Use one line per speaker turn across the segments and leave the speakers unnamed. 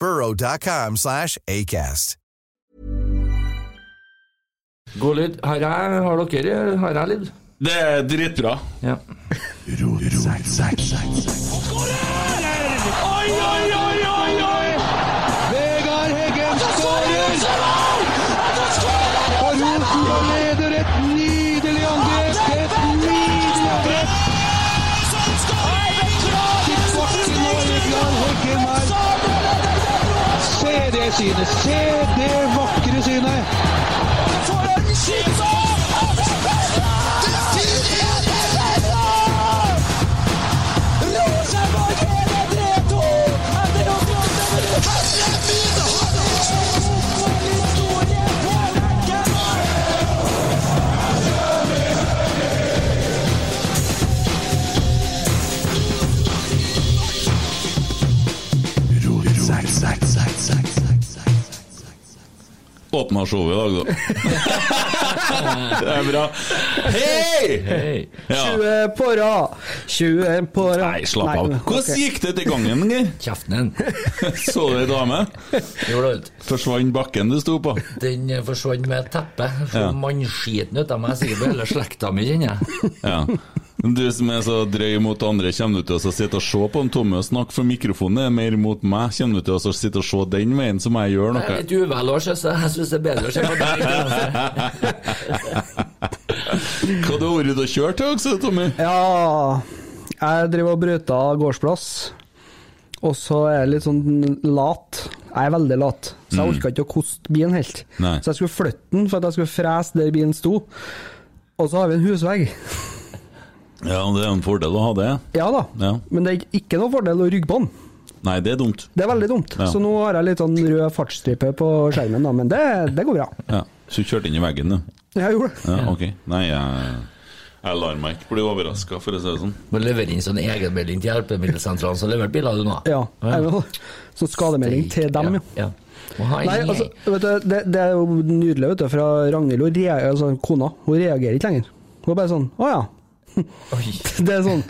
burrow.com slash ACAST.
God lyd. Her er, har dere her er lyd.
Det er dritbra.
Ja.
Oi, oi, oi, oi, oi!
Vegard Heggen skårer! Og Rosenborg leder et nydelig angrep! Et nydelig angrep! Til bakken nå, Vegard Heggen her. Se det synet! Se det vakre synet!
Åpna showet i dag, da. det er bra. Hei!
Hei.
Ja.
20 på rad. 20 på rad.
Nei, slapp av. Hvordan
ok.
gikk det til gangen, Geir?
Kjeften din.
Så du ei dame?
Gjorde alt.
Forsvant bakken du sto på?
Den eh, forsvant med et teppe.
Ja.
For Mannskiten ut av meg sikkert hele slekta mi, kjenner jeg.
Ja. Du som er så drøy mot andre, kommer du til å sitte og se på en Tommy og snakke for mikrofonen? Det er mer mot meg. Kommer du til å sitte og se den veien, så må jeg
Jeg
gjøre
er
Eh,
noe.
litt uvel òg, så jeg syns det er bedre å se på deg.
Hva har du vært ute og kjørt i dag, sa Tommy?
Eh. Ja, jeg driver og brøyter gårdsplass, og så er jeg litt sånn lat. Jeg er veldig lat, så jeg orka ikke å koste bilen helt.
Nei.
Så jeg skulle flytte den for at jeg skulle frese der bilen sto. Og så har vi en husvegg.
Ja, det er en fordel å ha det.
Ja da,
Ja.
men det er ikke noe fordel å rygge på den.
Nei, det er dumt.
Det er veldig dumt.
Ja.
Så nå har jeg litt sånn rød fartsstripe på skjermen, da, men det, det går bra.
Ja. Så du kjørte inn i veggen, du?
Jeg gjorde det.
Ja, ok. Nei, jeg, jeg lar meg ikke bli overraska, for å si det sånn.
Må levere inn sånn egenmelding til hjelpemiddelsentralen som leverer biler, du nå.
Ja, jeg gjorde det. Så skademelding til dem, jo.
ja. Må ha en
Nei,
gjeng.
altså, vet du, det, det er jo nydelig, vet du, fra Ragnhild, hun rea- altså, kona, hun reagerer ikke lenger. Hun er bare sånn, å ja. Det er sånn,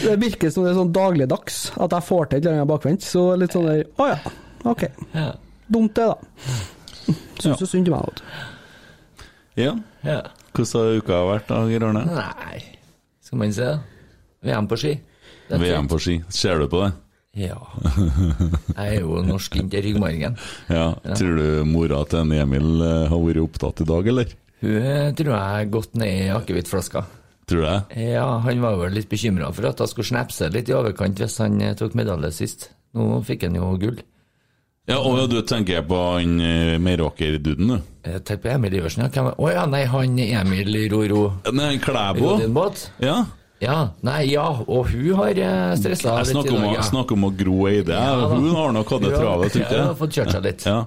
det virker som det er sånn dagligdags, at jeg får til et eller annet bakvendt, så litt sånn der, å ja, ok.
Ja.
Dumt det da.
Ja.
Synes du synd til meg, vet du.
Ja.
Ja.
Hvordan har uka vært, da, Geir Arne?
Nei, skal man se. VM på ski. Det er
VM på ski. Ser du på det?
Ja. Jeg er jo norsk inntil ryggmargen.
Ja. Tror du mora til en Emil eh, har vært opptatt i dag, eller?
Hun eh, tror jeg er gått ned i akevittflaska.
Tror du det?
Ja, han var vel litt bekymra for at hun skulle snapse litt i overkant hvis han eh, tok medalje sist. Nå fikk han jo gull.
Ja, og du tenker på han eh, Meråker-duden, du?
Jeg tenker Eh, på Emil Iversen, ja. Hvem er- Å ja, nei, han Emil Roro
Nei, han Klæbo.
Rodinbåt.
Ja.
Ja, nei, ja, og hun har eh, stressa
Jeg snakker om, å- snakker om å gro Eide.
Ja, da.
Hun har nok hatt det
Hun
travelt, tror
har
ikke jeg.
fått kjørt seg litt.
Ja.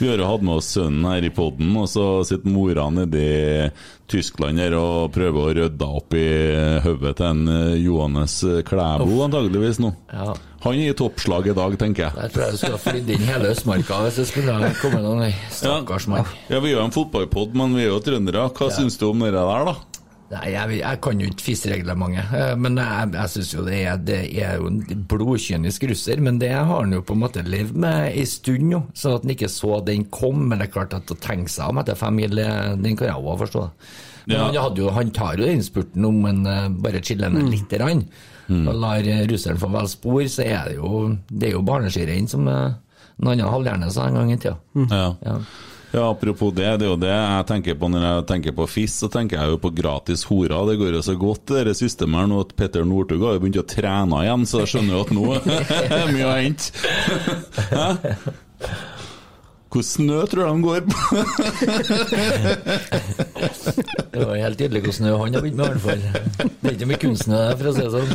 Vi har jo hatt med oss sønnen her i poden, og så sitter mora nede i Tyskland her og prøver å rydde opp i hodet til en eh, Johannes Klæbo, eh, antageligvis nå.
Ja.
Han er i toppslag i dag, tenker jeg.
Jeg tror jeg skulle ha flydd inn hele Østmarka hvis det skulle ha kommet noen Nei, Stakkars mann.
Ja, Vi er jo en fotballpod, men vi er jo trøndere. Hva syns du om det der, da?
Nei, jeg, jeg kan jo ikke FIS-reglementet, eh, men jeg, jeg syns jo det er, det er jo en blodkynisk russer. Men det har han jo på en måte levd med en stund nå, sånn at han ikke så den kom. Men det er klart at å tenke seg om etter fem mil, eh, den kan jeg òg forstå. Men
Ja.
han, hadde jo, han tar jo den spurten om en eh, bare chiller ned lite grann. Og lar eh, russeren få vel spor, så er det jo Det er jo barneskirenn som eh, en annen halvhjerne sa en gang i tida.
Ja.
Ja.
Ja, Apropos det, det er jo det jeg tenker på når jeg tenker på FIS, så tenker jeg jo på gratis horer. Det går jo så godt, det der systemet her nå at Petter Northug har jo begynt å trene igjen, så jeg skjønner jo at nå er det mye å hente. Hæ? Hvor snø tror du de går på?
Det var helt tydelig hvordan det var han har begynt med, i hvert fall. Det er ikke mye kunsten i det, for å si det sånn.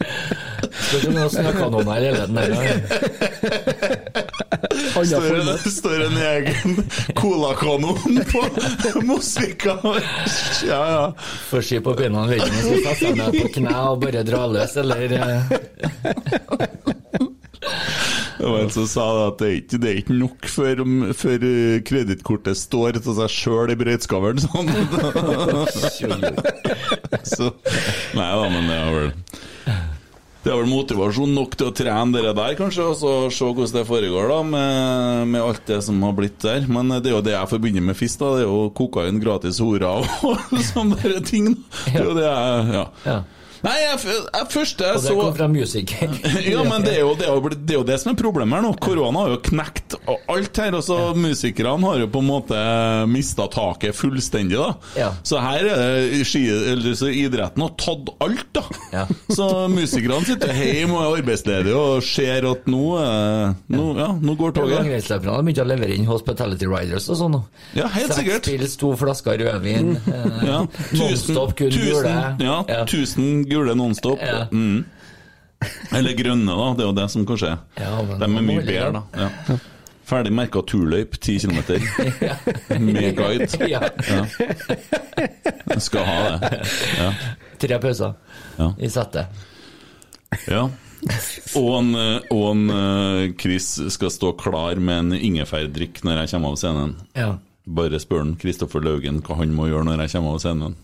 Skal ikke om jeg snakker noen her hele tiden. eller?
Annet
Står,
format.
står en egen colakanon på Mosvika? Ja, ja.
Får si på beina vet ikke om jeg skal sette meg på kne og bare dra løs, eller eh,
Det var en som sa det at det er ikke, det er ikke nok før, før eh, kredittkortet står til seg sjøl i brøytskavlen. Sånn. Så, nei da, men det er vel Det er vel motivasjon nok til å trene dere der, kanskje, og så se hvordan det foregår da med, med alt det som har blitt der. Men det er jo det jeg forbinder med FIS, da. Det er jo kokain, gratis horer og sånne der ting. Det er jo det jeg Ja.
Ja.
Nei, jeg, jeg, første jeg
Og det
så
kom fra music.
ja, men det er, jo, det, er jo, blitt- det er jo det som er problemet her nå. Korona har jo knekt alt her. Og så musikerne har jo på en måte mista taket fullstendig, da.
Ja.
Så her er det ski, eller, så idretten har tatt alt, da.
Ja.
Så musikerne sitter hjemme og er arbeidsledige og ser at nå, eh, nå, ja, nå går toget.
Langrennsløperne har begynt å levere inn Hospitality Riders og sånn nå.
Ja, helt sikkert.
Seks pils, to flasker rødvin. eh,
Ja,
Nonstop, kun gule.
tusen, ja,
Ja.
tusen gule nonstop.
Ja.
Mm. Eller grønne, da. Det er jo det som kanskje er.
Ja, men
De er
man må
mye
velge
bedre,
dem.
da. Ja. Ferdig merka turløyp, 10 km. Med guide.
Ja.
Jeg Skal ha det. Ja.
Tre pauser
Ja.
i settet.
ja. Og, en, eh, og en eh, Chris skal stå klar med en ingefærdrikk når jeg kommer av scenen.
Ja.
Bare spør han Kristoffer Laugen hva han må gjøre når jeg kommer av scenen.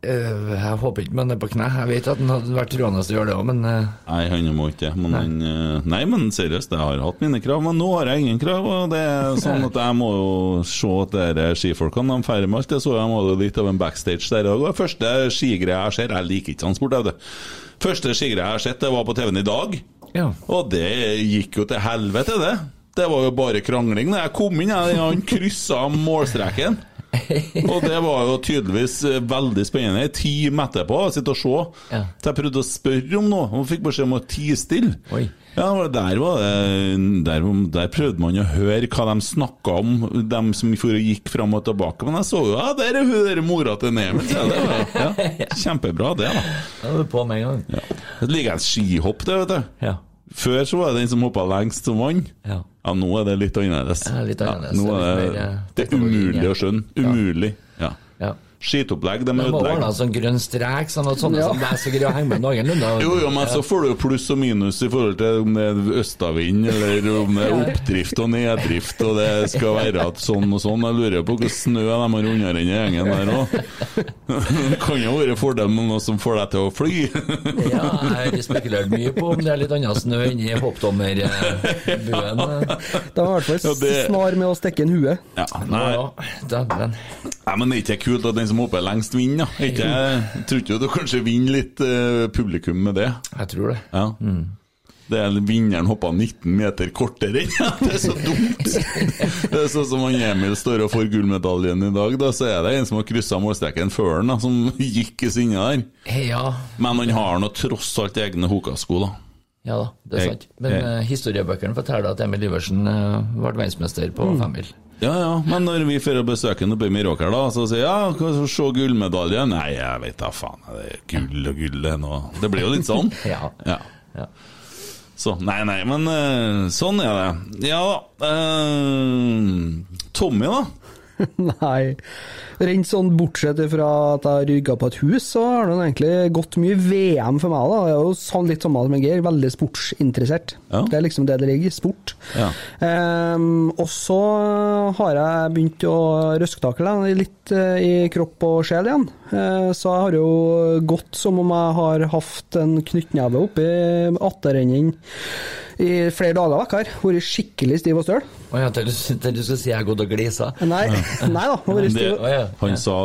Eh, jeg håper ikke man er på kne. Jeg vet at han hadde vært troende til å gjøre det òg, men eh,
Nei, han må ikke men han, eh, Nei, men seriøst, jeg har hatt mine krav, men nå har jeg ingen krav. Og det er sånn at Jeg må jo se at dere skifolkene de feirer med alt. Jeg så jeg hadde litt av en backstage der i dag. Og første skigreia jeg ser Jeg liker ikke transport, jeg, vet du. Første skigreia jeg har sett, det var på TV-en i dag.
ja.
Og det gikk jo til helvete, det. Det var jo bare krangling. Når jeg kom inn, jeg, han kryssa målstreken. Og det var jo tydeligvis eh, veldig spennende. En time etterpå, å sitte og se.
Ja.
Så jeg prøvde å spørre om noe, og fikk beskjed om å tie stille.
Oi.
Ja, det var- der, var det, der, der prøvde man å høre hva de snakka om, dem som for og gikk fram og tilbake. Men jeg så jo ja, der er hun der er mora til Nemen. Ja, det var- ja, kjempebra, det, da.
Da er du på med en gang.
Ja. Det ligger en skihopp, det, vet du.
Ja.
Før så var det den som hoppa lengst som vant.
Ja.
Ja, nå er det litt annerledes.
Ja, litt annerledes.
nå
Det er
er
litt
det,
mer, eh,
det er
teknologi,
umulig
ja.
å skjønne. Umulig. Ja.
ja.
Skitopplegg, de
Det må ordne
ødelegger.
en sånn grønn strek, sånn at sånne
Ja.
som deg skal greie å henge med noenlunde.
Jo, jo, men så får du jo pluss og minus i forhold til om det er østavind, eller om det er oppdrift og neddrift, og det skal være at sånn og sånn. Jeg lurer på hvor snø de har under denne gjengen der òg. Det kan jo være fordel med noe som får deg til å fly.
Ja, jeg har spekulert mye på om det er litt annen snø inni eh, hoppdommerbuen.
De var i hvert fall
Ja, det-
snar med å stikke inn huet.
Ja, nei.
Ja, dæven.
Nei, men det er ikke kult at den som hopper lengst vinner, da. Ikke, jeg tror ikke du kanskje vinner litt eh, publikum med det.
Jeg tror det.
Ja. Det er Vinneren hoppa 19 meter kortere enn Det er så dumt! Det er sånn som han Emil står og får gullmedaljen i dag, da, så er det en som har kryssa målstreken før han, da, som gikk i sinne der.
Ja.
Men han har nå tross alt egne hokasko, da.
Ja da, det er
Jeg-
sant. Men
jeg-
eh, historiebøkene forteller at Emil Iversen eh, ble verdensmester på femmil.
Ja, ja, men når vi drar og besøker han oppe i Meråker, da, så sier jeg ja, hva så se gullmedalje? Nei, jeg vet da faen, det er gull og gull det er noe Det blir jo litt sånn.
Ja.
ja.
Ja.
Så, nei, nei, men eh, sånn er det. Ja da. eh, Tommy, da.
Nei. Rent sånn bortsett fra at jeg har rygga på et hus, så har det egentlig gått mye VM for meg. da. Jeg er jo sånn- litt samme som Geir, veldig sportsinteressert.
Ja.
Det er liksom det det ligger i, sport.
Ja.
Ehm, og så har jeg begynt å røske tak i det, litt eh, i kropp og sjel igjen. Eh, så jeg har jo gått som om jeg har hatt en knyttneve oppi atterenden i flere dager vekk her. Vært skikkelig stiv og støl.
Å ja, til du, til du skal si jeg har gått og glisa.
Nei, nei da. Vært stiv.
Det,
og-
Å ja.
han sa,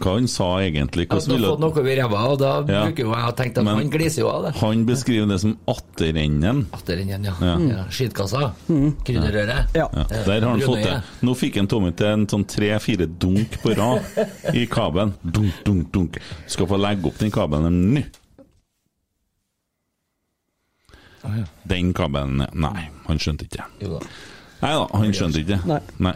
hva han sa egentlig?
Ja,
Hvordan
Du har
ville
fått noe i ræva, og da
Ja.
bruker jo jeg å tenke at
Men-
han gliser jo av det.
Han beskriver det som atterenden.
Atter inn igjen, ja. ja. Skitkassa. Krydderrøret.
Ja.
Ja, der har han
Grunnøye.
fått det. Nå fikk han Tommy til en sånn tre-fire dunk på rad i kabelen. Dunk, dunk, dunk. Skal få legge opp den kabelen nå. Den kabelen Nei, han skjønte ikke det.
Jo da.
Nei da, han skjønte ikke det.
Nei.
Nei.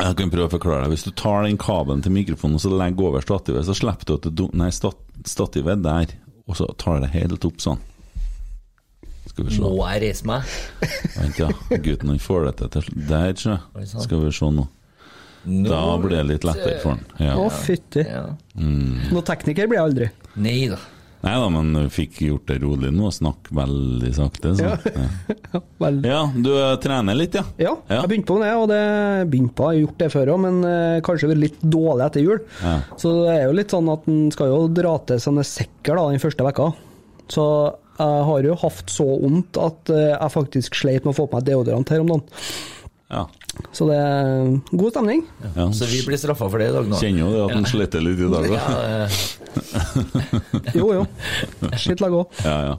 Jeg kan prøve å forklare deg. Hvis du tar den kabelen til mikrofonen og så legger over stativet, så slipper du at det dun- Nei, stat stativet der, og så tar det helt opp sånn. Skal vi se.
Må jeg reise meg?
Vent, ja. Gutten han får det til til slutt. Der, sjø.
Oi, sant.
Skal vi se nå.
Nå-
Da blir det litt lettere for han. Ja.
Å, fytti.
Ja.
Noen tekniker blir jeg aldri.
Nei da.
Nei da, men vi fikk gjort det rolig nå. Snakk veldig sakte. Så. Ja.
Vel.
ja, du eh, trener litt, ja?
Ja, jeg begynte på det, og det begynte på, jeg har gjort det før òg, men eh, kanskje vært litt dårlig etter jul.
Ja.
Så det er jo litt sånn at en skal jo dra til sånne sekker da, den første vekka. Så jeg har jo hatt så vondt at eh, jeg faktisk sleit med å få på meg deodorant her om dagen.
Ja.
Så det er god stemning.
Ja.
Så vi blir straffa for det i dag nå.
Kjenner jo det at han sletter litt i dag, da.
Ja, eh,
Jo, jo. Skitt lag òg.
Ja, ja.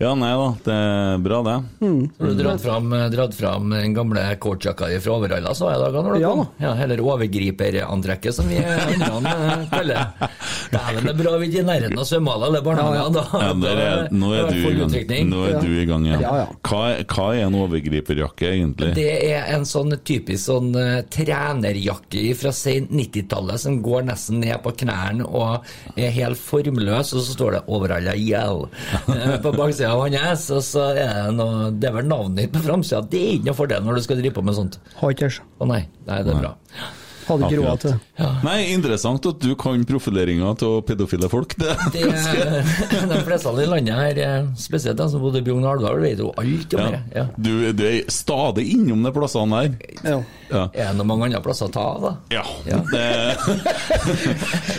ja, nei da. Det er bra, det.
så har du dratt fram, eh, dratt fram den gamle kortjakka di fra Overhalla, sa jeg i dag når du
Ja
kom.
da.
Ja, Eller overgriperantrekket, som vi andre eh, kaller det. Dæven, det er bra vi ikke er i nærheten av svømmehallen eller barnehagen. Da,
Ja, der er, nå er du i gang. Nå er du i gang igjen.
Ja, ja.
Hva, er- hva er en overgriperjakke, egentlig?
Det er en sånn typisk sånn eh, trenerjakke fra sent 90-tallet som går nesten ned på knærne og er helt formløs, og så står det 'Overhalla Yell' eh, på baksida av hans. Og så er det noe Det er vel navnet ditt på framsida. Det er ikke noe fordel når du skal drive på med sånt.
Har ikke jeg.
Å nei. Nei, det er bra.
Hadde ikke
Akkurat.
råd til det.
Nei, interessant at du kan profileringa av pedofile folk. Det.
Det er, de fleste i landet her, eh, spesielt de som bodde i Bjugn og Alvdal, vet jo alt om
Ja.
det. Ja.
Du, du er stadig innom de plassene der.
Ja.
Ja.
Er det noen mange andre plasser å ta av, da?
Ja.
Ja.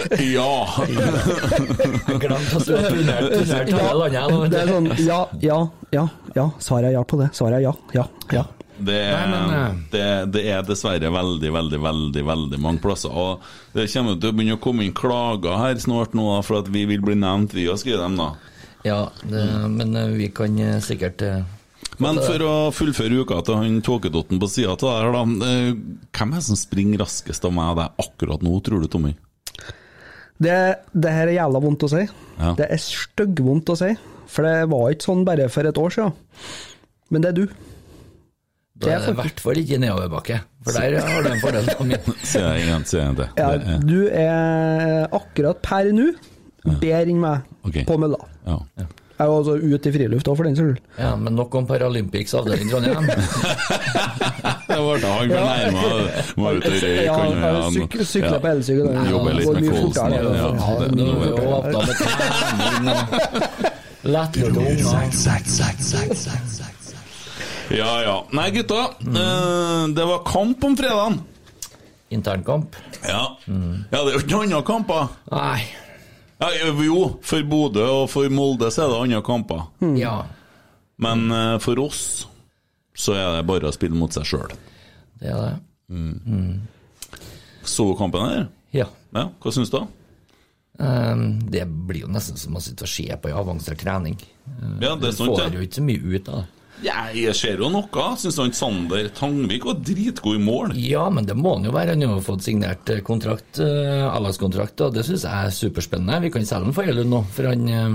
Det, ja.
Jeg glemte at du har turnert turnert hele landet. jeg, nå, vet du.
Det er sånn ja, ja, ja, ja. Svaret er ja på det. Svaret er ja, ja, ja.
Det er,
Nei, men, eh.
det, det er dessverre veldig, veldig, veldig veldig mange plasser. Og Det kommer til å begynne å komme inn klager her snart nå, da, for at vi vil bli nevnt, vi har skrevet dem, da.
Ja, det, men eh, vi kan eh, sikkert eh,
Men for å fullføre uka til han tåkedotten på sida av der, da. eh, Hvem er det som springer raskest av meg og deg akkurat nå, tror du, Tommy?
Det, det her er jævla vondt å si.
Ja.
Det er styggvondt å si. For det var ikke sånn bare for et år siden. Men det er du.
Da
Det er
er det i
faktisk-
hvert fall ikke nedoverbakke, for der eh, har du en fordel. Tommy.
Sier jeg igjen, sier jeg det.
Ja,
det er,
Du er akkurat per nå bedre enn meg
Ok.
på mølla.
ja.
Jeg er jo altså ute i friluft òg, for den saks skyld.
Ja, men nok om Paralympics avdeling Trondheim.
Det ble han fornærma. Må ut og røyke.
Ja,
han,
jeg
han-
syk- sykler
ja.
på elsykkel.
Nei, Jobber litt
Går
med
mye
Kolsen.
fortere,
Ja,
da.
ja,
Ja,
det-
Nå
nå
er
er
det
det-
åpnet med trening eh. og lettlurte unger.
Ja, ja. Nei, gutta. eh, Det var kamp om fredagen.
Internkamp?
Ja. ja, det er jo ikke andre kamper.
Nei.
Ja, jo, for Bodø og for Molde så er det andre kamper.
Hmm.
Ja.
Men eh, for oss så er det bare å spille mot seg sjøl.
Det er det.
Så du kampen her?
Ja.
Ja, hva syns du?
Ehm, Det blir jo nesten som å sitte og se på en avansert trening.
Ja, det
Du
er sant,
får
det.
jo ikke så mye ut av det.
Ja, jeg ser jo noe. Syns han Sander Tangvik var dritgod i mål.
Ja, men det må han jo være. Han har jo fått signert eh, kontrakt, eh, avlagskontrakt, og det syns jeg er superspennende. Vi kan selge han for Elund nå, for han, eh,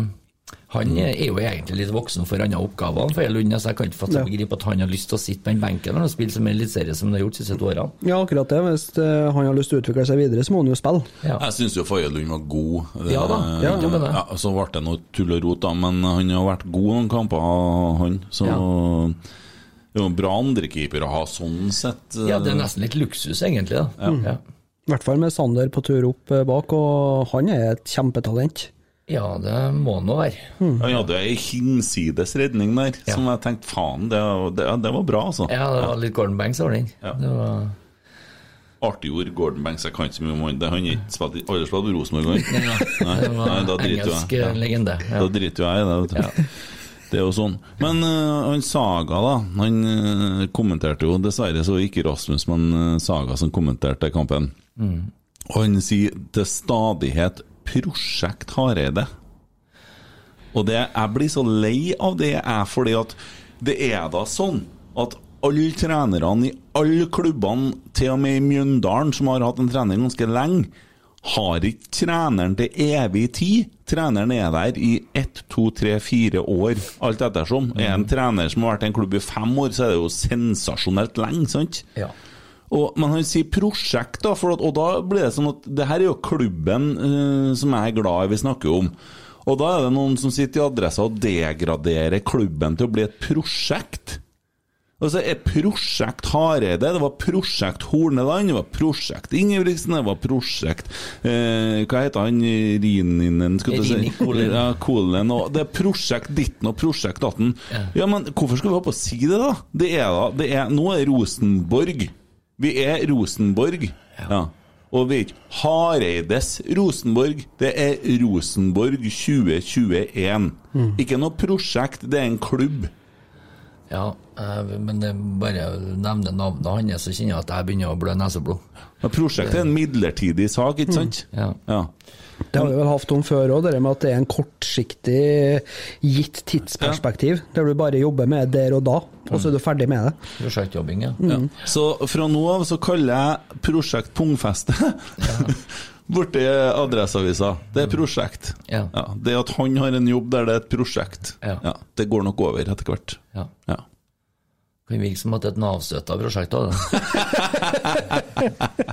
han
Mm.
er jo egentlig litt voksen for andre oppgaver enn for Elund. Så jeg kan ikke fatte og begripe at han har lyst til å sitte på den benken når han spiller som eliteserie som han har gjort de siste to årene.
Ja, akkurat det. Hvis eh, han har lyst til å utvikle seg videre, så må han jo spille.
Ja.
Jeg syns jo Fagerlund var god. Det-
Ja da, ja, det var det.
Ja, så ble det noe tull og rot, da, men han har vært god noen kamper, han. Så Det er jo bra andrekeepere å ha sånn sett.
Ja, det er nesten litt luksus, egentlig. da. Ja,
I hvert fall med Sander på tur opp eh, bak, og han er et kjempetalent.
ja det må nå være.
Eh, Han hadde ei hinsides redning der,
Ja.
som jeg tenkte faen, det, det, det var bra, altså.
Ja, det var litt Gordon Banks over den. Det var...
Artig ord, Gordon Banks, jeg kan ikke så mye om han. Det- Han er ikke spilt i alle spilt i Rosenborg, han.
Ja,
Nei,
det var
nei, da driter
engelsk eh,
jeg. Ja.
legende. Ja.
Da driter jo jeg i det, vet du. Det er jo sånn. Men eh, han Saga, da. Han eh, kommenterte jo Dessverre så ikke Rasmus, men eh, Saga som kommenterte kampen. Og han sier til stadighet 'Prosjekt Hareide'. Og det, jeg blir så lei av det, jeg, fordi at det er da sånn at alle trenerne i alle klubbene, til og med i Mjøndalen, som har hatt en trener ganske lenge, har ikke treneren til evig tid. Treneren er der i ett, to, tre, fire år, alt ettersom. Er en trener som har vært i en klubb i fem år, så er det jo sensasjonelt lenge, sant?
Ja.
Og, men han sier prosjekt, da, for at, og da blir det sånn at det her er jo klubben eh, som jeg er glad i vi snakker om. Og da er det noen som sitter i adressa og degraderer klubben til å bli et prosjekt. Altså, er Prosjekt Hareide, det var Prosjekt Horneland, det var Prosjekt Ingebrigtsen, det var Prosjekt eh, Hva heter han Rininen, skulle du si?
Rini Kolen.
Ja, Kolen. Og det er Prosjekt Ditten og Prosjekt Datten. Ja. men hvorfor skal vi holde på å si det, da? Det er da det er, Nå er Rosenborg. Vi er Rosenborg. Ja. Og vi er ikke Hareides Rosenborg, det er Rosenborg 2021. Ikke noe prosjekt, det er en klubb.
Ja, eh, men det er bare å nevne navnet hans, så kjenner jeg at jeg begynner å blø neseblod.
Ja, prosjektet er en midlertidig sak, ikke sant?
Ja.
Ja.
Det har vi vel hatt om før òg, det med at det er en kortsiktig, gitt tidsperspektiv. Der du bare jobber med det der og da, og så er du ferdig med det.
Prosjektjobbing, ja.
Mm. Så fra nå av så kaller jeg prosjekt Pungfeste borti Adresseavisa. Det er prosjekt.
Mm. Ja.
Det at han har en jobb der det er et prosjekt,
Ja.
det går nok over etter hvert.
ja.
Ja.
Kan virke som at det er et Nav-støtta prosjekt òg, det.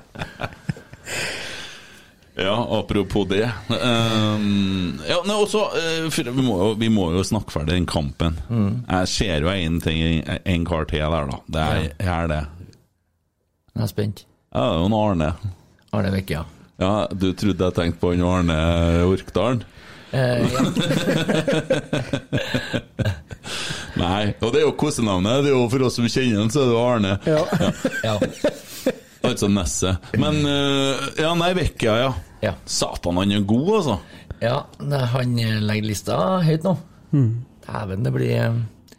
Ja, apropos det. Ehm, ja, nei, også, eh, for vi, må jo, vi må jo snakke ferdig den kampen.
Mm.
Jeg ser jo en, ting, en kar til der, da. Det er, jeg er det.
Jeg er spent.
Ja, det er jo en Arne.
Arne Vekke, ja.
Ja, du trodde jeg tenkte på han Arne Orkdalen?
Eh, ja.
Nei, og det er jo kosenavnet. Det er jo for oss som kjenner han, så er det jo Arne.
Ja.
ja.
Altså Nesse. Men eh, Ja, nei, Vekkia, ja.
Ja.
Satan, han er god, altså.
ja. nei, Han legger lista høyt nå.
Mm.
Dæven, det blir eh,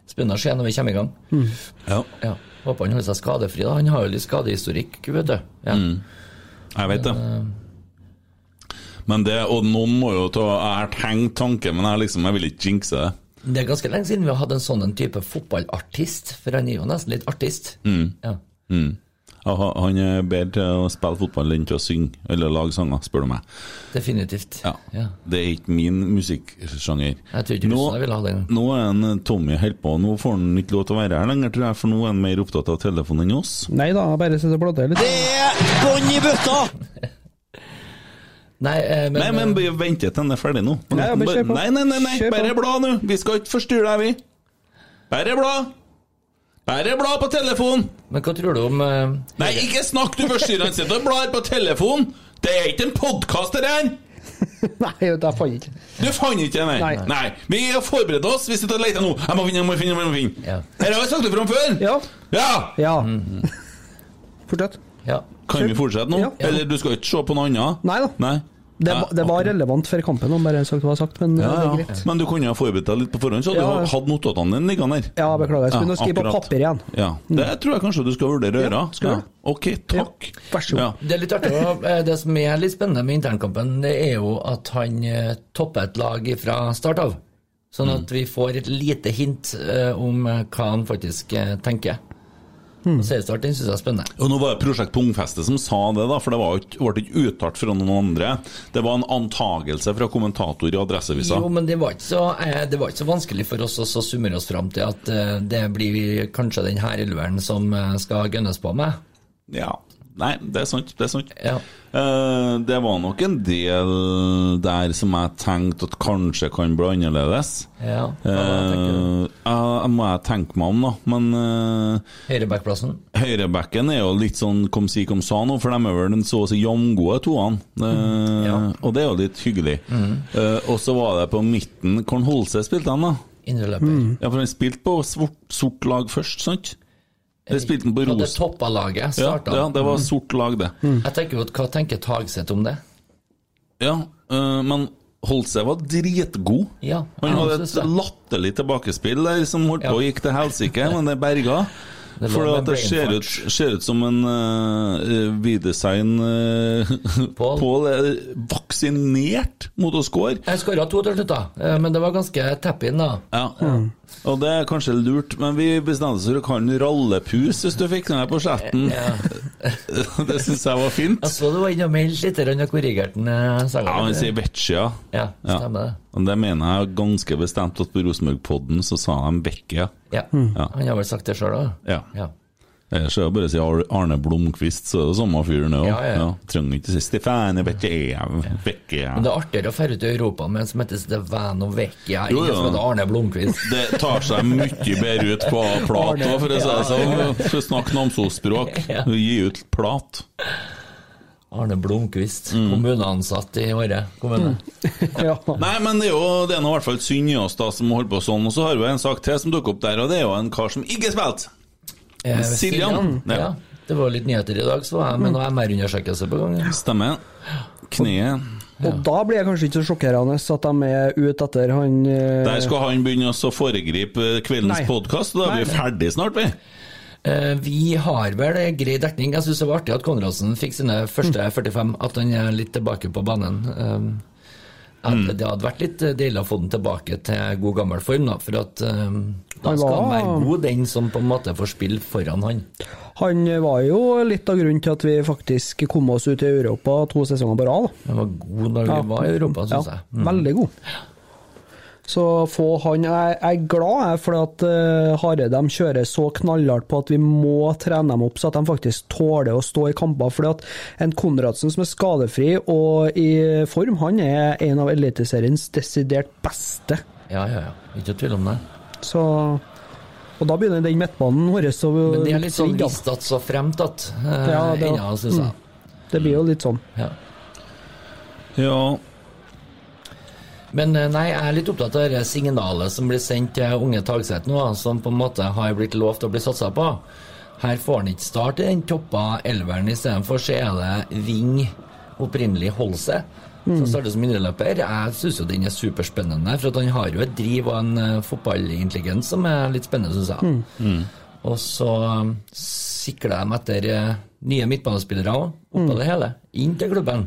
spennende å se når vi kommer i gang.
Mm. Ja.
Ja. Håper han holder seg skadefri, da. Han har jo litt skadehistorikk, vet du. Ja.
Mm. Jeg vet det. Men det, Og noen må jo ta Jeg har tenkt tanken, men jeg, liksom, jeg vil ikke jinxe det.
Det er ganske lenge siden vi har hatt en sånn en type fotballartist, for han er jo nesten litt artist.
Mm.
Ja.
Ja, ha- Han er bedre til å spille fotball enn til å synge eller lage sanger, spør du meg.
Definitivt.
Ja. Det er ikke min musikksjanger.
Jeg tror ikke
Nå-
russerne ville ha den.
Nå er en eh, Tommy helt på, nå får han ikke lov til å være her lenger, tror jeg, for nå er han mer opptatt av telefonen enn oss.
Nei da, jeg bare sitter og blader litt.
Nei, eh, men,
Nei, men vi venter til han er ferdig nå.
Ja, ja, men kjør på.
Nei, nei, nei, nei.
Kjør på.
bare bla nå! Vi skal ikke forstyrre deg, vi. Bare bla! Bare bla på telefonen!
men hva tror du om eh,
Nei, ikke snakk, du forstyrrer han sitter og blar på telefonen! Det er ikke en podkast, det her!
Nei, vet du, jeg fant ikke.
Du fant ikke den, nei.
Nei.
nei. Vi har forberedt oss, vi sitter og leter nå. Jeg må finne, jeg må finne, jeg må finne.
Ja.
Her har jeg sagt det fra om før!
Ja.
ja.
ja. Fortsett.
Ja.
Kan vi fortsette nå?
Ja.
Eller du skal ikke se på noe annet?
Nei da.
Nei.
Det,
Nei,
va- det var
ok.
relevant for kampen, om bare sagt hva jeg har sagt, men
ja,
det er
ja.
greit.
Men du kunne ha forberedt deg litt på forhånd, så hadde
Ja.
du hatt notatene dine liggende der.
Ja, beklager. Jeg skulle
Ja,
nå skrive på
akkurat.
papir igjen. Mm.
Ja. Det tror jeg kanskje du skal vurdere å gjøre.
Ja, skal
Ja.
jeg.
Ok, takk.
Ja, vær så god.
Ja.
Det er litt artig. å- eh, Det som er litt spennende med internkampen, det er jo at han eh, topper et lag fra start av. Sånn
Mm.
at vi får et lite hint eh, om eh, hva han faktisk eh, tenker. Og
Mm.
Seriestart den syns jeg er spennende.
Og nå var det Prosjekt Pungfeste som sa det, da, for det var jo ikke- ble ikke uttalt fra noen andre. Det var en antagelse fra kommentator i Adresseavisa.
Jo, men det var, ikke så, eh, det var ikke så vanskelig for oss å så summere oss fram til at eh, det blir kanskje den her elveren som eh, skal gønnes på med.
Ja. Nei, det er sant. Det er sant.
Ja.
Eh, det var nok en del der som jeg tenkte at kanskje kan bli annerledes.
Ja, hva tenker
Eh, jeg må jeg tenke meg om, da. Men eh,
Høyrebackplassen.
høyrebacken er jo litt sånn kom si kom sa nå, for de er vel den så å si jevngode toene. Eh,
Mm, ja. Mm.
Og det er jo litt hyggelig. Eh, og så var det på midten Korn Holse spilte han, da.
Indreløper.
Ja, for han spilte på sort, sort lag først, sant? Det spilte han på
Hadde
Ros...
toppa laget,
Ja,
starta.
ja, Mm. det var sort lag, det.
Jeg tenker jo at Hva tenker Tagseth om det?
Ja, eh, men Holse var dritgod.
Ja,
Han
jeg
hadde
synes
et
det.
latterlig tilbakespill der som holdt
Ja.
på og gikk til helsike, men det berga.
Det lå
For
med
at det
brain
ser ut,
fart.
ser ut som en uh, V-design
Paul.
Pål eh, er vaksinert mot å score.
Jeg skåra to til slutt, da, eh, men det var ganske tap-in, da.
Ja. Og det er kanskje lurt, men vi bestemte oss for å kalle den rallepus hvis du fikk den her på chatten. det syns jeg var
Jeg
fint.
så du var inne og meldte litt og korrigerte den eh, sangen.
Ja, han sier Vecchia.
Ja, stemmer det.
Men det mener jeg ganske bestemt at på Rosenborg-podden så sa de Vecchia.
Ja. Han har vel sagt det sjøl òg?
Ja.
Ja.
Ellers er det Eh, bare å si Ar- Arne Blomkvist, så er det samme fyren det òg.
Ja, ja, ja.
Trenger ikke si Stefane Vecchia. Vecchia.
Men det er artigere å dra ut i Europa med en som heter Stevano Vecchia,
Jo,
ikke
jo.
som heter Arne Blomkvist.
Det tar seg mye bedre ut på plat òg, for å si det sånn. For å snakke Namsos-språk. Gi ut plat.
Arne Blomkvist,
Mm.
kommuneansatt i Åre kommune.
Hmm.
Ja.
Nei, men det er jo det er nå i hvert fall synd i oss da som holder på sånn. Og så har vi en sak til som dukker opp der, og det er jo en kar som ikke spilte!
Eh,
Siljan.
Ja.
Ja. Hmm.
Det var litt nyheter i dag, så jeg med noe MR-undersøkelse på gang.
Stemmer. Kneet.
Og da blir det kanskje ikke så sjokkerende at de er ute etter han eh,
Der skal han begynne oss å foregripe eh, kveldens
Nei.
podkast, og da er vi ferdig snart, vi.
Eh, Vi har vel en grei dekning. Jeg syns det var artig at Konradsen fikk sine
Mm.
første 45, at han er litt tilbake på banen. Um, at
Mm.
Det hadde vært litt eh, deilig å få den tilbake til god gammel form, da, for at um, da
Han
skal han
var-
være god, den som på en måte får spille foran han.
Han var jo litt av grunnen til at vi faktisk kom oss ut i Europa to sesonger på rad. da.
Han var god når vi var i Europa, syns
ja,
jeg. Mm.
Veldig god. Så få han Jeg jeg er glad jeg, for at uh, Hareide de kjører så knallhardt på at vi må trene dem opp, så at de faktisk tåler å stå i kamper. fordi at en Konradsen som er skadefri og i form, han er en av Eliteseriens desidert beste.
Ja, ja, ja. Ikke tvil om det.
Så Og da begynner den midtbanen vår å
Men det er litt sånn
svinge, da.
hvis at så fremt at. eh,
Ja, det Mm. var-
ennå, synes jeg.
Det blir jo litt sånn.
Ja.
Ja.
Men eh, nei, jeg er litt opptatt av det signalet som blir sendt til unge Tagseth nå, som på en måte har blitt lovt å bli satsa på. Her får han ikke start i den toppa elveren, istedenfor så er det Ving opprinnelig Holse. Som starter som indreløper. Jeg syns jo den er superspennende, for at han har jo et driv og en eh, fotballintelligens som er litt spennende, syns jeg. Og så um, sikler de etter eh, nye midtbanespillere òg, oppå det hele. Inn til klubben.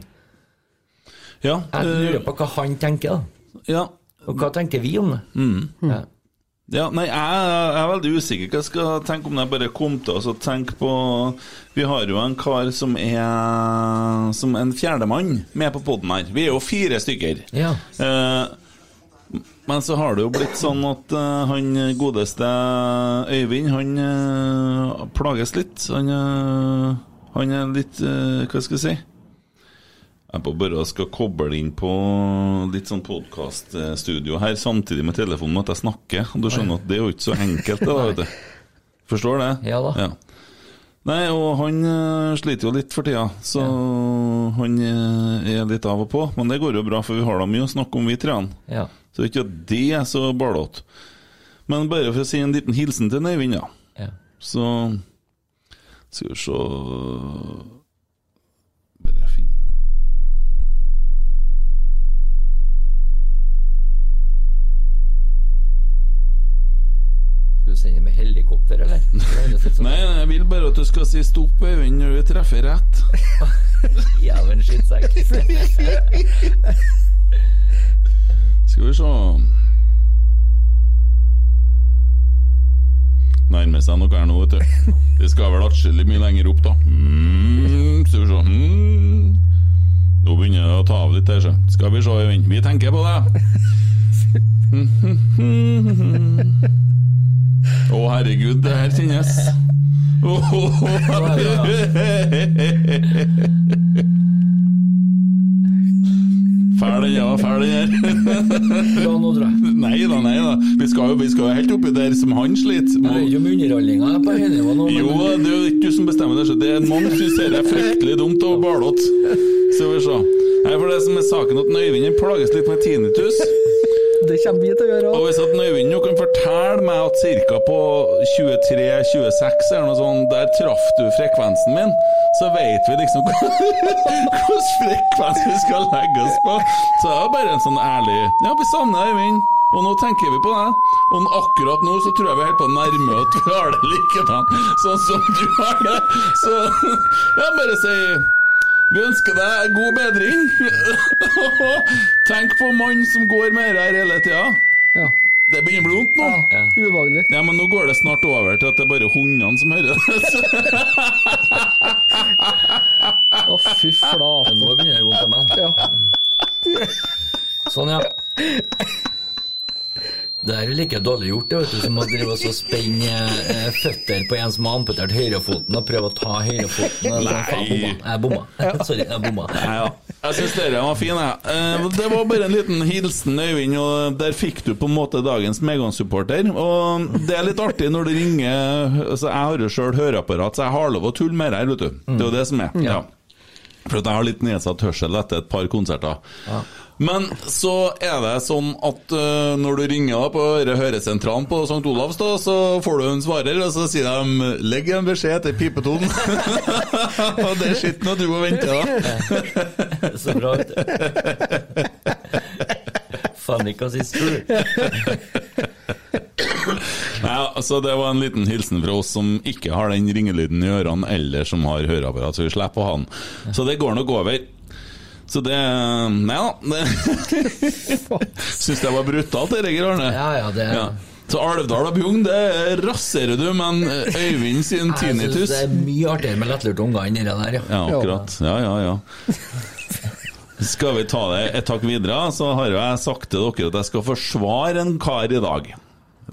Ja.
Jeg
eh,
lurer på hva han tenker, da.
ja.
Og hva tenker vi om det? Ja.
Ja, nei, jeg, jeg er veldig usikker hva jeg skal tenke om det. Jeg bare kom til oss og tenke på Vi har jo en kar som er som en fjerdemann med på poden her. Vi er jo fire stykker.
Ja.
Eh, men så har det jo blitt sånn at eh, han godeste Øyvind, han eh, plages litt. Han, eh, han er litt eh, Hva skal jeg si? Jeg på bare skal koble inn på litt sånn podkaststudio her samtidig med telefonen med at jeg snakker. Og Du skjønner at det er jo ikke så enkelt, det da, vet du. Forstår det?
Ja da.
Nei, og han eh, sliter jo litt for tida, så han eh, er litt av og på. Men det går jo bra, for vi har da mye å snakke om, vi treene.
ja.
Så ikke at det er så ballete. Men bare for å si en liten hilsen til Øyvind, ja.
ja.
Så skal vi se Bare finne
Skal du sende med helikopter, eller? Det høres ut som
Nei, jeg vil bare at du skal si stopp, Øyvind, når du treffer rett.
en Jævlen skittsekk.
Skal vi se Nærmer seg noe her nå, vet du. Det skal vel atskillig mye lenger opp, da. Mm, skal vi se mm. Nå begynner det å ta av litt her, så. Skal vi se, Øyvind. Vi tenker på det. Å, herregud, det her kjennes Fæl den, ja. Fæl den her.
Ja, nå tror jeg.
Nei da, nei da. Vi skal jo, vi skal jo helt oppi der som han sliter.
Jeg vet
Må-
ikke om underholdninga er på høynivå nå. men-
Jo, det er jo ikke du som bestemmer det, så det er mange som syns det er fryktelig dumt og ballete. Skal vi se. Nei, for det som er saken, at Øyvind han plages litt med tinnitus.
Det kommer vi til å gjøre
Og
òg.
hvis at Øyvind nå kan fortelle meg at ca. på 23-26 eller noe sånt, der traff du frekvensen min, så vet vi liksom hvilken frekvens vi skal legge oss på. Så det er bare en sånn ærlig Ja, vi savner Øyvind. Og nå tenker vi på deg. Og akkurat nå så tror jeg vi er helt på å nærme at vi har det likedan, sånn som du har det. Så jeg bare sier vi ønsker deg god bedring. Tenk på mannen som går med det her hele tida.
Ja.
Det begynner å bli vondt nå. Ja.
Ubehagelig.
men nå går det snart over til at det er bare hundene som hører det.
Å, fy flate.
Nå begynner det å gå til meg.
Ja.
Sånn, ja. Det her er like dårlig gjort det, vet du, som å drive og så spenne eh, føtter på en som har amputert høyrefoten, og prøve å ta høyrefoten. og sånn, faen,
Nei.
bomma. Jeg bomma. Sorry, jeg bomma.
Nei, ja. Jeg syns dere var fine, jeg. Eh, Det var bare en liten hilsen, Øyvind, og der fikk du på en måte dagens Megan-supporter. Og det er litt artig når det ringer altså, Jeg har jo sjøl høreapparat, så jeg har lov å tulle med det her, vet du. Det er jo det som er. Mm. Ja. For at jeg har litt nedsatt hørsel etter et par konserter. Men så er det sånn at øh, når du ringer da på hø- høresentralen på St. Olavs, da, så får du en svarer, og så sier de 'legg en beskjed til pipetonen'. og det er skitten og du må vente, da.
Så bra, vet du. Faen ikke å si spur.
Ja, så det var en liten hilsen fra oss som ikke har den ringelyden i ørene, eller som har høreapparat, så vi slipper å ha den. Så det går nok over. Så det Nei da. Syns det var brutalt, det, Regger Arne.
Ja, ja, det
Ja. Så Alvdal og Bjugn, det raserer du, men eh, Øyvind sin
Jeg synes
tinnitus
det er mye artigere med lettlurte unger enn det der, ja.
Ja, akkurat. Ja, ja, ja. Skal vi ta det et takk videre, så har jo jeg sagt til dere at jeg skal forsvare en kar i dag.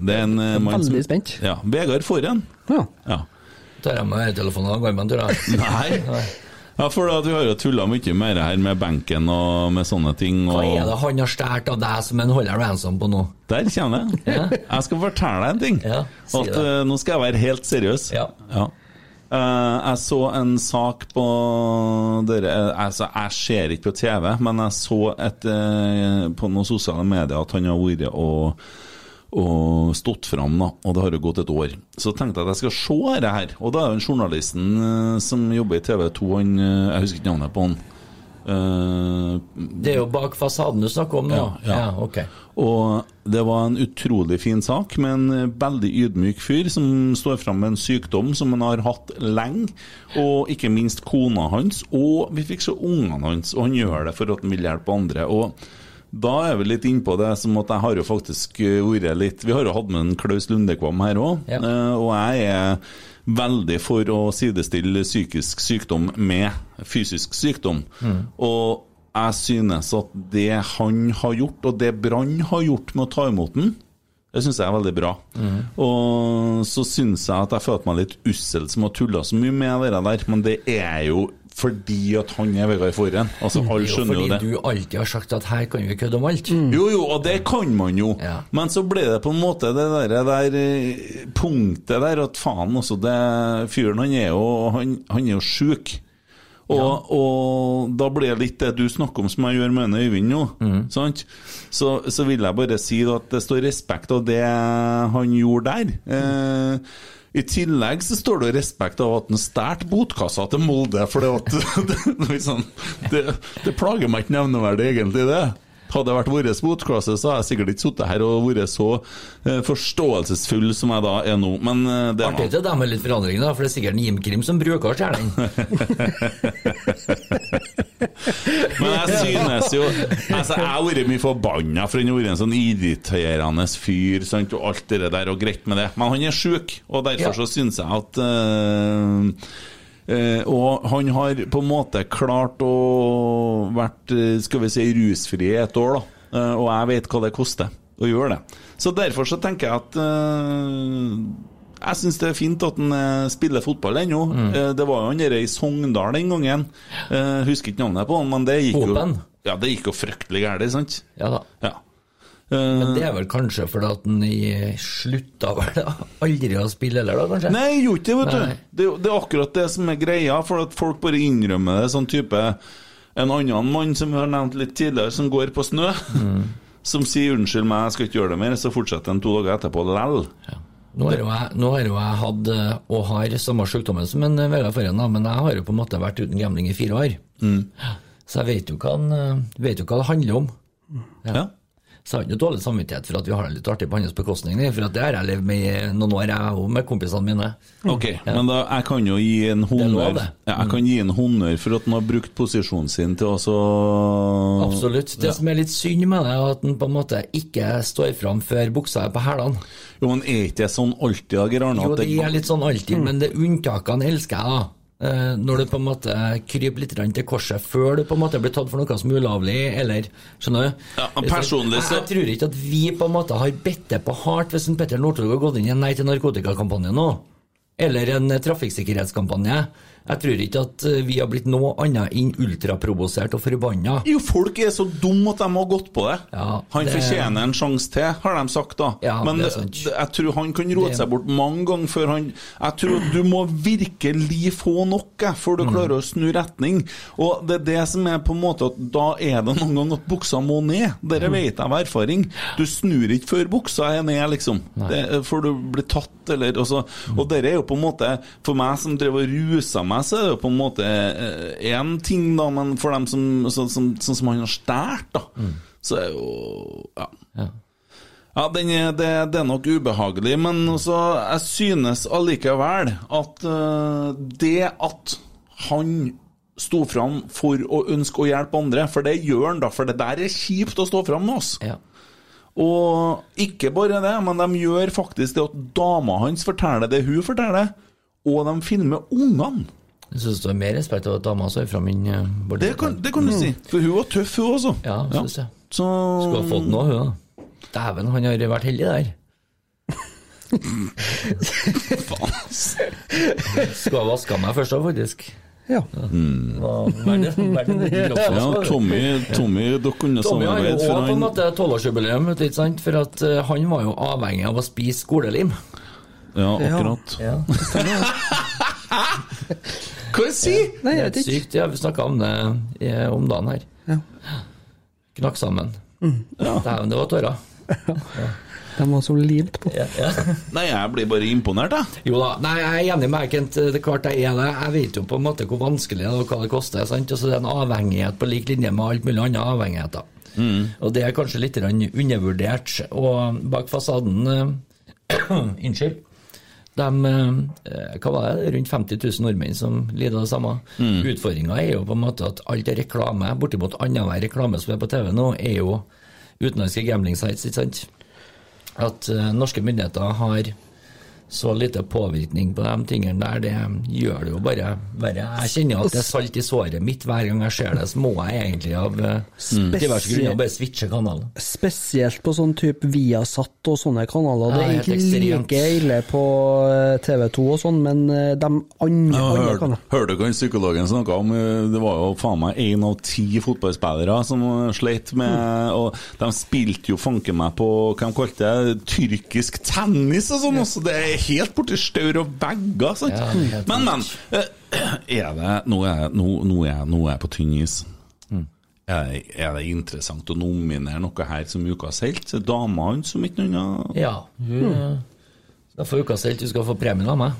Det er en eh, mann som
Veldig spent.
Ja. Vegard Forhen.
Ja.
Ja.
Tar jeg med høretelefonene og går med en tur, da.
Nei. Ja, for at vi har jo tulla mye mer her med benken og med sånne ting. Og
Hva er det han har stjålet av deg som han holder ransom på nå?
Der kommer det.
Ja.
Jeg skal fortelle deg en ting.
Ja, si
at,
det.
eh, nå skal jeg være helt seriøs.
Ja.
Eh, jeg så en sak på dere, altså Jeg ser ikke på TV, men jeg så et, eh, på noen sosiale medier at han har vært og, og stått fram, da, og det har jo gått et år. Så tenkte jeg at jeg skal se det her. Og da er jo den journalisten eh, som jobber i TV 2, han eh, Jeg husker ikke navnet på han. Eh,
Det er jo bak fasaden du snakker om nå.
Ja, ja.
ok.
Og det var en utrolig fin sak med en veldig ydmyk fyr som står fram med en sykdom som han har hatt lenge, og ikke minst kona hans, og vi fikk se ungene hans, og han gjør det for at han vil hjelpe andre. og da er vi litt innpå det som at jeg har jo faktisk eh, vært litt Vi har jo hatt med en Klaus Lundekvam her òg,
Ja.
og jeg er veldig for å sidestille psykisk sykdom med fysisk sykdom. Og jeg synes at det han har gjort, og det Brann har gjort med å ta imot den, det syns jeg er veldig bra.
Mhm.
Og så syns jeg at jeg følte meg litt ussel som har tulla så mye med det der, men det er jo fordi at han er Vegard Forhen. Altså, alle skjønner jo det. Mm.
Fordi du alltid har sagt at her kan vi kødde om alt.
Jo, jo, og det kan man jo.
Ja.
Men så ble det på en måte det der, der eh, punktet der at faen, altså. Det, fyren han er jo, han, han er jo sjuk. Og, og da blir det litt det du snakker om som jeg gjør med en Øyvind nå. Sant? Så, så vil jeg bare si da at det står respekt av det han gjorde der. Eh, I tillegg så står det respekt av at han stjal botkassa til Molde. For det, at, det, liksom, det, det plager meg ikke nevneverdig, egentlig, det. Hadde det vært vår botkasse, så hadde jeg sikkert ikke sittet her og vært så eh, forståelsesfull som jeg da er nå. Men eh, det er
Artig til dem med litt forandring, da, for det er sikkert en Jim Krim som bruker å stjele den.
Men jeg synes jo altså Jeg har vært mye forbanna, for han har vært en sånn irriterende fyr sant, og alt det der, og greit med det. Men han er sjuk, og derfor
Ja.
så syns jeg at eh, eh, og han har på en måte klart å vært eh, skal vi si, rusfri i et år, da. Eh, og jeg vet hva det koster å gjøre det. Så derfor så tenker jeg at eh, Jeg syns det er fint at han eh, spiller fotball ennå.
Mm.
Eh, Det var jo han der i Sogndal den gangen. Eh, Husker ikke navnet på han, men det gikk jo
Håpen.
Ja, det gikk jo fryktelig gærent, sant?
Ja da.
Ja. Eh,
Men det er vel kanskje fordi at han i- slutta vel aldri å spille heller, da, kanskje?
Nei, jeg gjorde ikke det, vet
Nei.
du. Det, er jo- det er akkurat det som er greia, for at folk bare innrømmer det. Sånn type En annen mann som vi har nevnt litt tidligere, som går på snø,
Mm.
som sier 'unnskyld meg, jeg skal ikke gjøre det mer', så fortsetter han to dager etterpå lell.
Nå har jo jeg, nå har jo jeg hatt, eh, og har, samme sykdommen som en eh, Vegard Forhen, da, men jeg har jo på en måte vært uten gambling i fire år. Så jeg vet jo hva, han, eh, vet jo hva det handler om.
Ja.
Så jeg har ikke noe dårlig samvittighet for at vi har det litt artig på hans bekostning, nei, for at det har jeg levd med i noen år, jeg òg, med kompisene mine.
Ok, men da, jeg kan jo gi en
er lov,
honnør
Mm. det. Mm.
ja, Jeg kan gi en honnør for at han har brukt posisjonen sin til å så
Absolutt. Det som er litt synd med det, er at den på en måte ikke står fram før buksa er på hælene.
Jo, men er ikke det sånn alltid, da, Geir Arne?
Jo,
at
det er litt sånn alltid, men det unntakene elsker jeg, da. Eh, Når du på en måte kryper litt grann til korset før du på en måte blir tatt for noe som er ulovlig, eller Skjønner du?
Ja, men personlig så-
Jeg, jeg tror ikke at vi på en måte har bedt det på hardt hvis en Petter Northug har gått inn i en Nei til narkotikakampanje nå. Eller en eh, trafikksikkerhetskampanje. Jeg tror ikke at eh, vi har blitt noe annet enn ultraprovosert og forbanna.
Jo, folk er så dumme at de har gått på det.
Ja,
han
det-
fortjener en sjanse til, har de sagt da.
Ja,
Men
det er sant.
det- jeg tror han kan rote seg bort mange ganger før han Jeg tror du må virkelig få noe før du
Mm.
klarer å snu retning. Og det er det som er på en måte at da er det noen ganger at buksa må ned.
Mm.
Dere vet jeg av erfaring. Du snur ikke før buksa er ned, liksom. Det, før du blir tatt, eller Og, så,
Mm.
og dere er jo på en måte For meg som drev og rusa meg, så er det jo på en måte én ting, da, men for dem som Sånn som, sånn som han har stjålet, da,
Mm.
så er jo Ja. Ja, den er, det, det er nok ubehagelig, men også, jeg synes allikevel at eh, det at han sto fram for å ønske å hjelpe andre, for det gjør han da, for det der er kjipt å stå fram med oss.
Ja.
Og ikke bare det, men de gjør faktisk det at dama hans forteller det hun forteller, og de filmer ungene.
Jeg syns det er mer respekt av at dama står fram enn eh, Bård
Det kan, det kan du si, for hun var tøff, hun også.
Mm. Ja, synes jeg.
Så
Skulle ha fått noe, hun da. Dæven, han har vært heldig der. Skulle ha vaska meg først da, faktisk.
Ja.
Hva- hva er det- hva er det-
ja, Tommy, Tommy, dere kunne
altså. Tommy har jo
samarbeide
også
for
på en
han
måte tolvårsjubileum, vet du, ikke sant? for at eh, han var jo avhengig av å spise skolelim.
Ja, akkurat. Hva sier du?
Nei, jeg
Helt
vet ikke.
sykt. Ja, vi snakka om det eh, om dagen her. Knakk sammen.
Mm,
Dæven, det var tårer.
De var så limt på.
Nei, jeg blir bare imponert, jeg.
Jo da, nei, jeg er enig med deg, Kent. Det er klart jeg er det. Jeg vet jo på en måte hvor vanskelig det er og hva det koster. sant? Og så det er en avhengighet på lik linje med alt mulig annet avhengigheter. Og det er kanskje litt grann undervurdert. Og bak fasaden eh, Unnskyld. De, eh, hva var det, rundt 50 000 nordmenn som lider av det samme. Utfordringa er jo på en måte at alt er reklame, bortimot annenhver reklame som er på TV nå, er jo utenlandske gambling sites, ikke sant. At eh, norske myndigheter har så lite påvirkning på de tingene der, det gjør det jo bare verre. Jeg kjenner at det er salt i såret mitt hver gang jeg ser det, så må jeg egentlig av eh, diverse grunner bare switche kanalen.
Spesielt på sånn type Viasat og sånne
Ja,
kanaler. Det er
helt
ikke
ekstremt.
like ille på TV2 og sånn, men eh, de andre, andre
Hørte
kanalene
hørte du hva psykologen snakka om? Eh, Det var jo faen meg én av ti fotballspillere som eh, slet med
Mm.
Og de spilte jo fanken meg på hva de kalte det, tyrkisk tennis og sånn, også. Det er helt borti staur og vegger, sant.
Ja, det er helt
men, men. eh, Er det Nå er jeg, nå, nå er jeg, nå er jeg på tynn is.
Mm.
Er det, er det interessant å nominere noe her som ukas helt? Dama hans som ikke noe annet?
Ja. Hun eh, skal få ukas helt, hun skal få premien av meg.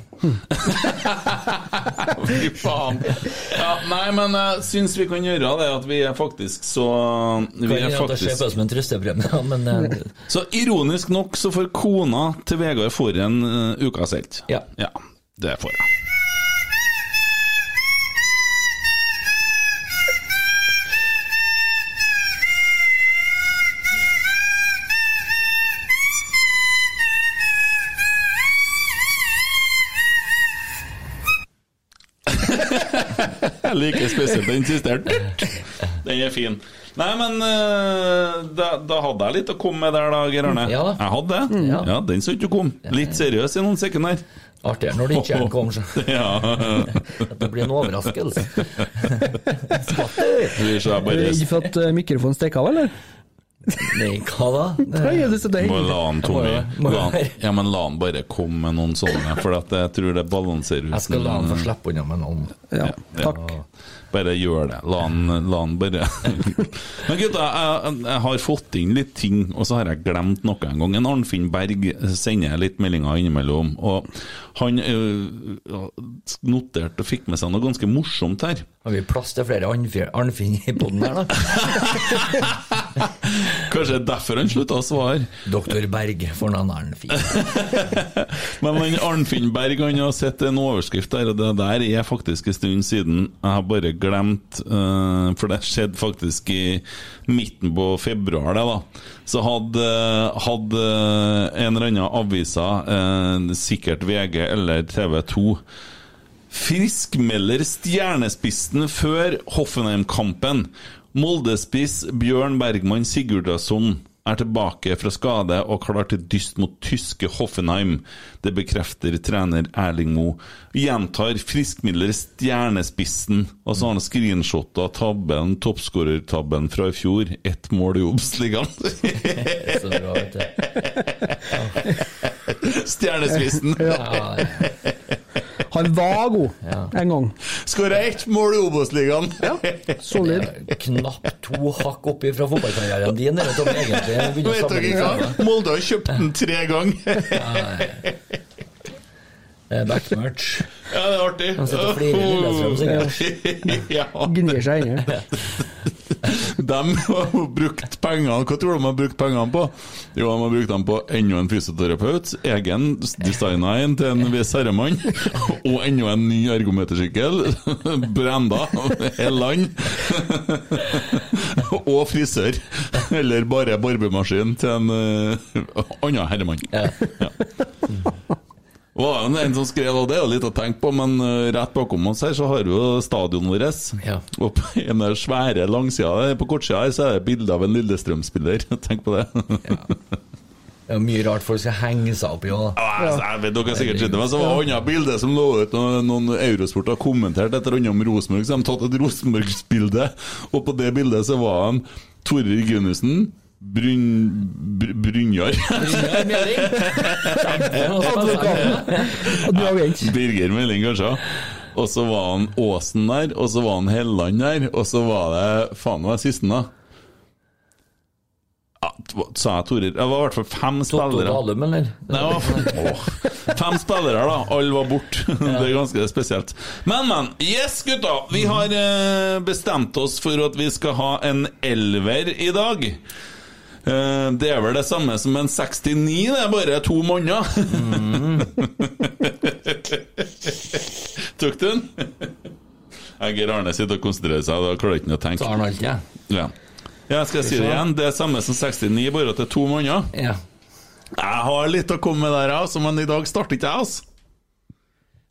Fy faen. Ja, nei, men jeg syns vi kan gjøre det, at vi er faktisk så Vi
Kan
er
hende at det ser på
faktisk
ut som en trøstepremie, men eh,
Så ironisk nok så får kona til Vegard Forhen uh, ukas helt.
Ja.
ja. Det får jeg. Jeg liker spesielt den siste her. Den er fin. Nei, men eh, da, da hadde jeg litt å komme med der, da, Geir Arne.
Ja da. Mm.
Jeg hadde det. Ja.
ja.
den så ikke du kom. Litt seriøs i noen sekunder.
Artigere når det ikke er en kom, så
Ja.
at det blir en overraskelse. Skvatt du?
Vi ser
Er du
bare
redd for at eh, mikrofonen stikker av, eller?
Nei, hva da?
Nei,
Det-
det, det,
Må la han, Tommy
Må jo- må
la han,
jo-
Ja, men la han bare komme med noen sånne, for at jeg tror det balanserer ut
Jeg skal la han få slippe unna med noen.
ja, takk.
Bare gjør det. La han, la han bare Men gutta, jeg, jeg har fått inn litt ting, og så har jeg glemt noe en gang. En Arnfinn Berg sender jeg litt meldinger innimellom, og han øh, noterte og fikk med seg noe ganske morsomt her.
Har vi plass til flere Arnfjell- Arnfinn i poden her, da?
Kanskje det er derfor han slutta å svare.
Doktor Berg for noen Arnfinn.
Men han Arnfinn Berg han har sett en overskrift der, og det der er faktisk en stund siden. Jeg har bare glemt, eh, for det skjedde faktisk i midten på februar, det da. Så hadde, hadde en eller annen avisa, eh, sikkert VG eller TV 2, Friskmelder stjernespissen før Hoffenheim-kampen. Moldespiss Bjørn Bergman Sigurdason er tilbake fra skade og klar til dyst mot tyske Hoffenheim. Det bekrefter trener Erling Moe. Gjentar friskmelder stjernespissen. Og så har han screenshotta tabben, toppskårertabben fra i fjor. Ett mål i Obs-ligaen.
Så bra, vet du.
Stjernespissen!
Ja, ja.
Han var god en gang.
Skåra ett mål i Obos-ligaen!
Solid.
Knapt to hakk oppi fra fotballkarrieren din. Eller, Tommy, egentlig. Jeg begynner å
Vet dere
sammenligne
hva?
med
Molde har kjøpt den tre ganger!
det. Eh, Backmerch.
Ja, det er artig.
Han sitter og flirer i Lillestrøm,
ja.
Gnir seg inn i det.
De har jo brukt pengene Hva tror du de har brukt pengene på? Jo, de har brukt dem på enda en fysioterapeut, egen designa en til en viss herremann, og enda en ny ergometersykkel, brenda, Helland, og frisør. Eller bare barbemaskin til en eh, annen herremann.
Ja.
Det var jo en som skrev, og det er jo litt å tenke på, men eh, rett bakom oss her så har vi jo stadionet vårt.
Ja.
Og på den der svære langsida der, på kortsida her, så er det bilde av en Lillestrøm-spiller. Tenk på det.
Det er mye rart folk skal henge seg opp i òg.
Altså, jeg vet dere har sikkert sett det, men så var det annet bilde som lå ut, og noen Eurosport har kommentert et eller annet om Rosenborg, så de har tatt et Rosenborg-bilde, og på det bildet så var han Torrid Gunnussen, Bryn... Br- Brynjar
Og du har vent.
Birger Meling, kanskje. Og så var han Åsen der, og så var han Helland der, og så var det Faen, hva er sisten, da? Ja, t- hva- sa jeg Torer? Det var i hvert fall fem
Totto
spillere.
Dalum, eller?
Nei, det var- Åh. Fem spillere, da. Alle var borte. Det er ganske spesielt. Men, men. Yes, gutta! Vi har eh, bestemt oss for at vi skal ha en elver i dag. Eh, Det er vel det samme som en 69, det er bare to måneder. Mm. Tok du den? Ja, Geir Arne sitter og konsentrerer seg, da klarer jeg ikke å
Så
tenke.
har han alt, ja.
Ja. ja, skal jeg si det igjen? Det er samme som 69, bare at det er to måneder.
ja.
Jeg har litt å komme med der, jeg også, men i dag starter ikke jeg, altså.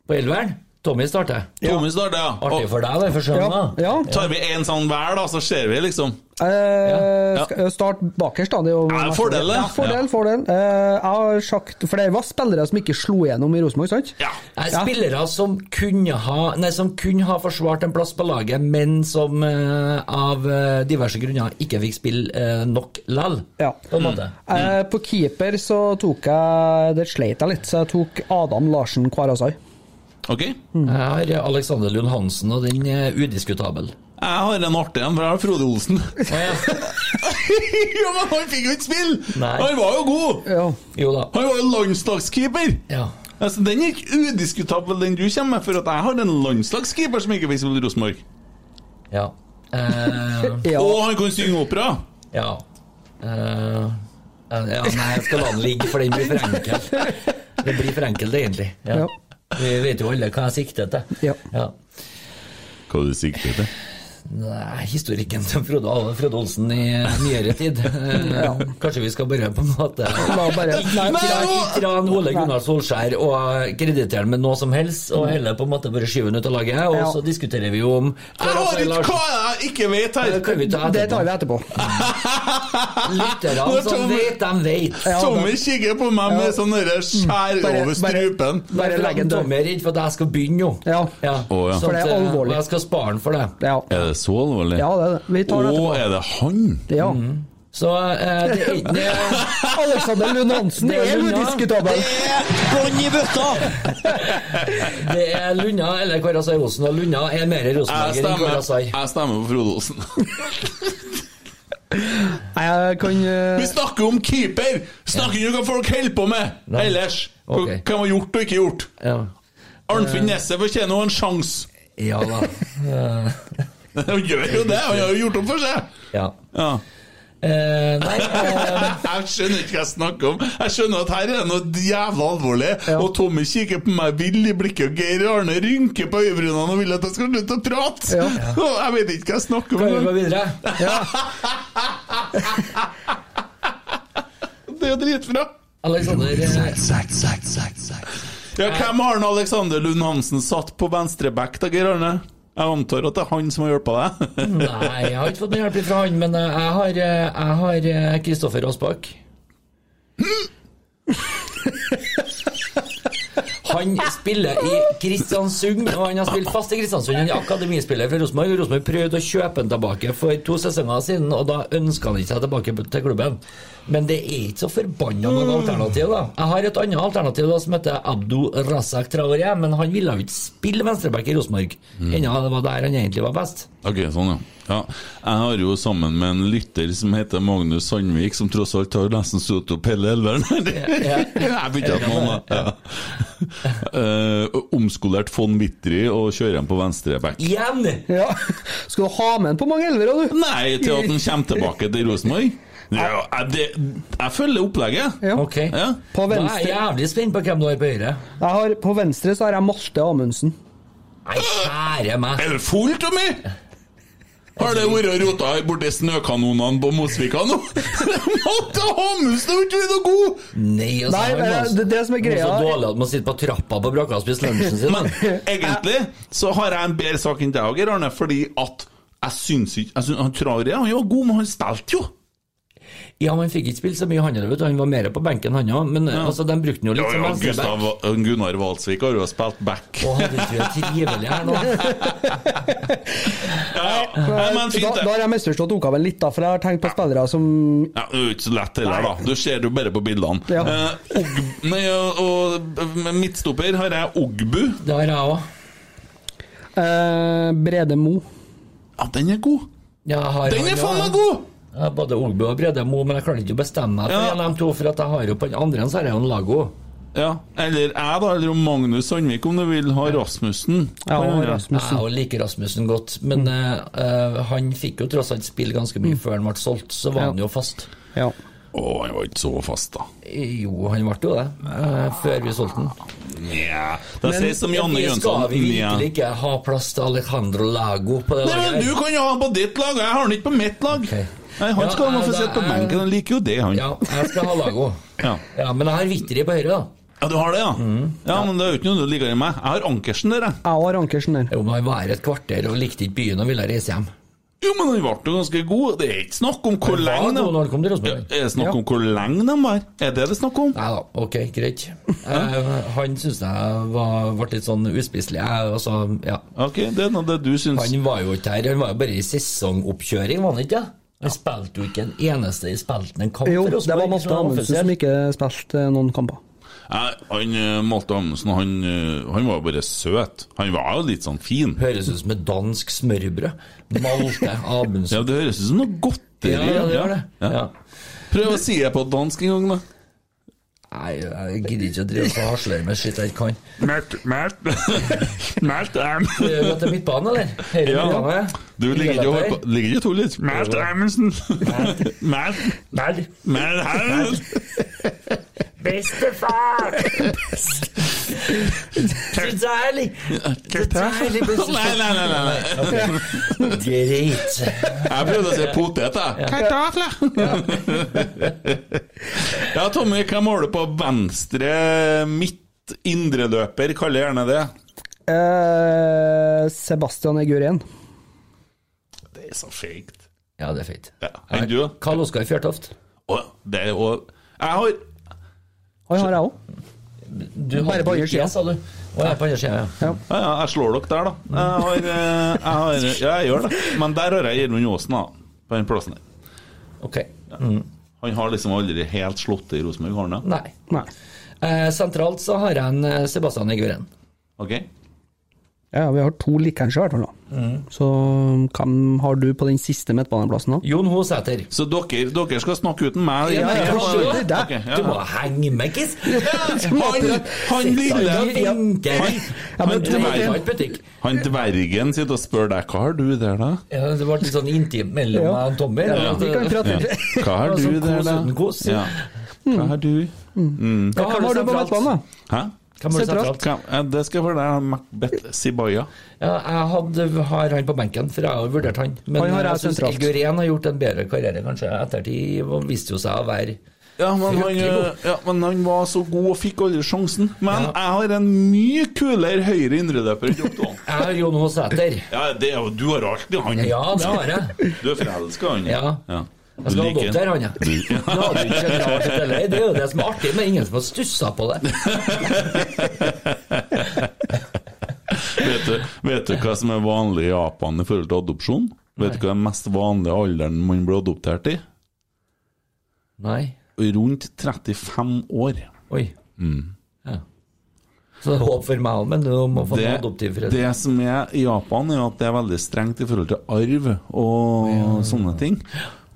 På elveren? Tommy starter.
Tommy starter, ja.
Artig for deg, det, for
Ja.
sønnen. da.
ja.
Og tar vi en sånn hver, da, så ser vi, liksom.
Eh, skal jeg starte bakerst, da. Det er jo
Ja, fordel, det.
ja, fordel, fordel. Eh, jeg har sagt For det var spillere som ikke slo gjennom i Rosenborg, sant?
Ja.
Nei,
Ja.
Spillere som kunne ha Nei, som kunne ha forsvart en plass på laget, men som eh, av eh, diverse grunner ikke fikk spille eh, nok lall.
Ja.
På en måte.
Eh, på keeper så tok jeg Det sleit jeg litt, så jeg tok Adam Larsen Kvarasai.
Ok.
Jeg har eh, Alexander Lund Hansen, og den er udiskutabel.
Jeg har en artig en, for jeg har Frode Olsen. ja, men han fikk jo ikke spille!
Nei.
Han var jo god!
Ja.
Jo da.
Han var jo landslagskeeper!
Ja.
Altså, Den er ikke udiskutabel, den du kommer med, for at jeg har en landslagskeeper som ikke fikk spille i Rosenborg.
Ja. Eh,
ja.
Og han kan synge opera!
ja. Eh, ja. Nei, jeg skal la den ligge, for den blir for enkel. Det blir for enkelt, egentlig. Ja.
Ja.
Vi vet jo alle hva jeg sikter til.
Ja.
Ja.
Hva du sikter til?
Nei, historikken til Frode Ave Frode Olsen i nyere tid. Eh, Kanskje vi skal bare på en måte
La bare- Nei,
Ikke dra- ikke dra en Ole
Nei. Mm.
Gunnar Solskjær og kreditere han med noe som helst, og heller på en måte bare skyve han ut av laget, og
Ja.
så diskuterer vi jo om
Jeg har ikke hva er det jeg ikke vet her!
Det kan vi ta
Det tar vi
etterpå.
etterpå.
Lytterne
Nå
som
tar vi-
vet, de vet.
Ja,
Tommy
det-
kikker på meg med
Ja. Mm.
sånn derre skjær
Bare-
over
bare-
strupen.
Bare legg en død.
Tommy er redd for at jeg skal begynne nå.
Ja.
Å, ja.
Sånn
For det er
at, eh,
alvorlig.
Og jeg skal spare han for det.
Ja.
Er det så alvorlig?
ja, det er det. Vi
Å,
tar det etterpå.
er det han?
Ja.
Mm. Så eh, det er ikke noe
Alexander Lund Hansen
Det er
er
Lund, ja.
udiskutabel!
Bånn i bøtta!
Det er Lunna eller Karasai Osen, og Lunna er mer
Jeg
Rosenborger enn
stemmer,
Karasai.
jeg stemmer på Frode Olsen.
Nei, Jeg kan eh,
Vi snakker om keeper! Snakker ikke om hva folk holder på med
Nei.
ellers! Hva
Ok.
hva man har gjort og ikke gjort.
Ja.
Eh.
Arnfinn Nesset fortjener jo en sjanse.
ja da. Eh,
Han gjør jo det, han har jo gjort opp for seg.
Ja.
Ja.
Eh, nei, eh,
Jeg skjønner ikke hva jeg snakker om. Jeg skjønner at her er det noe jævla alvorlig. Og Tommy kikker på meg vill i blikket, og Geir Arne rynker på øyebrynene og vil at jeg skal slutte å prate!
Ja.
Og Jeg vet ikke hva jeg snakker
kan vi
om.
gå videre?
Det er jo dritbra!
Alexander eh,
Ja, hvem har han Alexander Lund Hansen satt på venstreback, da, Geir Arne? Jeg antar at det er han som har hjulpet deg?
Nei, jeg har ikke fått noe hjelp fra han, men eh, jeg har, eh, jeg har eh, Kristoffer Aasbakk. Han spiller i Kristiansund, og han har spilt fast i Kristiansund. Han er akademispiller fra Rosenborg, og Rosenborg prøvde å kjøpe han tilbake for to sesonger siden, og da ønska han ikke seg tilbake til klubben. Men det er ikke så forbanna noe alternativ, da. Jeg har et annet alternativ da, som heter Abdu Razak Traoré, men han ville jo ikke spille venstreback i Rosenborg. Ennå det var der han egentlig var best.
Ok, sånn ja. ja. Jeg har jo sammen med en lytter som heter Magnus Sandvik, som tross alt har nesten stått opp hele elveren. Jeg bytter ikke noen, da. Ja. Eh, omskolert von Wittry og kjører ham på venstre back.
Igjen!
Ja. Skal du ha med en på mange elvere, du?
Nei, til at han kommer tilbake til Rosenborg? Ja, jeg, det, jeg følger opplegget.
Ja.
Ok.
Ja.
På
Da er jeg
venstre,
jævlig spent på hvem du har på høyre.
jeg har, på venstre så har jeg Marte Amundsen.
Nei, kjære meg.
Er du full, Tommy? Har det vært rota borti snøkanonene på Mosvika nå? Matte Hammelsen har ikke vært noe god!
Nei, altså,
Nei,
han
men eh,
var-
det- det som er greia-
Han var så dårlig at man sitter på trappa på brakka og spiser lunsjen sin. Men
Egentlig så har jeg en bedre sak enn deg, Geir Arne, fordi at jeg syns ikke jeg syns, Han Traoré han var god, men han spilte jo!
ja, men han fikk ikke spilt så mye, han heller, vet du. Han var mer på benken, han òg. Men altså, de brukte han jo litt som venstreback.
eh, Gunnar Valsvik har jo spilt back.
Å, hadde ikke vært trivelig her nå.
Ja, Eh, ja, men
da,
fint,
da
det.
har jeg misforstått oppgaven litt, da, for jeg har tenkt på spillere som
Ja, det er jo ikke så lett heller, da. Du ser det jo bare på bildene.
Ja.
Eh, og, nei, og, og med midtstopper har jeg Ogbu.
Det har jeg òg.
eh, Brede Mo.
Ja, den er god! Den er faen meg god!
Både Ogbu og Brede Mo, men jeg klarer ikke å bestemme meg for
Ja.
en av de to, for at jeg har jo på den andre så har jeg jo en Lago.
Ja, Eller jeg, da. Eller om Magnus Sandvik, om du vil ha Rasmussen.
Ja,
Kan
og
gjøre.
Rasmussen.
Jeg liker Rasmussen godt, men
Mm.
eh, eh, han fikk jo tross alt spille ganske mye før han ble solgt, så var han jo fast.
Ja.
Å, han var ikke så fast, da.
Jo, han ble jo det, eh, før vi solgte den.
Nja Det sies som Janne
Vi
Jønsson.
skal vi
Nja.
virkelig ikke ha plass til Alejandro Lago på det
Nei, men Du kan jo ha han på ditt lag, og jeg har han ikke på mitt lag.
Ok.
Nei, Han
Ja,
skal nå
eh,
få
det
sitte på
er-
benken, han liker jo det, han.
Ja, jeg skal ha Lago.
Ja.
Ja, men jeg har Vitri på høyre, da.
Ja, du har det, ja?
Mm.
Ja, men det er jo ikke noe du liker enn meg. Jeg har Ankersen der, jeg.
Jeg har Ankersen der.
Jo, men han var her et kvarter og likte ikke byen og ville reise hjem.
Jo, men han ble jo ganske god. Det er ikke snakk om hvor
Han var
lenge
god når
de
han kom til
Ja,
Rosenborg.
Er det snakk om hvor lenge de var? Er det det snakk om?
Nei da, ok, greit. Eh, han syns jeg var, ble litt sånn uspiselig. Jeg, altså, ja.
Ok, det er nå det du syns.
Han var jo ikke her, han var jo bare i sesongoppkjøring, var han ikke? det? Han spilte jo ikke en eneste i spilten en kamp
Jo,
for
det var
Rosenborg.
Marte
sånn
Amundsen
offisielt.
som ikke spilte eh, noen kamper.
Nei, han eh, Malte Amundsen, han, eh, han var jo bare søt. Han var jo litt sånn fin.
Høres ut som et dansk smørbrød. Malte
Ja,
Amundsen.
det høres ut som noe godteri.
Ja, ja, det gjør det.
Ja.
Ja.
Prøv å si det på dansk en gang, da.
Nei, jeg gidder ikke å drive og hasle med skitt jeg ikke kan.
Mert, Mert, Mert
Du er jo til midtbanen, eller? Høyre
Ja.
midtbane.
Du ligger ikke og holder på Ligger ikke og tuller litt? Mert Amundsen. Mert
Nei.
Mert Hamilton.
Bestefar! Til deilig! Til deilig,
Nei, nei, nei, nei, nei.
Greit.
Jeg prøvde å si potet, jeg. Kartofler. Ja, Tommy, hvem har du på venstre midt indreløper? Kall det gjerne det.
Eh, Sebastian Egurén.
Det er så feigt.
Ja, det er fint.
Ja. Enn du, da?
Karl Oskar Fjørtoft.
Å, det er jo Jeg har
Han har jeg òg.
Du
Bare på andre siden.
sa du. Å, jeg er på andre sida, ja.
Ja, ja, jeg slår dere der, da. Jeg har, eh, jeg har Ja, jeg gjør det. Men der har jeg Gjermund Aasen, da. På den plassen der.
Ok.
Han har liksom aldri helt slått det i Rosenborg, har han det?
Nei.
Nei.
Eh, sentralt så har jeg en eh, Sebastian Eguren.
Ok?
Ja, vi har to likeens i hvert fall, da. Så hvem har du på den siste midtbaneplassen, da?
Jon Hosæter.
Så dere, dere skal snakke uten meg?
Ja,
ja, ja.
Ok, ja, ja.
Du må henge med, Kiss!
Han, han lille
Han vinker!
men
Han
det var-
dreier ikke butikk.
Han dvergen sitter og spør deg hva har du der, da?
Ja, det ble litt sånn intimt mellom
Ja.
meg og Tommy.
Ja, vi kan prate
Ja.
litt.
Hva har
Altså,
du der,
kos
da?
uten kos.
Ja. Hmm. Hva har du?
Hva
Hvem har du på midtbanen, da?
Hæ?
Hvem har du
Sentralt.
sentralt?
Hva, eh, det skal jeg fortelle deg. Macbeth Sibaya.
Ja, jeg hadde, har han på benken, for jeg har vurdert han. Men
Han har jeg
jeg syns
sentralt.
Elguren har gjort en bedre karriere, kanskje. Ettertid og viste jo seg å være
Ja men, han,
Fryktelig god.
eh, ja, men han var så god og fikk aldri sjansen. Men jeg har en mye kulere høyre indreløper enn dere to.
Jeg har Jon Hosæter.
Ja, det er jo Du har alltid han.
Ja, det har jeg.
Du er forelska, han.
Ja. Jeg skal ha
Liker
adoptere
han.
han, jeg. Det hadde jo ikke sett rart ut heller. Det er jo det som er artig, men ingen som har stussa på det.
Vet du, vet du hva som er vanlig i Japan i forhold til adopsjon? Vet du hva den mest vanlige alderen man blir adoptert i?
Nei.
Rundt 35 år.
Oi.
Mm.
Ja. Så det er håp for meg òg, men du må få en
Det,
adoptiv forresten.
det som er i Japan, er at det er veldig strengt i forhold til arv og sånne ting.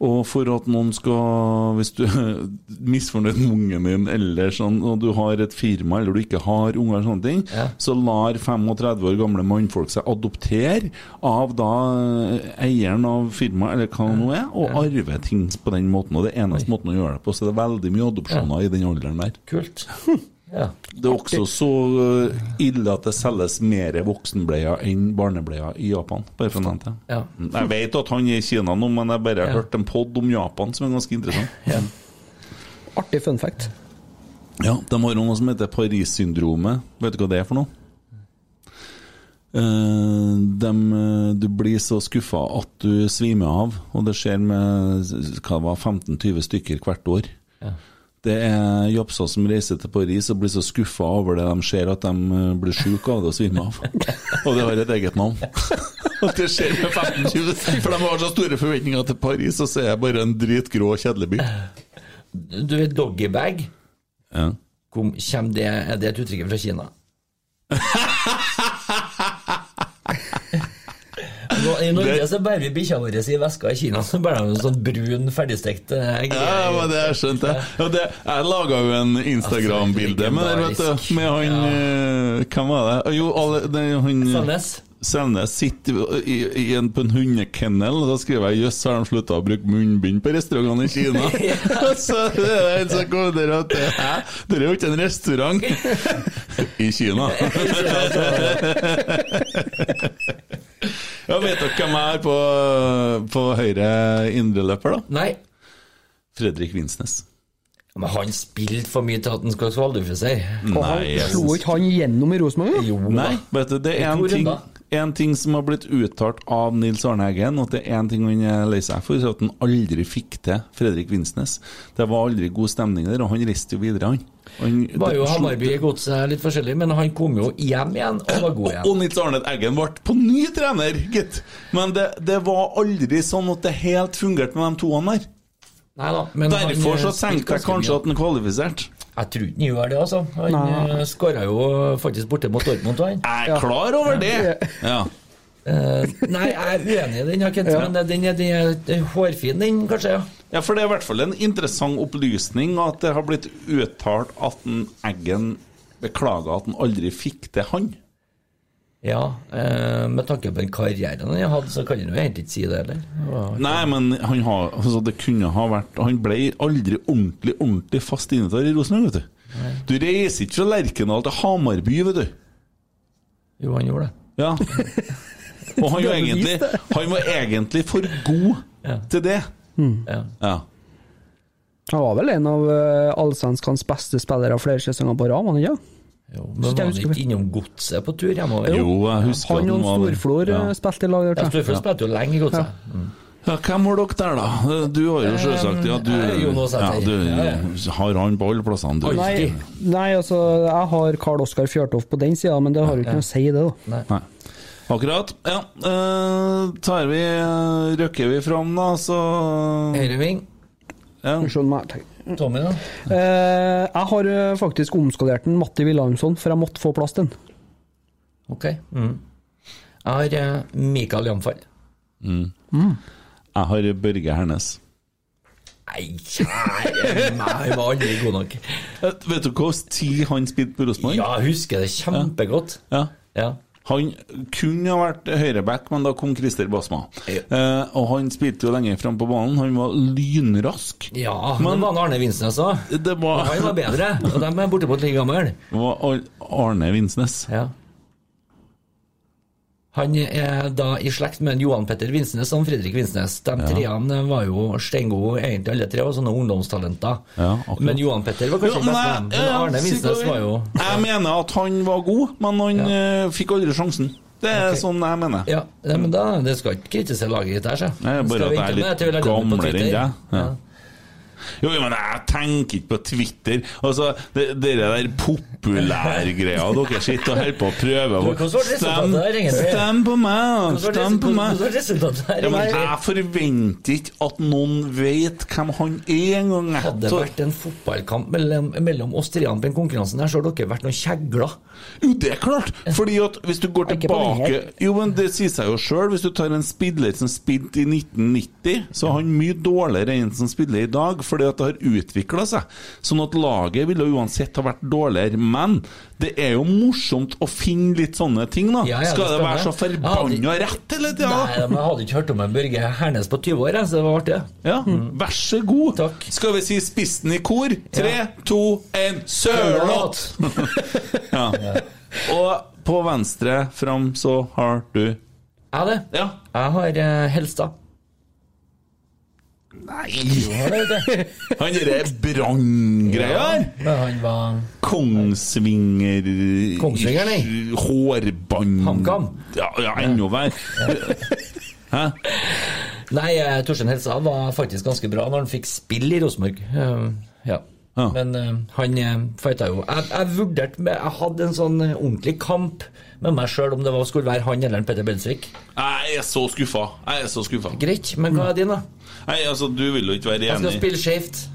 Og for at noen skal Hvis du er misfornøyd med ungen din, eller sånn, og du har et firma eller du ikke har unger, og sånne ting, så lar 35 år gamle mannfolk seg adoptere av da eieren av firmaet, eller hva det nå er, og arve ting på den måten. Og det er eneste måten å gjøre det på. Så det er veldig mye adopsjoner i den alderen der.
Kult. Ja.
Det er også så uh, ille at det selges mer voksenbleier enn barnebleier i Japan. Bare for å nevne det.
Ja.
Jeg vet at han er i Kina nå, men jeg bare har
Ja.
hørt en pod om Japan som er ganske interessant.
ja.
Artig fun fact.
Ja, De har jo noe som heter Paris-syndromet. Vet du hva det er for noe? Eh, dem, eh, du blir så skuffa at du svimer av, og det skjer med hva det var, 15-20 stykker hvert år. Det er japser som reiser til Paris og blir så skuffa over det de ser, at de eh, blir sjuke av det og svimer av. Og det har et eget navn. At det skjer med 15-20, for de har så store forventninger til Paris, og så er det bare en dritgrå, kjedelig by.
Du vet doggybag?
Ja.
Kom, kjem det, er det et uttrykk fra Kina? Nå, I Norge så bærer vi bikkja vår i veska, i Kina så bærer de en sånn brun, ferdigstekt eh,
Ja,
greie.
men det har jeg skjønt jeg. Ja, Altså, det, jeg laga jo en Instagram-bilde med der, vet du. Med han eh, Hvem var det? Jo, alle, det, er han eh,
Sandnes?
Selnes sitter i, i en, på en hundekennel, og da skriver jeg 'jøss, har de slutta å bruke munnbind på restaurantene i Kina'? så det er det en som kommenterer at 'hæ, det er jo ikke en restaurant i Kina'. ja, vet dere hvem jeg er på, på høyre indreløper, da?
Nei.
Fredrik Vinsnes.
Men han spilte for mye til at han skulle kvalifisere.
Og
Nei,
han
jeg
slo
synes-
ikke han gjennom i Rosenborg, da?
Jo,
Mm. Nei, vet du, det er
I
en
to
ting,
runder.
en ting som har blitt uttalt av Nils Arne Eggen, og det er en ting han er lei seg for, så at han aldri fikk til Fredrik Vinsnes. Det var aldri god stemning der, og han reiste jo videre, han. han
Det var jo
det slo-
Hammarby i godset litt forskjellig, men han kom jo hjem igjen og var god
Og, og
igjen.
Nils Arne Eggen ble på ny trener, gitt. Men det, det var aldri sånn at det helt fungerte med de toene der.
Nei da, men han, eh,
Derfor så
spilte
tenkte
ganske
jeg
mye.
kanskje at han kvalifiserte.
Jeg tror ikke han gjør det, altså. Han skåra jo faktisk borte mot Dortmund, han.
Jeg er klar over det! Ja.
Eh, nei, jeg er uenig i den, jeg, Kent, men den er, den er- den er hårfin, den, kanskje. ja.
Ja, for det er i hvert fall en interessant opplysning at det har blitt uttalt at en Eggen beklager at han aldri fikk til han.
Ja, eh, med tanke på den karrieren han har hatt, så kan han jo egentlig ikke si det heller.
Nei, men han har, altså det kunne ha vært Han ble aldri ordentlig, ordentlig fast innetatt i Rosenborg, vet du. Du reiser ikke fra Lerkendal til Hamarby, vet du.
Jo, han gjorde det.
Ja. Og han var
har bevist
egentlig,
det.
han var egentlig for god til det.
Ja.
Ja.
Han var vel en av eh, allsvenskans beste spillere flere sesonger på rad, var han ikke?
Jo, men var
jeg
han
husker
ikke
det.
innom godset på tur hjemover?
Jo, jeg husker
Han
at
og
han var
Storflor
ja.
eh, spilte i lag. der,
Ja,
tror jeg.
Storfjord spilte jo lenge i godset.
ja, Hvem var dere der, da? Du har jo selvsagt ja, du,
Eh, Jonas
ja,
Sæther.
du
Ja,
Har han på alle plassene, du?
Nei.
Nei, nei, altså, jeg har Karl Oskar Fjørtoft på den sida, men det har jo ikke noe å si, det, da.
Nei. Akkurat. Ja, eh, tar vi eh, Røkker vi fram, da, så
Høyreving.
ja.
Unnskyld meg, jeg tenker.
Mm.
Tommy, da?
Eh, jeg har eh, faktisk omskalert den Matti Wilhelmsson, for jeg måtte få plass til den.
Ok. Mm. Jeg har eh, Mikael Jamfall.
Jeg har Børge Hernes.
Nei, kjære meg, jeg var aldri god nok.
Eh, Vet du hvilken tid han spilte på Rosenborg?
Ja, jeg husker det kjempegodt.
Ja.
Ja.
Han kunne ha vært høyreback, men da kom Christer Basma.
Ja.
Eh, og han spilte jo lenger fram på banen. Han var lynrask.
ja men det var han Arne Vinsnes òg.
Det var,
Han var bedre, og de er bortimot like gamle.
var Ar- Arne Vinsnes.
Ja. Han er da i slekt med Johan Petter Vinsnes og Fredrik Vinsnes. De treene var jo steingode, egentlig alle tre, og sånne ungdomstalenter.
Ja, akkurat.
men Johan Petter var kanskje
men
best
jeg-
med dem. Men
ja,
Arne
si hva
Vinsnes
du vil.
var jo
Jeg mener at han var god, men han eh, fikk aldri sjansen. Det er
Ok.
sånn jeg mener.
Ja, nei, men da, det skal ikke kritisere laget ditt her, så.
Nei,
Skal
bare
vi
at jeg er
vente med
litt
til vi legger den ut på
gamlere enn
Twitter?
deg. Ja. Jo, jo, men jeg tenker ikke på Twitter. Altså, det, Dere der populærgreia dere sitter og holder på å prøve
Du, hvordan var resultatet der, egentlig?
stem på meg!
Hvordan var resu-
Stem på
hvordan
meg!
var resultatet her?
Ja, men
egentlig?
jeg forventer ikke at noen vet hvem han er engang. jeg.
Hadde det
Så-
vært en fotballkamp mellom, mellom oss treene på den konkurransen her, så hadde dere vært noen kjegler.
Jo, det er klart! Fordi at hvis du går
Ikke på den
tilbake Jo, men det sier seg jo sjøl. Hvis du tar en spiller som spilte i 1990, så er han mye dårligere enn en som spiller i dag, fordi at det har utvikla seg. Sånn at laget ville uansett ha vært dårligere. Men det er jo morsomt å finne litt sånne ting, da.
Ja, ja, det
Skal det
skal
være
det.
så
Ja,
forbanna rett hele
Nei,
tida?
men jeg hadde ikke hørt om en Børge Hernes på 20 år, jeg, så det var artig.
Ja, vær så god.
Mm. Takk.
Skal vi si spissen i kor? Tre,
Ja.
to, én, Sørloth! Og på venstre fram så har du
Jeg det.
Ja.
Jeg har eh, Helstad.
Nei!
Har du det?
Han derre branngreia her!
Men han var
Kongsvinger
Kongsvinger, nei.
Hårbånd
HamKam.
Ja, ja enda verre. Hæ?
Nei, eh, Torstein Helstad var faktisk ganske bra når han fikk spill i Rosenborg. Eh, ja.
Ja.
Men eh, han eh, fighta jo Jeg, jeg vurderte med Jeg hadde en sånn eh, ordentlig kamp med meg sjøl om det var, skulle være han eller en Petter Belsvik.
Jeg er så skuffa. Jeg er så skuffa.
Greit, men hva er din, da?
Nei, altså, du vil jo ikke være
Jeg skal
Mm. enig.
spille skjevt.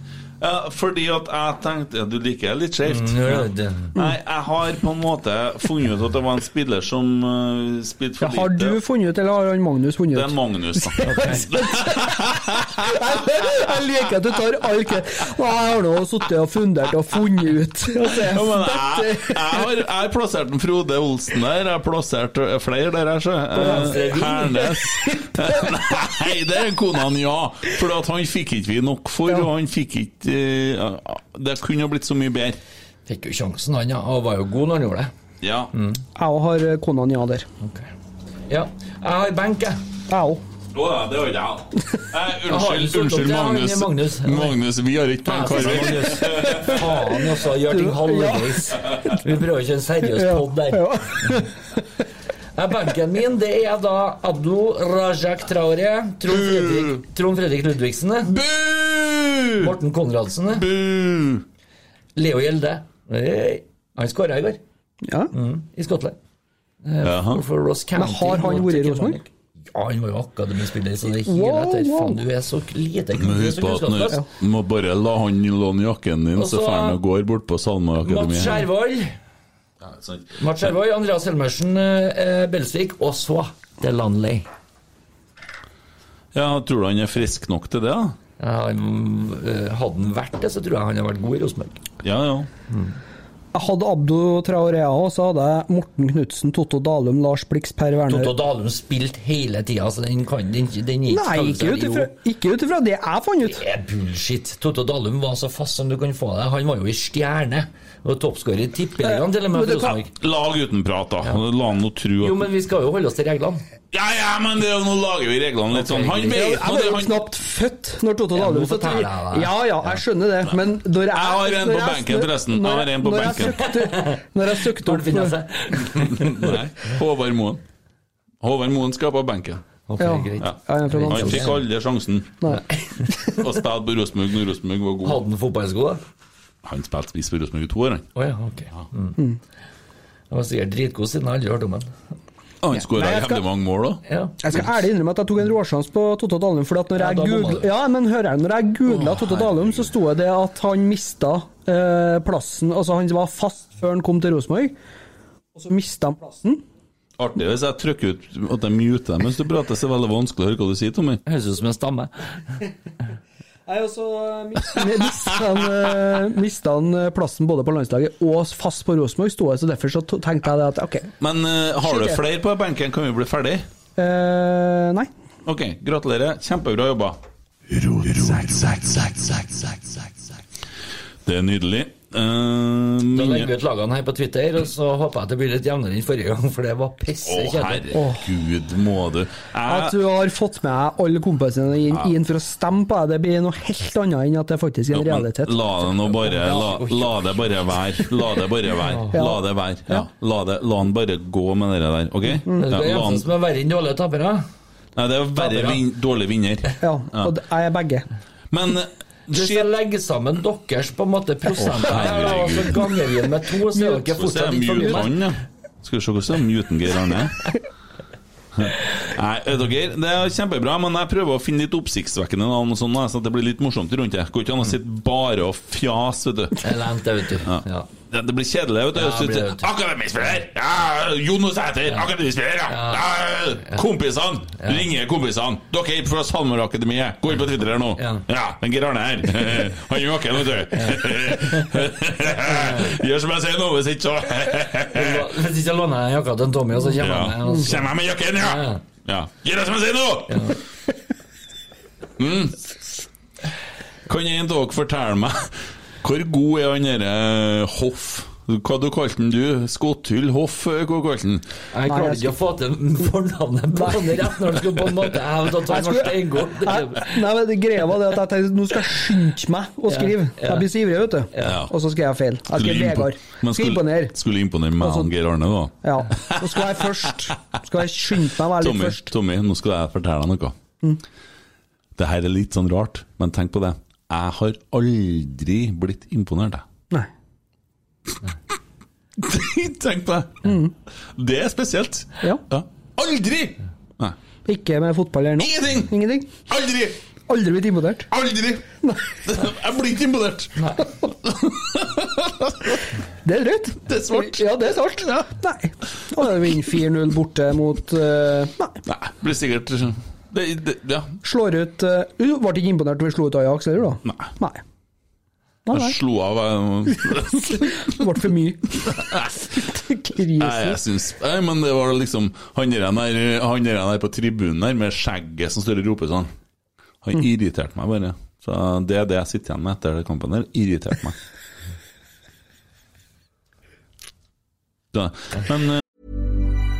Ja, fordi at jeg tenkte ja, Du liker det litt skjevt.
Ja.
Nei, jeg har på en måte funnet ut at det var en spiller som eh, spilte for
Ja, har du
lite.
funnet ut, eller har han Magnus funnet
Det
ut?
er Magnus, da.
jeg liker at du tar arket. Og jeg har nå sittet og fundert og funnet ut. Altså,
Ja, men jeg, jeg,
dette-
har, jeg har plassert den Frode Olsen der, jeg har plassert eh, flere der, jeg ser.
venstre
Eh,
ving.
Hernes. Nei, det er kona han, ja. For at han fikk ikke vi nok for, og han fikk ikke eh, Det kunne ha blitt så mye bedre.
Fikk jo sjansen, han, ja. Og var jo god når han gjorde det.
Ja.
Mm.
Jeg har eh, kona ja der.
Ja. Jeg har benk, jeg.
Jeg òg.
Å ja, det var ikke jeg. Nei,
Har du
Unnskyld,
solgt opp
unnskyld,
det? Han
Magnus.
er Magnus.
Magnus, vi har ikke
Ja,
den karen.
Magnus. Faen også, gjør ting halvveis. Vi prøver ikke en seriøs podd der.
Ja.
Nei, Benken min det er da Abdo Rajak Traore, Trond Fredrik, Trond Fredrik Ludvigsen,
Bu!
Morten Konradsen,
Bu!
Leo Gjelde. Hey, Han skåra i går,
Ja.
i Skottland.
Jaha.
For Ross County.
Men har han
mot
vært i
Ticket
Rosenborg?
Manic. Ja, han var jo akademispiller, så det er
Wow,
hele etter.
wow.
Faen, du er så lite du
Men
er
Husk
så
på at når,
kunnskapsløs.
du må bare la han låne jakken din,
Og
så
så-
drar han og går bort på Salma
Mats
Akademi.
Skjervold,
Ja, sant.
Mats Skjervold, Andreas Helmersen, eh, Belsvik og så Delanley.
Ja, tror du han er frisk nok til det, da?
Ja, han, eh, hadde han vært det, så tror jeg han hadde vært god i Rosenborg.
Ja, ja.
Jeg hadde Abdo Traorea, og så hadde jeg Morten Knutsen, Totto Dalum, Lars Blix, Per Werner
Totto Dalum spilte hele tida, så den kan den, den er
Nei, ikke ut ifra-
Jo,
ikke ut ifra det jeg fant ut.
Det er bullshit. Totto Dalum var så fast som du kan få det. Han var jo i stjerne. Og toppskårer i tippeligaen, til og med.
Men
for
det kan-
Rosenborg.
Lag uten prat, da. La han nå tro
Jo,
at
men vi skal jo holde oss til reglene.
Ja, ja, men det, er jo- nå lager vi reglene litt sånn. Han vet
Jeg
nå
var
det
jo
han
knapt født når Totto
Ja, nå
Dalum
forteller jeg deg.
Ja, ja, jeg skjønner det, men når jeg
har en
når
på
jeg-
benken, forresten. Jeg
når
har en på
når jeg
benken.
søkte- Når jeg søkte
Hvor befinner jeg
opp
seg?
Nei. Håvard Moen. Håvard Moen skal på benken.
Ok,
Ja.
greit.
Ja.
Jeg er fra
Han
Namsos.
fikk aldri sjansen.
Nei.
Og spilte på Rosenborg når Rosenborg var god.
Hadde han fotballsko, da?
Han spilte spiss for Rosenborg i to år, han.
Å ja, ok. Mm. Det var sikkert dritgod siden jeg aldri hørte om han.
Og Han skåra
Nei, jeg skal-
jævlig mange mål òg.
Ja.
Jeg skal ærlig innrømme at jeg tok en råsjans på Totto Dalum. Fordi at når
Ja,
jeg
da bomma
googlet,
du.
ja, men hører jeg, når jeg googla Totto Dalum, så sto det at han mista eh, plassen Altså, han var fast før han kom til Rosenborg, og så mista han plassen.
Artig hvis jeg trykker ut at jeg muter deg mens du prater, så er det veldig vanskelig å høre hva du sier, Tommy.
Høres ut som en stamme.
Nei, og så eh, mista han, eh, mistet han eh, plassen både på landslaget og fast på Rosenborg, sto det, så derfor så to- tenkte jeg det at OK.
Men eh, har du
Skyt, ja.
flere på benken, kan vi bli ferdig?
eh, nei.
Ok, gratulerer. Kjempebra jobba. Det er nydelig. Eh,
Da
mine-
legger vi ut lagene her på Twitter, og så håper jeg at det blir litt jevnere enn forrige gang, for det var
Å,
pisse kjedelig.
herregud, må du
At
jeg,
du har fått med deg alle kompisene dine inn for å stemme på deg, det blir noe helt annet enn at det faktisk er
Jo,
en
men
realitet.
La det nå bare la, la det bare være. La det bare være. La det være. Ja. La, det, la han bare gå med det der, OK?
Det
Ja,
er
la han,
eneste som er verre enn dårlige tapere.
nei, det er verre vin, dårlig vinner.
Ja, og d- jeg er begge.
Men eh,
Hvis
shit
jeg legger sammen deres på en måte prosenter,
Å,
her, og så
herregud.
ganger vi den med to, så er dere
Skal vi se
fortsatt ikke
mute
fornøyd.
han, ja. Skal vi se hvordan muten Geir Arne er. Nei, vet dere, det er kjempebra, men jeg prøver å finne litt oppsiktsvekkende navn, og sånn, sånn at det blir litt morsomt rundt det. Går ikke an å sitte bare og fjas, vet du.
Jeg lente, vet du. Ja.
Det det blir kjedelig. vet du
Ja, det blir det, vet du.
Akademispiller! Ja, Jonas Sæter! Akademispiller, ja! ja. Kompisene! Ringer kompisene! Dere er fra SalMar-akademiet! Gå inn på Twitter her nå!
Ja.
Ja, den Geir Arne her. Han er våken, vet du. Gjør som jeg sier nå, hvis ikke så
Hvis ikke låner jeg jakka til en Tommy, og så kommer han
Mm.
altså. med, og så-
Kjenn meg med jakken,
Ja,
ja!
ja.
ja. Gjør det som jeg sier nå! Mm. Kan en av dere fortelle meg hvor god er han derre eh, Hoff? Hva du kalte han du? Skotthull Hoff, eh, hva kalte han?
Jeg
Nei,
klarte
jeg
ikke å få til fornavnet på han rett når du skulle på en måte Jeg vet at
Jeg
han var
skulle-
steingod.
Nei, nei, men det greia var det at jeg tenkte nå skal jeg skynde meg å skrive.
Ja, ja.
Jeg blir så ivrig, vet du.
Ja.
Og så skrev jeg feil. Jeg skrev
impo-
Vegard.
Men
Skal imponere.
Skulle, skulle imponere meg
Altså-
og Geir Arne, da.
Ja. Så skal jeg først. Skal jeg skynde meg å være litt
Tommy,
først. Mm.
Tommy, nå skal jeg fortelle deg noe. Det her er litt sånn rart, men tenk på det. Jeg har aldri blitt imponert, jeg.
Nei.
Tenk på det. Det er spesielt.
Mm. Ja.
Aldri! Nei.
Ikke med fotball eller noe.
Ingenting!
Ingenting.
Aldri!
Aldri blitt imponert.
Aldri! Jeg blir ikke imponert.
Det er drøyt.
Det er svart.
Ja, det er svart. Nei. Og da vinner 4-0 borte mot eh, Nei.
Nei, blir sikkert eh, det, det, Ja.
Slår ut eh, Du ble ikke imponert når vi slo ut Ajax, eller da?
Nei.
Nei. Nei, nei.
Jeg slo av eh,
Det ble for mye.
Nei, jeg
Krise.
syns Nei, men det var liksom Han der, han der, der på tribunen der med skjegget som står og roper sånn,
Mm.
han irriterte meg bare. Så det er det jeg sitter igjen med etter den kampen der. Irriterte meg. Så, men eh,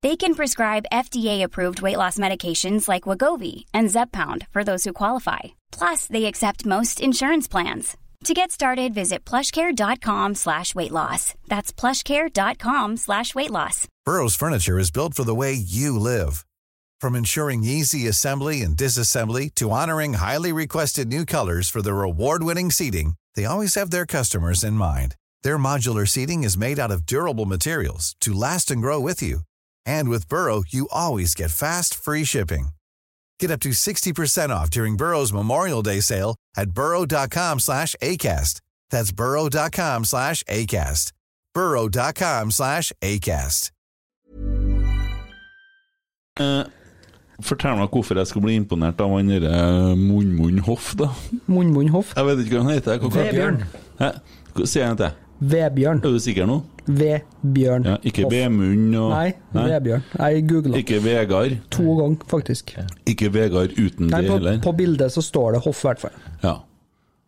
They can prescribe FDA-approved weight loss medications like Wagovi and Zepbound for those who qualify. Plus, they accept most insurance plans. To get started, visit plushcare.com slash weight loss. That's plushcare.com slash weight loss.
Burrow's furniture is built for the way you live. From ensuring easy assembly and disassembly to honoring highly requested new colors for their award-winning seating, they always have their customers in mind. Their modular seating is made out of durable materials to last and grow with you. And with Burrow, you always get fast, free shipping. Get up to 60% off during Burrow's Memorial Day sale at burrow.com slash ACAST. That's burrow.com slash ACAST. burrow.com slash ACAST.
Eh, Fortell meg hvorfor jeg skulle bli imponert av han derre Munnmunn Hoff, da.
Munnmunn Hoff.
Jeg vet ikke hva han heter. Hva- hva-
Vebjørn.
Hæ? Hva sier han til?
Vebjørn.
Er du sikker nå?
Vebjørn.
Ja, ikke
Hoff.
Vemund og
Nei, Vebjørn. Jeg googla
Ikke Vegard.
to ganger, faktisk.
Ikke Vegard uten
Nei,
det
på,
heller.
på bildet så står det Hoff, i hvert fall.
Ja,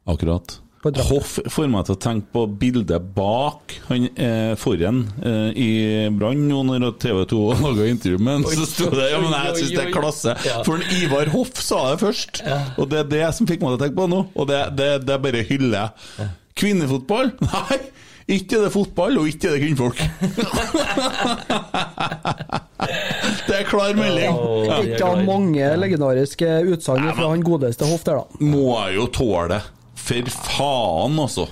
akkurat. Hoff får meg til å tenke på bildet bak han eh, foran eh, i Brann nå når TV 2 laga intervju med ham. Så sto det ja, men jeg syns det er klasse. For en Ivar Hoff sa det først, og det er det som fikk meg til å tenke på nå. Og det, det, det bare hyller jeg. Kvinnefotball? Nei! Ikke er det fotball, og ikke er det kvinnfolk. det er klar melding. Ja.
Ikke av mange legendariske utsagn fra han godeste Hoff der, da.
må jeg jo tåle det. For faen, altså.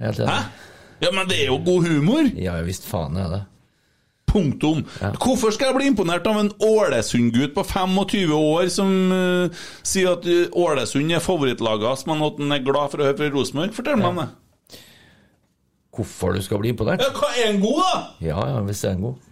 Hæ? Ja, men det er jo god humor!
Ja visst faen er det.
Punktum. Hvorfor skal jeg bli imponert av en Ålesund-gutt på 25 år som eh, sier at eh, Ålesund er favorittlaget hans, men at han er glad for å høre fra Rosenborg? Fortell meg om det.
Hvorfor du skal bli imponert?
Ja, hva er en god, da?
Ja, ja, hvis det er en god.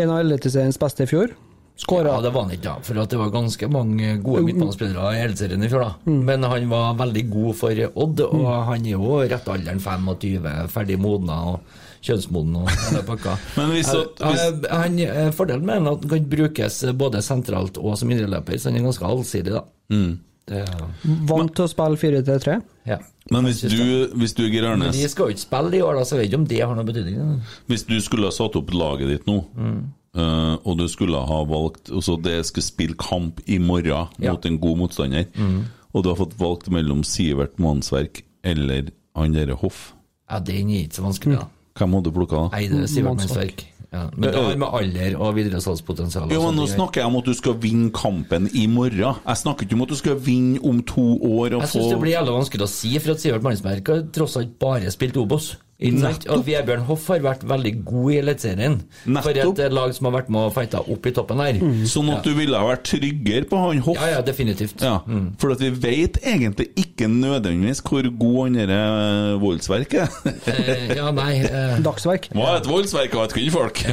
En av Eliteseriens beste i fjor. Skåra.
Ja, det var han ikke, da. For at det var ganske mange gode midtbanespillere i Eliteserien i fjor, da.
Mm.
Men han var veldig god for Odd, og han er jo rett alderen 25, ferdig modna og kjønnsmoden og hele pakka.
Men hvis
Eh,
at- hvis-
eh, han, eh, fordelen med han er at han kan brukes både sentralt og som indreløper, så han er ganske allsidig, da.
Mm.
Det,
Vant til å spille 4-3-3.
ja.
Men hvis du, hvis du Geir
Men
Arnes,
de skal jo ikke spille i år, da, så jeg vet ikke om det har noen betydning. da.
hvis du skulle ha satt opp laget ditt nå, eh, og du skulle ha valgt og så det skulle spille kamp i morgen
Ja.
mot en god motstander, og du har fått valgt mellom Sivert Mannsverk eller han derre Hoff
Ja, den er ikke så vanskelig, da.
Hvem hadde du plukka da?
Nei, det er Sivert
Mannsverk.
Mensverk. Ja. Men det har med alder og videre salgspotensial og
Jo, men
sånne
Nå
ting.
snakker jeg om at du skal vinne kampen i morgen. Jeg snakker ikke om at du skal vinne om to år og
Jeg
få
syns det blir jævla vanskelig å si, for at Sivert Mannsmerk har tross alt bare spilt Obos. Ikke sant? Og Vebjørn Hoff har vært veldig god i Eliteserien. For
Nettopp.
et lag som har vært med og fighta opp i toppen her.
Mm.
Sånn at du ville ha vært tryggere på han Hoff.
Ja, Mm. ja, definitivt.
Ja, For at vi vet egentlig ikke nødvendigvis hvor god han derre voldsverket er.
Eh, ja, nei, eh,
Dagsverk.
Hva er et voldsverk av et kvinnfolk?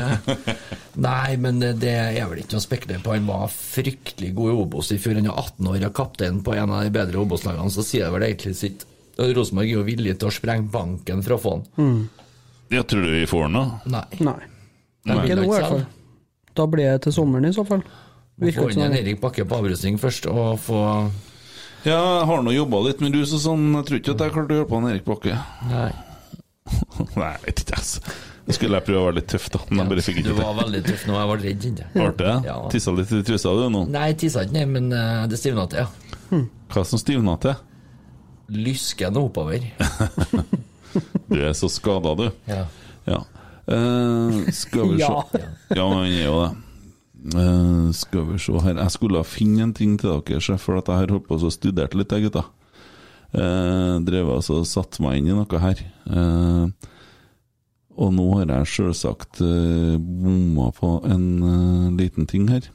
nei, men det er vel ikke å spekulere på. Han var fryktelig god i Obos i fjor. Han er 18 år og kaptein på en av de bedre Obos-lagene, så sier det vel egentlig sitt. Og Rosenborg er jo villig til å sprenge banken for å få han.
Mm.
Jeg tror du vi får den, da.
Nei.
Nei.
de vil
Ikke nå, i
ikke
hvert fall.
selge.
Da blir det til sommeren, i så fall. Virker
Få
ikke
inn en
sånn.
Erik Bakke på avrusning først, og få
Ja, jeg har nå jobba litt med rus og sånn. Jeg tror ikke at jeg klarte å hjelpe han Erik Bakke.
Nei.
Nei, jeg vet ikke, altså. Jeg skulle jeg prøve å være litt tøff, da, men jeg bare fikk
Du
ikke til.
var veldig tøff nå, jeg var redd. kjente jeg.
Artig, det?
Ja.
Tissa litt i trusa du nå?
Nei, tissa ikke ned, men eh, det stivna til, ja.
Hva som stivna til?
Lysken oppover.
Du er så skada, du.
Ja.
Ja. Eh, skal vi se
Ja.
Ja, men han er jo det. Eh, skal vi se her Jeg skulle ha finne en ting til dere, sjef, for at jeg har holdt på og studert litt, jeg, gutta. Eh, drev altså og satt meg inn i noe her. Eh, og nå har jeg sjølsagt eh, bomma på en eh, liten ting her.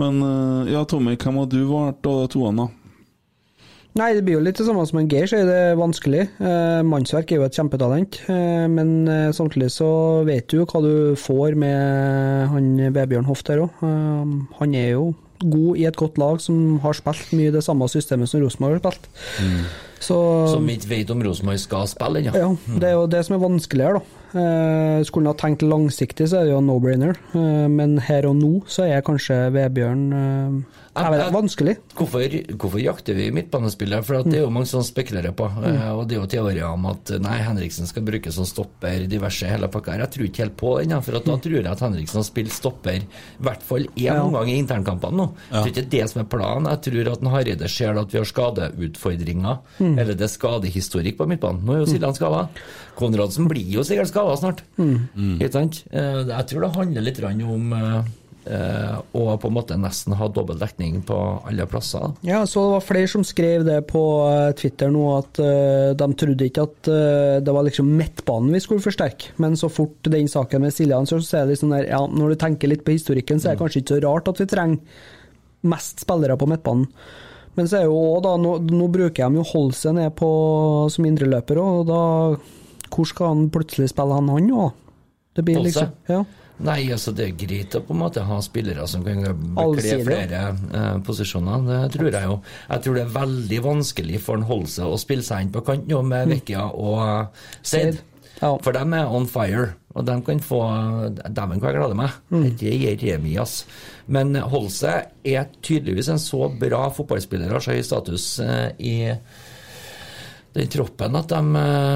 Men eh, ja, Tommy, hvem har du valgt av de to, da?
Nei, det blir jo litt det samme som en Geir, så er det vanskelig. Eh, Mannsverk er jo et kjempetalent, eh, men eh, samtidig så vet du jo hva du får med han Vebjørn Hoff der òg. Eh, han er jo god i et godt lag som har spilt mye det samme systemet som Rosenborg har spilt.
Mm.
Så
Som vi ikke vet om Rosenborg skal spille ennå.
ja, det er jo det som er vanskelig her, da. Eh, skulle en ha tenkt langsiktig, så er det jo en no-brainer, eh, men her og nå så er kanskje Vebjørn eh, Jeg vet, det er vanskelig.
Hvorfor, hvorfor jakter vi midtbanespillere? For at det er
Mm.
jo mange som spekulerer på. eh, Og det er jo teorier om at nei, Henriksen skal brukes som stopper, diverse hele pakka her. Jeg tror ikke helt på den, ja, for at da tror jeg at Henriksen har spilt stopper i hvert fall én
Mm. Ja.
omgang i internkampene nå. Jeg tror ikke det er det som er planen. Jeg tror at den Hareide ser at vi har skadeutfordringer,
Mm.
eller det er skadehistorikk på midtbanen. Nå er jo Siljan skada. Konradsen blir jo sikkert skada snart.
Mm.
Ikke sant? Eh, Jeg tror det handler litt grann om eh, eh, å på en måte nesten ha dobbel dekning på alle plasser. da.
Ja, så det var flere som skrev det på eh, Twitter nå, at eh, de trodde ikke at eh, det var liksom midtbanen vi skulle forsterke, men så fort den saken med Siljan, så er det liksom der, ja, når du tenker litt på historikken, så er det kanskje ikke så rart at vi trenger mest spillere på midtbanen. Men så er jo også da, nå, nå bruker de jo Holse ned på som indreløper, og da Hvor skal han plutselig spille han, han òg? Det blir
Holse?
liksom Ja.
Nei, altså det er greit å på en måte ha spillere som kan bekle
Allsidig.
flere eh, posisjoner, det tror jeg jo. Jeg tror det er veldig vanskelig for en Holse å spille seg inn på kant nå
Mm.
med Vekkia og eh, Seid. For dem er on fire, og dem kan få Dæven, hva jeg gleder meg.
Mm.
Dette gir remis, ass. Men Holse er tydeligvis en så bra fotballspiller, har så høy status eh, i den troppen at de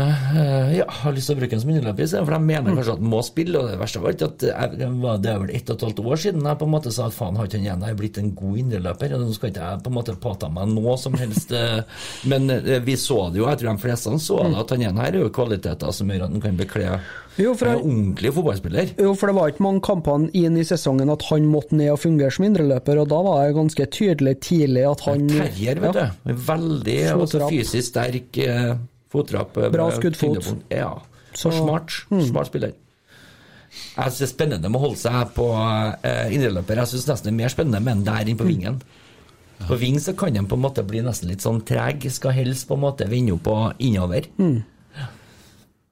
eh, ja, har lyst til å bruke den som underløper i stedet, for de mener kanskje at den må spille. og Det verste var ikke at jeg, det var- det er vel ett og et halvt år siden jeg på en måte sa at faen, har ikke han igjen jeg er blitt en god indreløper? og Nå skal ikke jeg på en måte påta meg noe som helst. eh, Men eh, vi så det jo, jeg tror de fleste så det, at han igjen her er jo kvaliteter som gjør at han kan bekle
Jo, for
Han er ordentlig fotballspiller.
Jo, for det var ikke mange kampene inn i sesongen at han måtte ned og fungere som indreløper, og da var det ganske tydelig tidlig at han
Terrier, vet
Ja.
du. Veldig altså,
Fotrapp.
fysisk sterk eh, fotrapp. eh,
Bra skuddfot.
tyngdepunkt. Ja. Så smart.
Mm.
Smart spiller. Jeg synes det er spennende med å holde seg på eh, indreløper. Jeg syns nesten det er mer spennende med en der enn
Mm.
på vingen. På ving så kan en på en måte bli nesten litt sånn treg. Skal helst på en måte vende opp og innover.
Mm.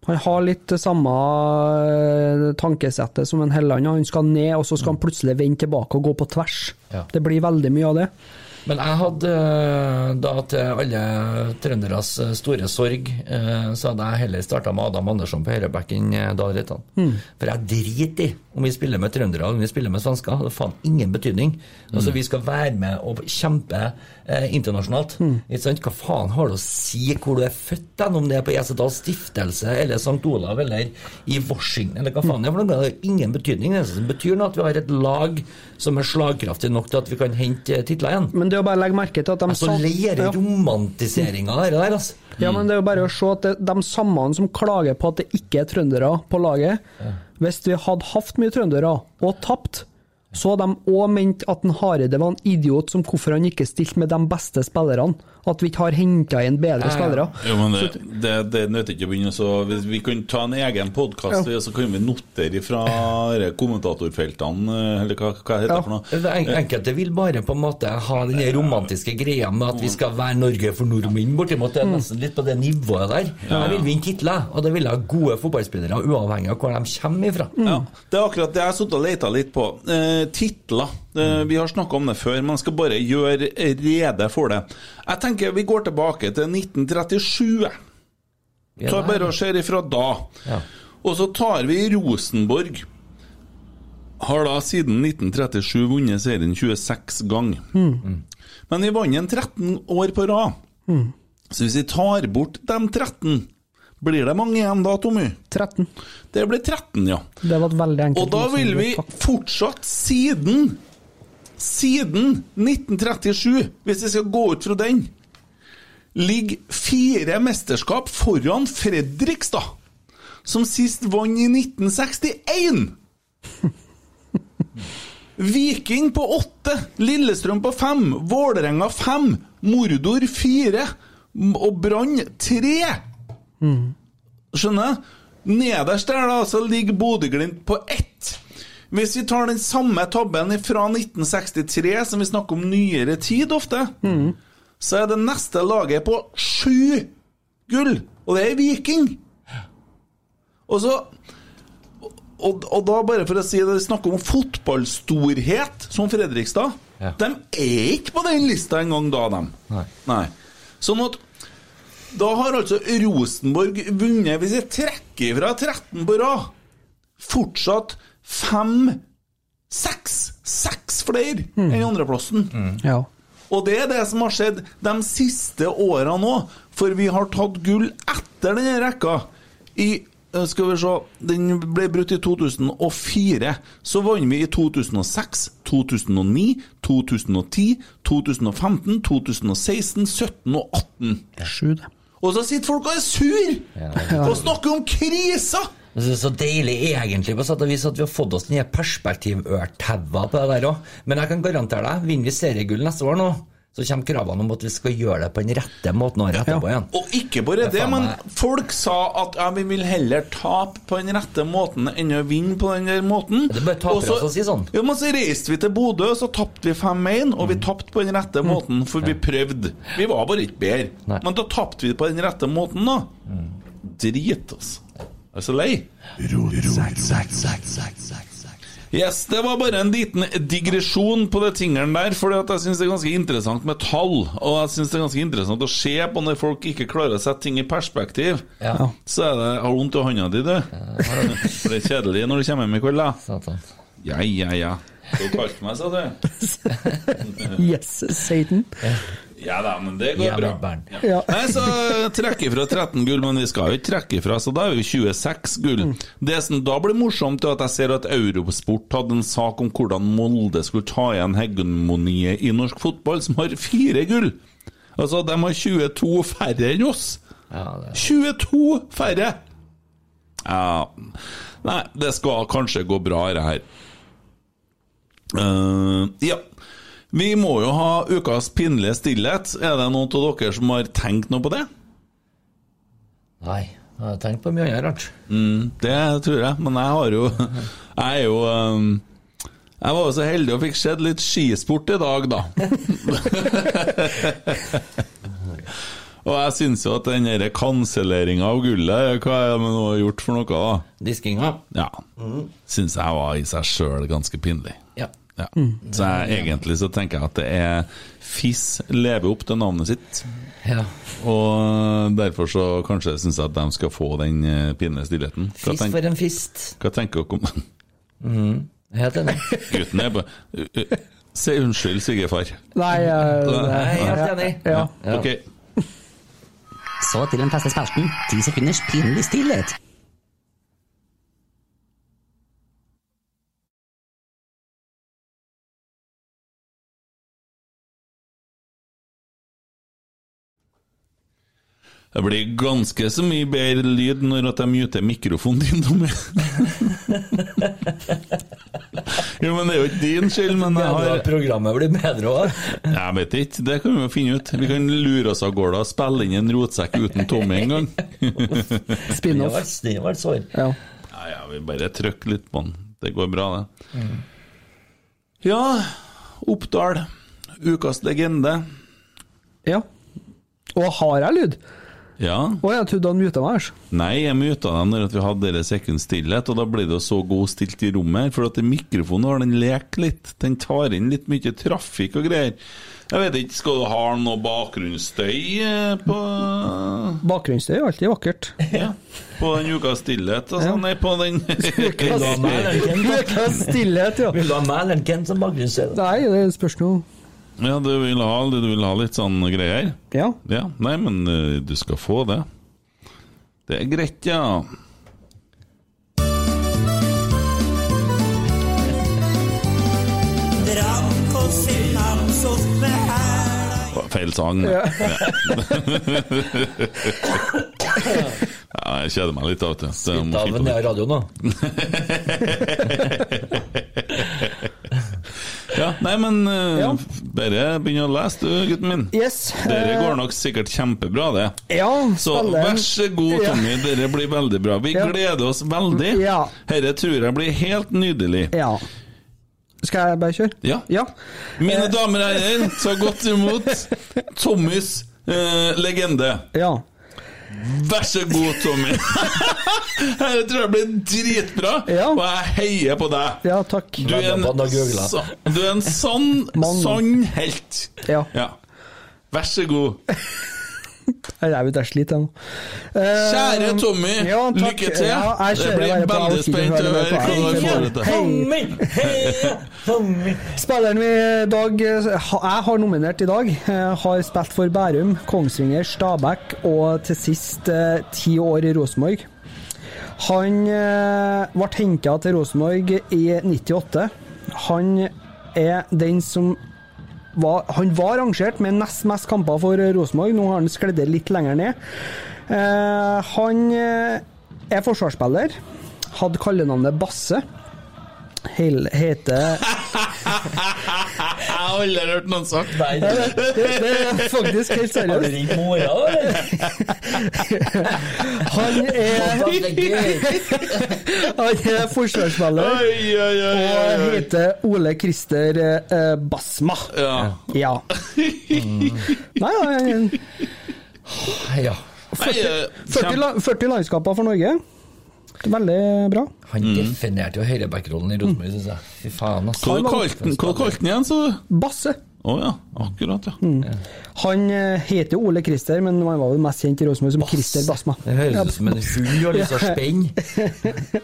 Han har litt det samme eh, tankesettet som en Helland. Han skal ned, og så skal han plutselig vende tilbake og gå på tvers.
Ja.
Det blir veldig mye av det.
Men jeg hadde eh, da til alle trønderes eh, store sorg, eh, så hadde jeg heller starta med Adam Andersson på høyreback enn eh, Dahl Reitan.
Mm.
For jeg driter i om vi spiller med trøndere eller om vi spiller med svensker. Det har faen ingen betydning. Altså, Vi skal være med og kjempe eh, internasjonalt. Ikke sant? Hva faen har det å si hvor du er født, den, om det er på Esedal stiftelse eller St. Olav eller i Washington eller hva faen det er? for noe? Det har ingen betydning. Det eneste som betyr noe, er at vi har et lag som er slagkraftig nok til at vi kan hente eh, titler igjen.
Men det er å bare legge merke til at de
Altså,
sa-
leire
sånn, Ja.
romantiseringa der, der, altså.
Ja, men det er jo bare å se at det, de samme som klager på at det ikke er trøndere på laget Hvis vi hadde hatt mye trøndere og tapt, så hadde de òg ment at en Hareide var en idiot som hvorfor han ikke stilte med de beste spillerne. At vi ikke har henta inn bedre spillere.
Jo, men det, det, det nødte ikke å begynne så Vi, vi kan ta en egen podkast, så kan vi notere fra kommentatorfeltene, eh, eller hva, hva heter det for noe?
Det en- Enkelte vil bare på en måte ha den der romantiske greia med at vi skal være Norge for nordmenn, bortimot. Det er nesten litt på det nivået der.
Ja.
Jeg vil vinne titler, og det vil jeg ha gode fotballspillere, uavhengig av hvor de kommer ifra.
Ja, det er akkurat det jeg har sittet og leita litt på. Eh, titler. Eh, vi har snakka om det før, men jeg skal bare gjøre rede for det. Jeg tenker vi går tilbake til 1937.
Ja,
Tar bare og ser ifra da. Og så tar vi Rosenborg. Har da siden 1937 vunnet serien 26 ganger. Men vi vant den 13 år på rad. Så hvis vi tar bort de 13, blir det mange igjen da, Tommy?
13.
Det blir 13, ja.
Det var et veldig enkelt
Og da
løsning.
vil vi fortsatt siden Siden 1937, hvis vi skal gå ut fra den, ligger fire mesterskap foran Fredrikstad, som sist vant i 1961. Viking på åtte, Lillestrøm på fem, Vålerenga fem, Mordor fire og Brann tre. Skjønner? Nederst der da, så ligger Bodø-Glimt på ett. Hvis vi tar den samme tabben fra 1963, som vi snakker om nyere tid ofte, så er det neste laget på sju gull, og det er Viking. Og så og, og da, bare for å si det, vi snakker om fotballstorhet, som Fredrikstad. De er ikke på den lista engang da, dem. Nei. Sånn at da har altså Rosenborg vunnet, hvis jeg trekker fra 13 på rad, fortsatt fem Seks! Seks flere enn andreplassen.
Ja.
Og det er det som har skjedd de siste åra nå, for vi har tatt gull etter denne rekka. I eh, Skal vi se Den ble brutt i 2004. Så vant vi i 2006, 2009, 2010, 2015, 2016, 17 og 18.
Sju, det.
Og så sitter folk og er sur!
Ja.
Og snakker om kriser!
Det er så deilig egentlig på sett og vis at vi har fått oss nye perspektivørtaua på det der òg. Men jeg kan garantere deg, vinner vi seriegull neste år nå, så kommer kravene om at vi skal gjøre det på den rette måten året etterpå igjen.
Og ikke bare
Det
det,
er faen
men
meg-
folk sa at ja, vi vil heller tape på den rette måten enn å vinne på den der måten. Det
bare tapere som sier sånn. Mm.
Ja, men så reiste vi til Bodø, så tapte vi 5-1, og vi tapte på den rette måten, for vi prøvde. Vi var bare ikke bedre. Men da tapte vi på den rette måten, da.
Mm.
Drit, altså. Jeg er så lei. Yes, det var bare en liten digresjon på det tingeren der, for jeg syns det er ganske interessant med tall. Og jeg syns det er ganske interessant å se på når folk ikke klarer å sette ting i perspektiv.
Ja.
Så er det Har du vondt i hånda di, du? For det er kjedelig når du kommer hjem i kveld, da. Ja, ja, ja. Du kalte meg, sa du?
Yes, Satan.
Ja da, men det går
Jævla
bra.
barn. Ja.
Nei, så trekker fra 13 gull, men vi skal jo ikke trekke ifra, så da er vi 26 gull. Det som da blir morsomt, er at jeg ser at Eurosport hadde en sak om hvordan Molde skulle ta igjen hegemoniet i norsk fotball, som har fire gull. Altså, de har 22 færre enn oss. 22 færre! Ja Nei, det skal kanskje gå bra, det her. Eh, ja. Vi må jo ha ukas pinlige stillhet. Er det noen av dere som har tenkt noe på det?
Nei, jeg har tenkt på mye annet rart.
Mm, det tror jeg, men jeg har jo Jeg er jo ehm, Jeg var jo så heldig og fikk sett litt skisport i dag, da. og jeg syns jo at den derre kanselleringa av gullet, hva er det man har gjort for noe, da?
Diskinga.
Ja. Syns jeg var i seg sjøl ganske pinlig.
Ja.
Ja. Så jeg, egentlig så tenker jeg at det er FIS lever opp til navnet sitt.
Ja.
Og derfor så kanskje syns jeg at de skal få den eh, pinlige stillheten. Hva,
Fist for en fist.
hva tenker dere om
Mm. Helt enig.
Gutten er på Eh, Si unnskyld, svigerfar.
Nei, eh,
Nei,
ja.
helt
enig.
Ja.
Ok.
Så til den faste spalten. Ti sekunders pinlig stillhet.
Det blir ganske så mye bedre lyd når at jeg muter mikrofonen din, Tommy. jo, men det er jo ikke din skyld, men jeg har
Programmet blir bedre òg.
Jeg vet ikke, det kan vi jo finne ut. Vi kan lure oss av gårde og spille inn en rotsekk uten Tommy en gang.
Spin-off.
Det var et sår.
Ja.
Ja, ja, vi bare trykker litt på den. Det går bra, det. Ja, Oppdal. Ukas legende.
ja. Og har jeg lyd?
Ja.
Å, jeg trodde han muta meg. altså.
Nei, jeg muta dem når at vi hadde dere sekunds stillhet, og da ble det jo så god stilt i rommet her, for at den mikrofonen har den lekt litt. Den tar inn litt mye trafikk og greier. Jeg vet ikke, skal du ha noe bakgrunnsstøy eh, på
Bakgrunnsstøy er alltid vakkert.
Ja. På den ukas stillhet, altså. Nei, på den
Ukas stillhet, ja.
Vil du ha meg eller Ken som bakgrunnsstøy?
Nei, det spørs nå.
Ja, du vil ha, du vil ha litt sånn greier?
Ja.
Ja, Nei, men eh, du skal få det. Det er greit, ja. Å, Feil sang.
Ja.
Ja. ja, jeg kjeder meg litt av og til. så jeg må
Da
finne på
vender
noe.
jeg radioen nå.
Ja, nei, men eh, bare begynn å lese, du, gutten min.
Yes.
Dere
eh,
går nok sikkert kjempebra, det.
Ja,
Så
spiller.
vær så god,
Ja.
Tommy. Dere blir veldig bra. Vi
Ja.
gleder oss veldig.
Ja.
Dette tror jeg blir helt nydelig.
Ja. Skal jeg bare kjøre?
Ja.
Ja. Eh.
Mine damer og herrer, ta godt imot Tommys eh, legende.
ja.
Vær så god, Tommy. Dette tror jeg blir dritbra,
Ja.
og jeg heier på deg.
Ja, takk.
Du er en,
Da- da googlet.
sa, du er en sann,
Mann.
sann helt.
Ja. Eh,
Ja. Vær så god.
Nei, Jeg vet jeg sliter, jeg nå. Eh,
Kjære Tommy,
ja, takk.
lykke til.
Ja, jeg
det
kjører
blir
bare på
veldig
Alkid,
spent å
hører
høre
på
hvordan vi
Alkid.
får det til.
Hei. Spilleren vi i dag eh, ha- jeg har nominert i dag, eh, har spilt for Bærum, Kongsvinger, Stabæk og til sist eh, ti år i Rosenborg. Han eh, ble henta til Rosenborg i 98. Han er den som var, han var rangert med nest mest kamper for Rosenborg. Nå har han skledd det litt lenger ned. Eh, han eh, er forsvarsspiller. Hadde kallenavnet Basse. Hel, heter
Jeg har aldri hørt noen sagt
det, det, det er faktisk helt seriøst.
Har du ringt mora, eller?
Han er Han er forsvarsspiller
Oi, oi, oi, oi,
og
oi.
heter Ole Christer eh, Basma.
Ja.
Ja.
Mm.
Nei, han-
Ja.
eh,
40, 40, la- 40 landskaper for Norge. Veldig bra.
Han definerte jo høyrebackrollen i Rosenborg, syns jeg. Fy faen, altså. ass.
Hva kalte han hva kalte han igjen, sa du?
Basse.
Å ja, akkurat, ja.
Mm. Han eh, heter jo Ole Christer, men han var vel mest kjent i Rosenborg som Christer Basma.
Det høres ut som en hund har lyst til å spenne.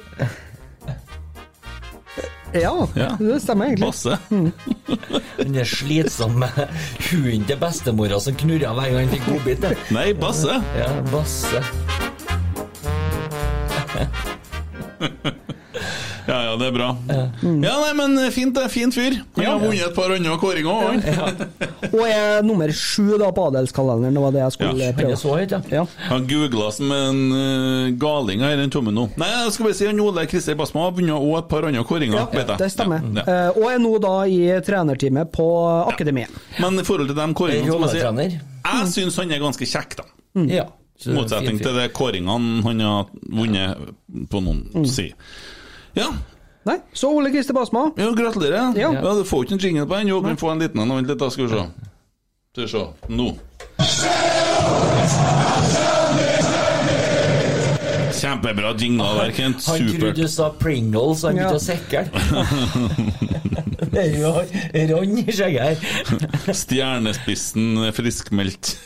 Ja,
Ja.
det stemmer egentlig. Mm.
Basse.
Den er slitsom med hunden til bestemora som knurra hver gang han fikk godbit. det.
Nei, Basse.
Ja, Basse.
Ja ja, det er bra.
Mm.
Ja, nei, men eh, fint, det. Fin fyr. Han har vunnet et par andre kåringer òg, han.
Og er nummer sju da på adelskalenderen, det var det jeg skulle
Ja.
Han
prøve.
er så høyt, ja.
Ja.
Han googla som en eh, galing her, den tommen nå. Nei, jeg skal bare si han Ole Christer Basma har vunnet også et par andre kåringer.
Ja,
vet jeg.
det stemmer.
Ja, ja.
Eh, Og er nå da i trenerteamet på akademiet.
Men i forhold til de kåringene, så må jeg si
Rolletrener.
Jeg
Mm.
syns han er ganske kjekk, da.
Ja. så
I motsetning
fin fyr.
til det kåringene han har vunnet, på noen
Mm.
si. Ja,
Nei, så Ole Christer Basma.
ja gratulerer.
Ja.
Ja. du får ikke en jingle på den, jo, men få en liten en. Vent litt, da skal vi se. Skal vi se. Nå. Kjempebra jingle der, Kent.
Han trodde
Supert.
du sa Pringles, han
Ja.
begynte å sekle. Det er jo Rann i skjegget her.
Stjernespissen friskmeldt.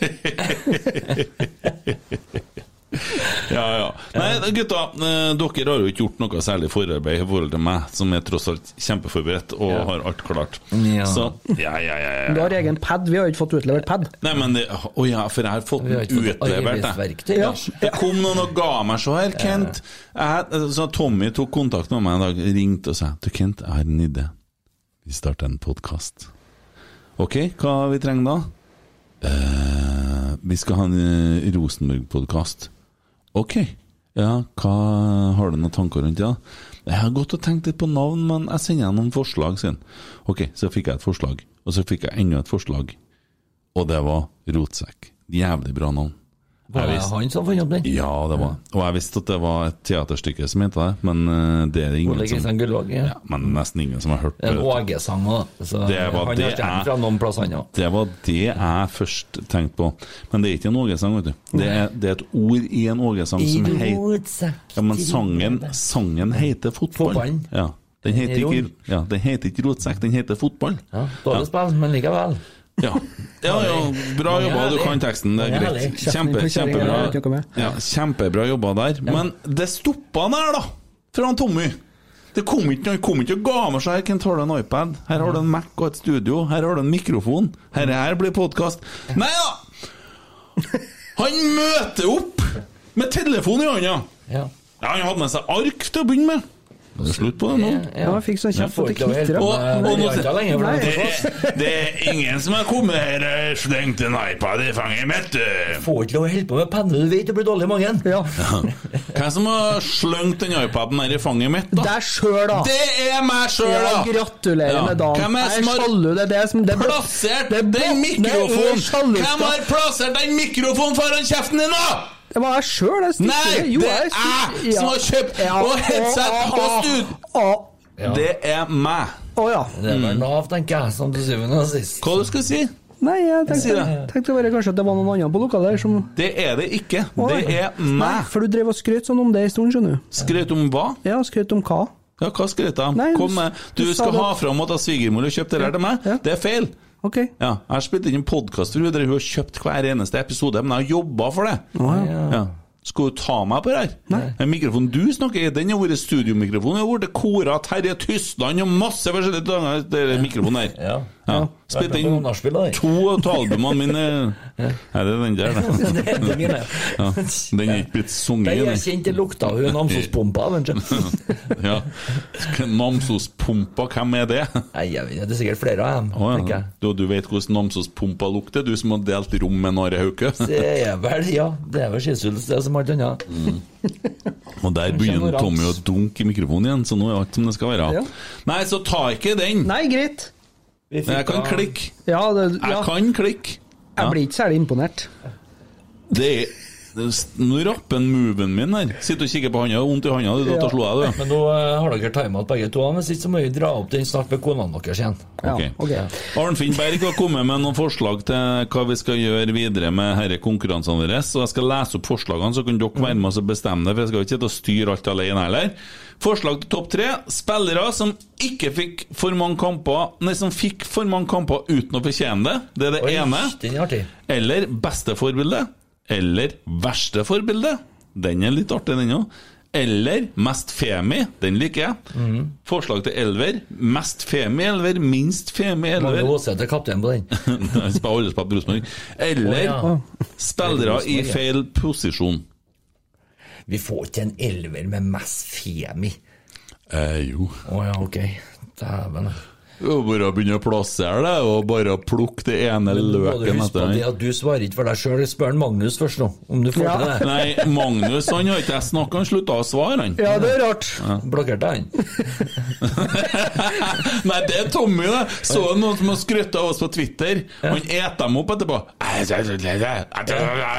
ja, ja. Nei, gutta, eh, dere har jo ikke gjort noe særlig forarbeid i forhold til meg, som er tross alt kjempeforberedt og
Ja.
har alt klart.
Ja.
Så ja, ja, ja.
Du
ja.
har egen pad, vi har jo ikke fått utlevert pad.
Nei, men det, Å ja, for jeg har fått
Vi har
den
ikke fått
utlevert, jeg.
arbeidsverktøy.
Ja.
Ja.
Det kom noen og ga meg så her, Kent. Jeg, så Tommy tok kontakt med meg en dag, ringte og sa Du, Kent, jeg har en idé. Vi starter en podkast. Ok, hva vi trenger da? Eh, vi skal ha en eh, Rosenborg-podkast. Ok. Ja, hva har du noen tanker rundt det? da? Jeg har gått og tenkt litt på navn, men jeg sender deg noen forslag, sier han. Ok, så fikk jeg et forslag, og så fikk jeg enda et forslag, og det var Rotsekk. Jævlig bra navn.
Var det
visste-
han som fant opp den?
Ja, det var Og jeg visste at det var et teaterstykke som het det, men eh, det er det ingen
Ole
som
Kristian Gullvåg. Ja.
ja, Men nesten ingen som har hørt
Det er
det.
en Åge-sang òg, så
Det
han
var
har
det
stjålet
jeg-
fra noen plass, han òg.
Det var det jeg først tenkte på. Men det er ikke en Åge-sang, vet du. Det er, det er et ord i en Åge-sang som heter Ja, men sangen, sangen heter fotball.
Fotballen.
Ja. Den
Den
heter
er
ikke,
rund.
ja, den heter ikke rotsekk, den heter fotball.
Ja, Dårlig spill, men likevel.
Ja, ja, ja bra jobba, du kan teksten, det er greit. Kjempe, kjempebra, ja, kjempebra jobba der. Men det stoppa der, da, fra han Tommy. Det kom ikke, han kom ikke og ga meg seg. Kent, har du en iPad? Her har du en Mac og et studio. Her har du en mikrofon. Her, her blir podkast. Nei da! Han møter opp med telefon i hånda.
Ja.
Ja, han hadde med seg ark til å begynne med. Det er slutt på det nå.
Ja, jeg fikk sånn
Jeg
kjeft
får
at det
ikke lov å
knitrer.
hjelpe
Og-
med
og nå-
varianter lenger, for
Nei.
de
Det er, det er ingen som har kommet her og slengt en iPad i fanget mitt. du.
får ikke lov å holde på med penne, du vet du blir dårlig i magen.
Ja.
Hvem som har slengt den iPaden her i fanget mitt,
Det
da?
er sjøl, da.
Det er meg sjøl,
Ja,
da!
gratulerer
Ja.
med dagen.
Hvem er
Jeg
det som har
sjalu, det er det som det er-
plassert
det er
den
botner over
mikrofonen?
sjaluskap.
Hvem har plassert den mikrofonen foran kjeften din, da?!
Det var jeg sjøl, jeg stilte
Nei,
Jo,
det
jeg
er
stilte-
jeg som har kjøpt og headset
Å,
og
å, å,
stud-
Å
Det er meg.
å, ja.
Det er
Mm.
vel Nav, tenker jeg, som til syvende og sist.
Hva du skal si?
Nei, jeg
sier
tenkte,
det.
tenkte bare kanskje at det var noen andre på lokalet der som
Det er det ikke.
Å,
Det
nei.
er
Nei,
meg.
for du drev og skrøt sånn om det en stund, skjønner du.
Skrøt om hva?
Ja, skrøt om hva?
Ja, hva skrøt jeg
Nei,
av?
du-
Kom med. Du
du sa
skal
det-
ha fram at jeg svigermor har kjøpt det der til meg.
Ja.
Det er feil.
Ok.
Ja, jeg har spilt inn en podkast for henne, hun har kjøpt hver eneste episode, men jeg har jobba for det.
Å, ja.
Ja. Skal du ta meg på det her? Den mikrofonen du snakker i, den har vært studiomikrofon. Den har vært kora av Terje Tysland og masse forskjellige dager. Det er den mikrofonen der. Ja. Spilt inn to av albumene mine Er det den der,
Ja, det er det mine.
Ja. Den er ikke blitt sunget
Den jeg
den.
kjente lukta av hun Namsos-pumpa. vet du.
Ja. Namsos-pumpa, hvem er det?
Nei, jeg vet, ikke, Det er sikkert flere av dem. tenker
ja.
jeg.
du, du vet hvordan Namsos-pumpa lukter, du som har delt rom med Nare Hauke?
Det er vel, ja, det er vel Skishuls, det er som alt annet.
Mm. Og der begynner
Kjenner
Tommy å
rams.
dunke i mikrofonen igjen, så nå er alt som det skal være.
Ja.
Nei, så ta ikke den!
Nei, greit.
Men jeg kan klikke.
Ja, det, ja.
Jeg kan klikke.
Jeg blir ikke særlig imponert.
Det er det er s- Nå rapper han moven min her. Sitter og kikker på handa, har vondt i handa. Du, da
Ja.
slo jeg, du.
Men nå eh, har dere timet begge to, hvis ikke så må vi dra opp den snart med konene deres igjen.
Ja,
Ok.
ok.
Arnfinn Berg har kommet med noen forslag til hva vi skal gjøre videre med herre konkurransene våre. Så jeg skal lese opp forslagene, så kan dere være med oss og bestemme det. For jeg skal jo ikke sitte og styre alt alene heller. Forslag til topp tre. Spillere som ikke fikk for mange kamper Nei, som fikk for mange kamper uten å fortjene det. Det er det
Oi,
ene.
Den er artig.
Eller beste forbilde. Eller verste forbilde. Den er litt artig, den òg. Eller mest femi. Den liker jeg.
Mhm.
Forslag til elver. Mest femi elver, minst femi
Mange
elver.
Åsete er kaptein på den.
Nei, spiller alle spiller på Rosenborg. Eller
Å,
spillere i
Rosenborg, ja.
feil posisjon.
Vi får ikke en elver med mest femi.
Eh, jo.
Å ja, ok. Dæven.
Det er jo Bare å begynne å plassere det, og bare å plukke det ene
Må du
løken
huske på
etter
det
den.
at du svarer ikke for deg sjøl. Spør en Magnus først nå, om du får
Ja.
til det.
Nei, Magnus han har ikke jeg snakka, han slutta å svare, han.
Ja, det er rart.
Blokkerte han.
Nei, det er Tommy, det. Så du noen som har skrytt av oss på Twitter? Han eter dem opp etterpå.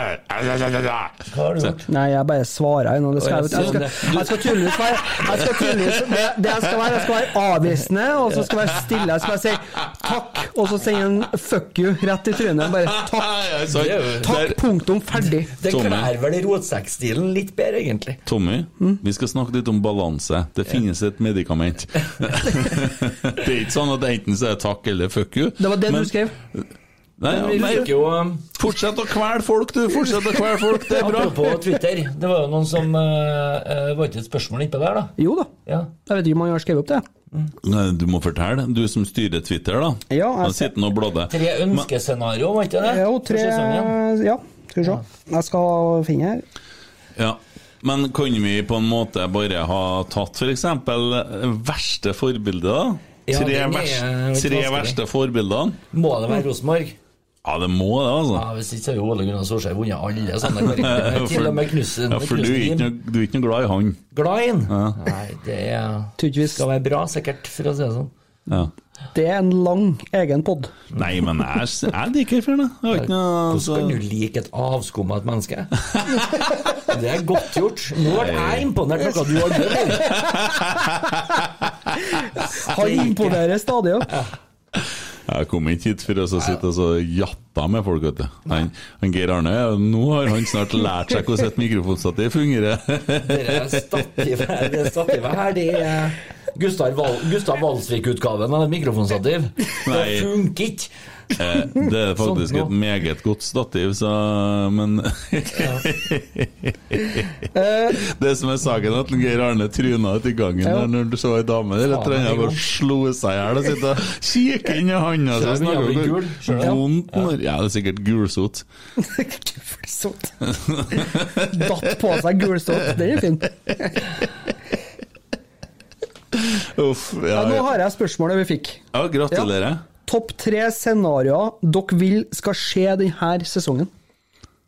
Hva har du gjort?
Nei, jeg bare svarer ennå. Det skal
Å,
jeg, jeg, skal,
ja, sånn,
jeg skal tydeligvis være jeg skal tydeligvis, det, det jeg skal være, jeg skal være avvisende, og så skal jeg være stille. Jeg skal bare si takk, og så sende en fuck you rett i trynet. Bare takk.
Ja, sant.
Takk,
Der-
punktum, ferdig.
Det
Tommy.
kler vel rotsekkstilen litt bedre, egentlig.
Tommy, vi skal snakke litt om balanse. Det finnes et medikament. det er ikke sånn at enten så er det takk eller fuck you.
Det var det
Men-
du skrev.
Nei, ja,
Vi
nei,
fikk jo um,
fortsett å kvele folk, du! Fortsett å kvele folk, det er bra!
Apropos Twitter, det var jo noen som eh, eh, Var ikke et spørsmål innpå der, da?
Jo da.
Ja.
Jeg vet ikke om han har skrevet opp det.
Nei, Du må fortelle, du som styrer Twitter, da.
Ja, jeg
Da
ser-
sitter han og bladde.
Tre ønskescenario, var ikke det? sånn,
Jo,
For
tre
sesongen.
Ja, skal vi se. Jeg skal finne her.
Ja, men kan vi på en måte bare ha tatt for eksempel verste forbildet da?
Ja,
tre
den er litt
vers, tre
vanskelig.
verste forbildene?
Må det være Rosenborg?
Ja, det må det altså.
Ja, hvis ikke så har jo Ole Gunnar Solskjær vunnet alle sånne karrierer. Til og med Knudsen.
Ja, for du er ikke noe, du er ikke noe glad i han.
Glad i han. Nei, det
Tror ikke vi
er-
skal
skal være bra, sikkert, for å si det sånn.
Ja.
Det er en lang egen pod.
Nei, men jeg, jeg liker fyren, jeg. Jeg har ikke noe altså.
Hvordan kan du like et avskumma et menneske? Det er godt gjort. Nå ble jeg imponert noe du har gjort.
Han imponerer stadig. Ja.
altså, Jeg kom ikke hit for å så sitte og så jatta med folk, vet du. Han, han Geir Arne, ja, nå har han snart lært seg hvordan et mikrofonstativ fungerer.
Det stativet her, det stativet her, det er Gustav, Val Gustav Valsvik-utgaven av et mikrofonstativ. Det
Nei.
funker ikke!
Eh, Det er faktisk
Sånn, nå.
et meget godt stativ, så, men Det som er saken, er at Geir Arne tryna ut i gangen der når du så ei dame der. Jeg tror han bare slo seg i hjel og sitter og kikker inn i handa
Selv om
snakker
jævlig
om hvor
gul, skjønner jeg.
Vondt når Ja, det er sikkert gulsot.
Gulsott. Datt på seg gulsott. Det er fint.
Uff. Ja,
Ja, nå
ja.
har jeg spørsmålet vi fikk.
ja gratulerer.
Topp tre scenarioer dere vil skal skje denne sesongen.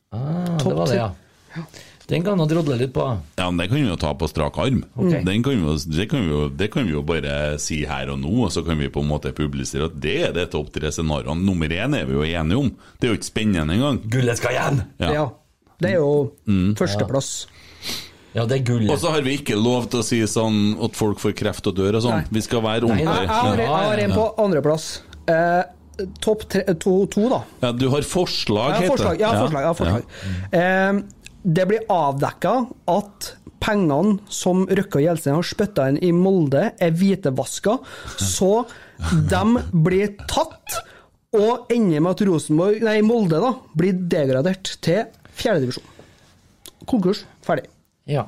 Ah, det var det, ja. Den kan han drodle litt på.
Ja, men Det kan vi jo ta på strak arm. Den kan vi, jo- det, kan vi jo, det kan vi jo bare si her og nå, og så kan vi på en måte publisere at det er det topp tre scenarioene. Nummer én er vi jo enige om. Det er jo ikke spennende engang.
Gullet skal hjem!
Ja.
Ja. Det er jo
Mm.
førsteplass.
Ja, det er gull.
Og så har vi ikke lov til å si sånn at folk får kreft og dør og sånn. Vi skal være
Jeg, jeg,
ordentlige.
har, jeg har en på andreplass. Eh, Topp tre to, to, da.
Ja, du har forslag,
Jeg har
heter
forslag. Jeg har forslag, jeg har forslag. Eh, det blir avdekka at pengene som Røkke og Gjelsten har spytta inn i Molde, er hvitevaska. Så de blir tatt og ender med at Rosenborg, nei, Molde da, blir degradert til fjerdedivisjon. Konkurs. Ferdig.
Ja.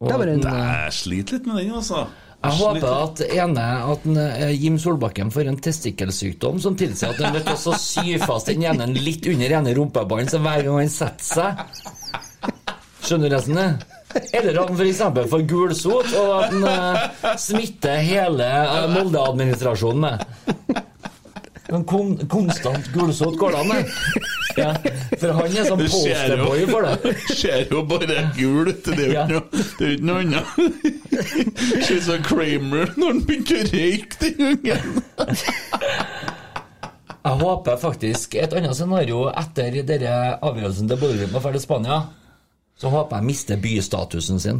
Det var en-
Nei, jeg sliter litt med den, altså.
Jeg håper
sliter.
at ene, at en, eh, Jim Solbakken får en testikkelsykdom som tilsier at han vet også syr fast den ene litt under ene rumpebånd, så hver gang han setter seg Skjønner du resten? det? Eller at han f.eks. får gulsot, og at han eh, smitter hele eh, Molde-administrasjonen med. Men kon konstant gulsot går det an, det. Ja, for han er sånn
Det skjer jo-
posterboy for det.
Ser jo bare gul ut, det er jo
Ja.
ikke noe- det er jo ikke noe annet. Ser ut som Kramer når han begynte å røyke, den ungen.
Jeg håper faktisk et annet scenario etter denne avgjørelsen til Bodø-Glimt var ferdig i Spania. Så håper jeg mister bystatusen sin.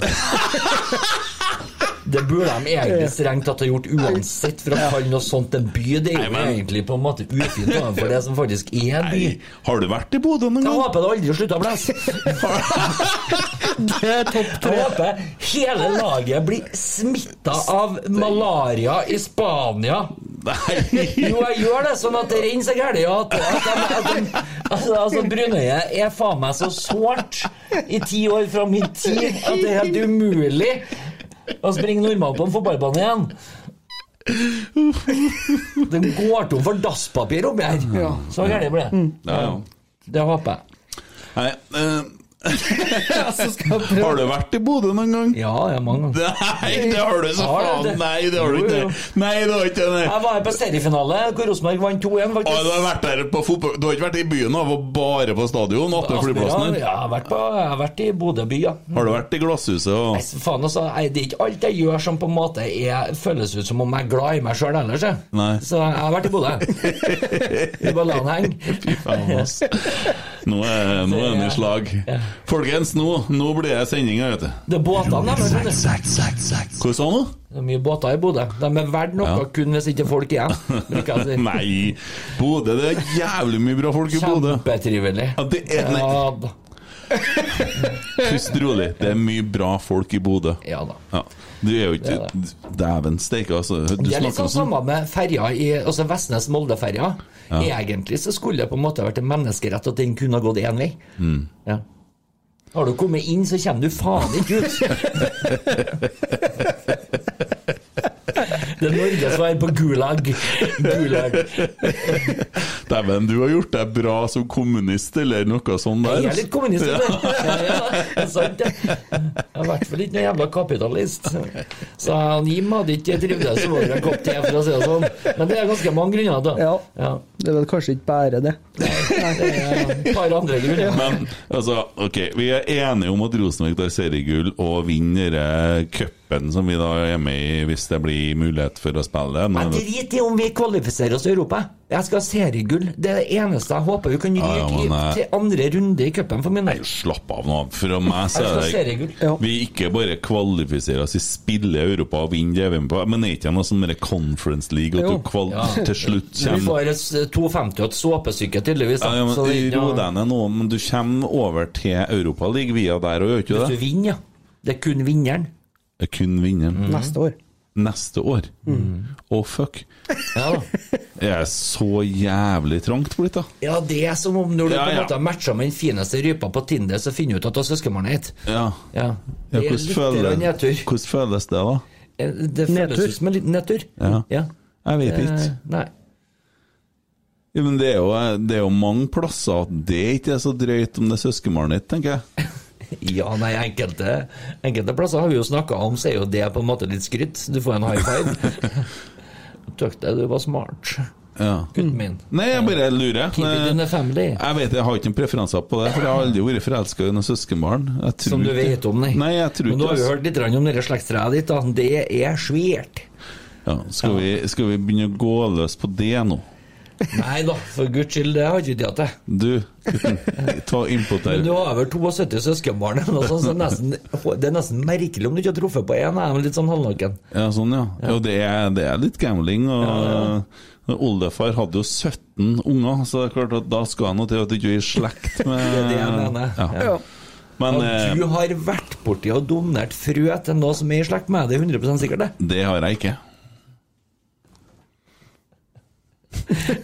Det burde de egentlig strengt tatt ha gjort uansett, for å kalle noe sånt en by, det er jo egentlig på en måte ufint overfor det som faktisk er en by.
Har du vært i Bodø noen
gang? Jeg håper det aldri slutta å blæse.
Det er topp
tre. Jeg håper hele laget blir smitta av malaria i Spania. Jo, jeg gjør det, sånn at det renner seg gærent. Ja, at, at, de- at, de- altså, altså, Brunøyet er faen meg så sårt i ti år fra min tid at det er helt umulig å springe normalt på en fotballbane igjen. Den går tom for dasspapir oppi her. Så gærent ble det.
Ja, ja.
Det håper jeg.
Nei, eh,
prøve.
har du vært i Bodø noen gang?
Ja, ja, mange
ganger. Nei, det har du så
Har
faen!
det?
Nei, det har du
Jo,
ikke.
jo.
Nei, det har du ikke nei.
Jeg var her på seriefinale, hvor Rosenborg vant 2-1,
Å,
faktisk.
du har vært der på fotball... Du har ikke vært i byen, du har vært bare på stadion? Attmed flyplassen?
Aspmyra,
her.
Ja, jeg har vært, på, jeg har vært i Bodø by, ja.
Har du vært i Glasshuset og
Nei, faen altså, nei, det er ikke alt jeg gjør som på en måte er, føles ut som om jeg er glad i meg sjøl ellers. jeg.
Nei.
Så jeg har vært i Bodø. Vi bare la den henge.
Fy faen, ass. Nå er nå er den i slag. Folkens, nå, nå blir det sending her, vet du.
Det er båtene, de. vet du.
Hva sa du nå?
Det er mye båter i Bodø. De er verdt noe
Ja.
kun hvis ikke folk er igjen.
Nei, Bodø Det er jævlig mye bra folk i Bodø.
Kjempetrivelig.
Ja, det er nei,
Ja, da.
Pust rolig. Det er mye bra folk i Bodø.
Ja da.
Du er jo
Det
ikke
er
Dæven steike, altså. Du
det er litt
snakker
sånn
sånn.
samme med ferja, i- altså Vestnes-Molde-ferja.
Ja.
Egentlig så skulle det på en måte vært en menneskerett at den kunne ha gått én vei.
Mm.
Ja. Har du kommet inn, så kommer du faen ikke ut! det er Norges svar på gulag. Gulag.
sånn- Dæven, du har gjort deg bra som kommunist, eller noe sånt der. altså.
Jeg er litt kommunist,
Ja.
eller? Ja, ja, det er sant, det. Jeg er i hvert fall ikke noen jævla kapitalist. Så han Jim hadde ikke trivdes over en kopp te, for å si det sånn. Men det er ganske mange grunner til.
Ja.
Ja.
Det er vel kanskje ikke bare det.
Det er et Eh, par andre grunner.
Men altså, ok, vi er enige om at Rosenborg tar seriegull og vinner eh, cupen som vi da er med i, hvis det blir mulighet for å spille. Nå,
Men drit i om vi kvalifiserer oss i Europa. Jeg skal ha seriegull. Det er det eneste jeg håper vi kan
Ja,
ryke
ja, men,
i-
eh,
til andre runde i cupen for min del.
slapp av nå. Fra meg
Jeg
så
skal ha
er det
seriegull.
Vi ikke bare kvalifiserer oss i spille i Europa og vinner det vi er med på, men er ikke det noe sånn der Conference League at
Jo.
du kval
Ja.
til slutt
Vi
kommer
får et s- 2,50 og et såpesyke, tydeligvis. da.
ja, ja, men
Så det- ja.
Ro deg ned nå, men du kommer over til Europaligaen via der og gjør ikke
Hvis
det?
du vinner, ja. Det er kun vinneren.
Det er
Mm.
kun vinneren.
Neste år.
Neste år? Å, fuck.
Ja,
Det er så jævlig trangt blitt, da.
Ja, det er som om når du
Ja,
på en
ja.
måte har matcha med den fineste rypa på Tinder, så finner du ut at du har søskenbarn i ett.
Ja.
Ja.
Ja,
Det er
hvordan,
litt
føles,
grann
hvordan føles det, da?
Eh, Det føles
Nedtur.
ut som en liten nedtur.
Ja. Jeg vet
Eh,
ikke.
Nei.
Ja, men det er, jo, det er jo mange plasser at det ikke er så drøyt om det er søskenbarnet ditt, tenker jeg.
Ja, nei, enkelte, enkelte plasser har vi jo snakka om, så er jo det på en måte litt skryt. Du får en high five. Takk deg, du var smart,
Ja.
gutten min.
Nei, jeg bare lurer.
Keep it in the family.
Jeg vet, jeg har ikke noen preferanser på det, for jeg har aldri vært forelska i noen søskenbarn. Jeg tror
Som du
ikke-
vet om, nei.
Nei, jeg tror
Men nå
ikke
har vi
altså.
hørt litt grann om det slektstreet ditt, da. Det er svært.
ja, skal, vi, skal vi begynne å gå løs på det nå?
Nei da, for guds skyld, det har ikke tid til.
Du, gutten, ta innpå
Men
der.
du har vel 72 søskenbarn, eller noe sånt, så nesten, det er nesten merkelig om du ikke har truffet på én. Jeg er litt sånn halvnaken.
Ja, sånn, ja. Jo, det er, det er litt gambling. Og Oldefar hadde jo 17 unger, så det er klart at da skal han jo til at du ikke er i slekt med
Det er det jeg mener.
Ja. Men
At du
eh,
har vært borti og donert frø til noe som er i
eh,
slekt med deg, det er 100 sikkert, det.
det har jeg ikke.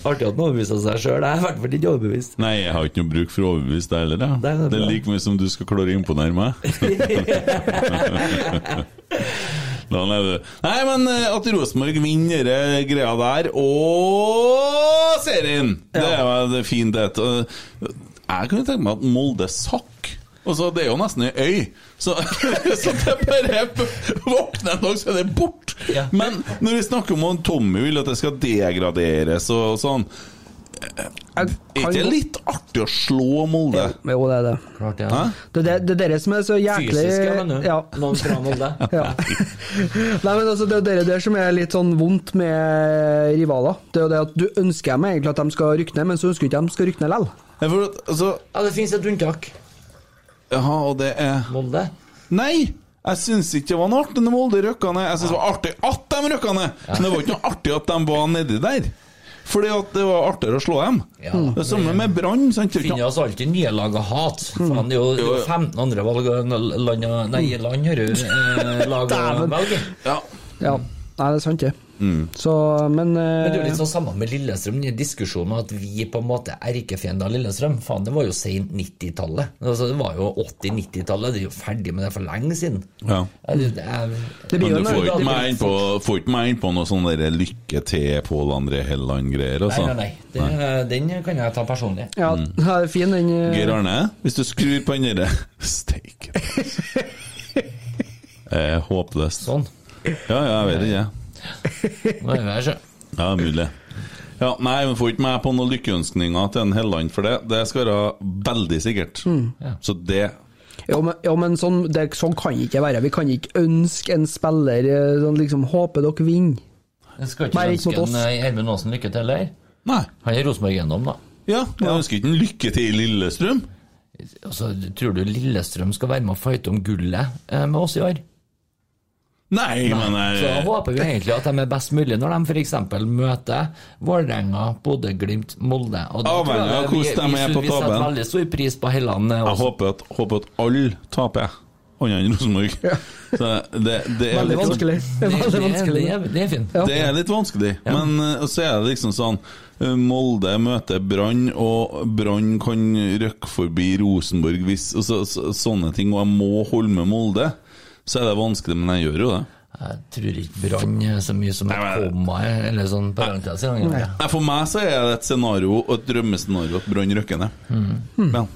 Artig at han overbeviste seg sjøl. Jeg er i hvert fall ikke overbevist.
Nei, jeg har ikke noe bruk for å overbevise deg heller. Jeg.
det er
det er
bra.
like mye som du skal klare å imponere meg. Da er det- Nei, men eh, at Rosenborg vinner dere greia der og serien! Det er jo det er fint, det. Og Jeg kunne tenke meg at Molde sakk. Og så Det er jo nesten ei øy, så, så det er bare våkner en dag, så er det bort Men når vi snakker om at Tommy vil at det skal degraderes og sånn Er ikke det litt artig å slå Molde?
Jo, det er det.
Hæ?
Det er det, det er dere som er så jæklig
Fysisk, ja, men,
ja.
eh,
Noen fra Molde.
Ja. Nei, men altså, Det er jo det der som er litt sånn vondt med rivaler. Det er jo det at Du ønsker dem egentlig at de skal rykke ned, men så ønsker du ikke at de skal rykke ned likevel.
Ja, for at, altså,
Ja, det finnes et unntak.
Jaha, og det er
Molde?
Nei! Jeg syns ikke det var noe artig når Molde røkka ned. Jeg syns det var artig at de røkka ned, men det var ikke noe artig at de var nedi der. Fordi at det var artigere å slå dem. det samme med Brann. sant? Det er ikke
finner oss alltid nye lag å hate. Faen, det er Mm. jo- det er jo Mm. 15 andre valg og land og Nei, land, hører du. Eh, lag å
Dæven.
velge.
Ja. Nei, det er sant, det. Så, men eh,
Men det er jo litt sånn samme med Lillestrøm, den diskusjonen om at vi på en måte er erkefienden av Lillestrøm. Faen, det var jo sent 90-tallet. Altså, det var jo 80-90-tallet. Det er jo ferdig med det for lenge siden.
Ja.
Ja, det- det er-
Men du får ikke meg inn på, får ikke meg inn på noe sånn der lykke til Pål André Helland-greier,
Nei,
altså.
nei, nei. Det, Den kan jeg ta personlig.
Ja, det er fin, den eh,
Geir Arne, hvis du skrur på den derre Steike. Jeg er håpløs.
Sånn.
Eh, Ja, ja, jeg vet ikke, jeg.
Nå er vi her, sjø.
Ja, det er mulig. Ja, nei, men får ikke meg på noen lykkeønskninger til en Helland for det. Det skal være veldig sikkert.
Mm.
Så det
Jo, men, jo, men sånn, det, sånn kan det ikke være. Vi kan ikke ønske en spiller eh, sånn liksom Håper dere vinner.
Jeg skal
Bare
ikke
ikke mot
ønske
oss.
en, eh, Gjermund Aasen lykke til, eller?
Nei.
Han er Rosenborg gjennom, da.
Ja, men jeg ønsker ikke en lykke til i Lillestrøm.
Altså, Tror du Lillestrøm skal være med å fighte om gullet eh, med oss i år?
Nei, men jeg-
Så håper vi egentlig at de er best mulig når de f.eks. møter Vålerenga, Bodø, Glimt, Molde. Og da tror jeg
Avhengig av
vi-
hvordan de
vi-
er på
Vi setter
tabellen.
veldig stor pris på Helland. eh,
Jeg
også.
håper at, håper at alle taper, jeg. Annet enn Rosenborg. Så det, det er
Veldig
litt-
vanskelig. Det er
Det-
veldig
det er-
vanskelig.
det er- Det er fint.
Det er litt vanskelig, men eh, så er det liksom sånn eh, Molde møter Brann, og Brann kan røkke forbi Rosenborg hvis og så, så, Sånne ting, og jeg må holde med Molde. Så er det vanskelig, men jeg gjør jo det.
Jeg tror ikke Brann er så mye som et
men-
komma eller sånn parentes. i den gangen.
Nei, for meg så er det et scenario, og et drømmescenario, at Brann røkker ned. Ja.
Mm.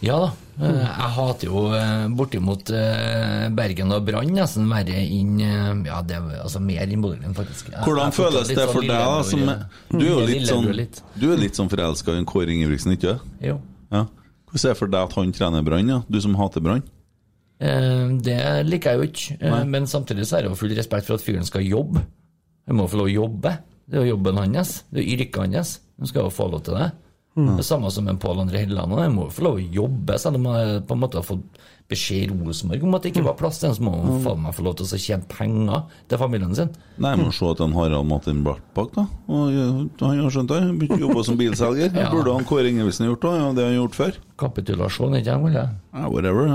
Ja da. eh, Jeg hater jo eh, bortimot eh, Bergen og Brann nesten verre enn eh, Ja, det er altså mer enn Bodø-Glimt, faktisk. Jeg-
Hvordan
jeg er fortsatt
føles
litt
det
sånn
for deg, da? Som,
lillebror, eh,
du er jo litt
lillebror
sånn
litt.
Du er litt sånn forelska i Kåre Ingebrigtsen, ikke sant?
Jo.
Ja. Hvordan er det for deg at han trener Brann, ja? du som hater Brann?
Eh, Det liker jeg jo ikke, eh,
Nei.
men samtidig så er det jo full respekt for at fyren skal jobbe. Han må få lov å jobbe. Det er jo jobben hans. Det er jo yrket hans. Han skal jo få lov til det.
Mm.
Det samme som en Pål André Helleland. Han må jo få lov å jobbe, selv om han på en måte har fått beskjed i Rosenborg om at det ikke var plass til ham, så må han faen meg få lov til å tjene penger til familien sin.
Nei, må se at han Harald Martin Bartbakk, da. Og, ja, han har skjønt det. Han Begynte å jobbe som bilselger. Det
Ja.
Burde han Kåre Ingebrigtsen gjort òg? Ja, det har han gjort før.
Kapitulasjon, ikke sant? Ole?
Ja, whatever.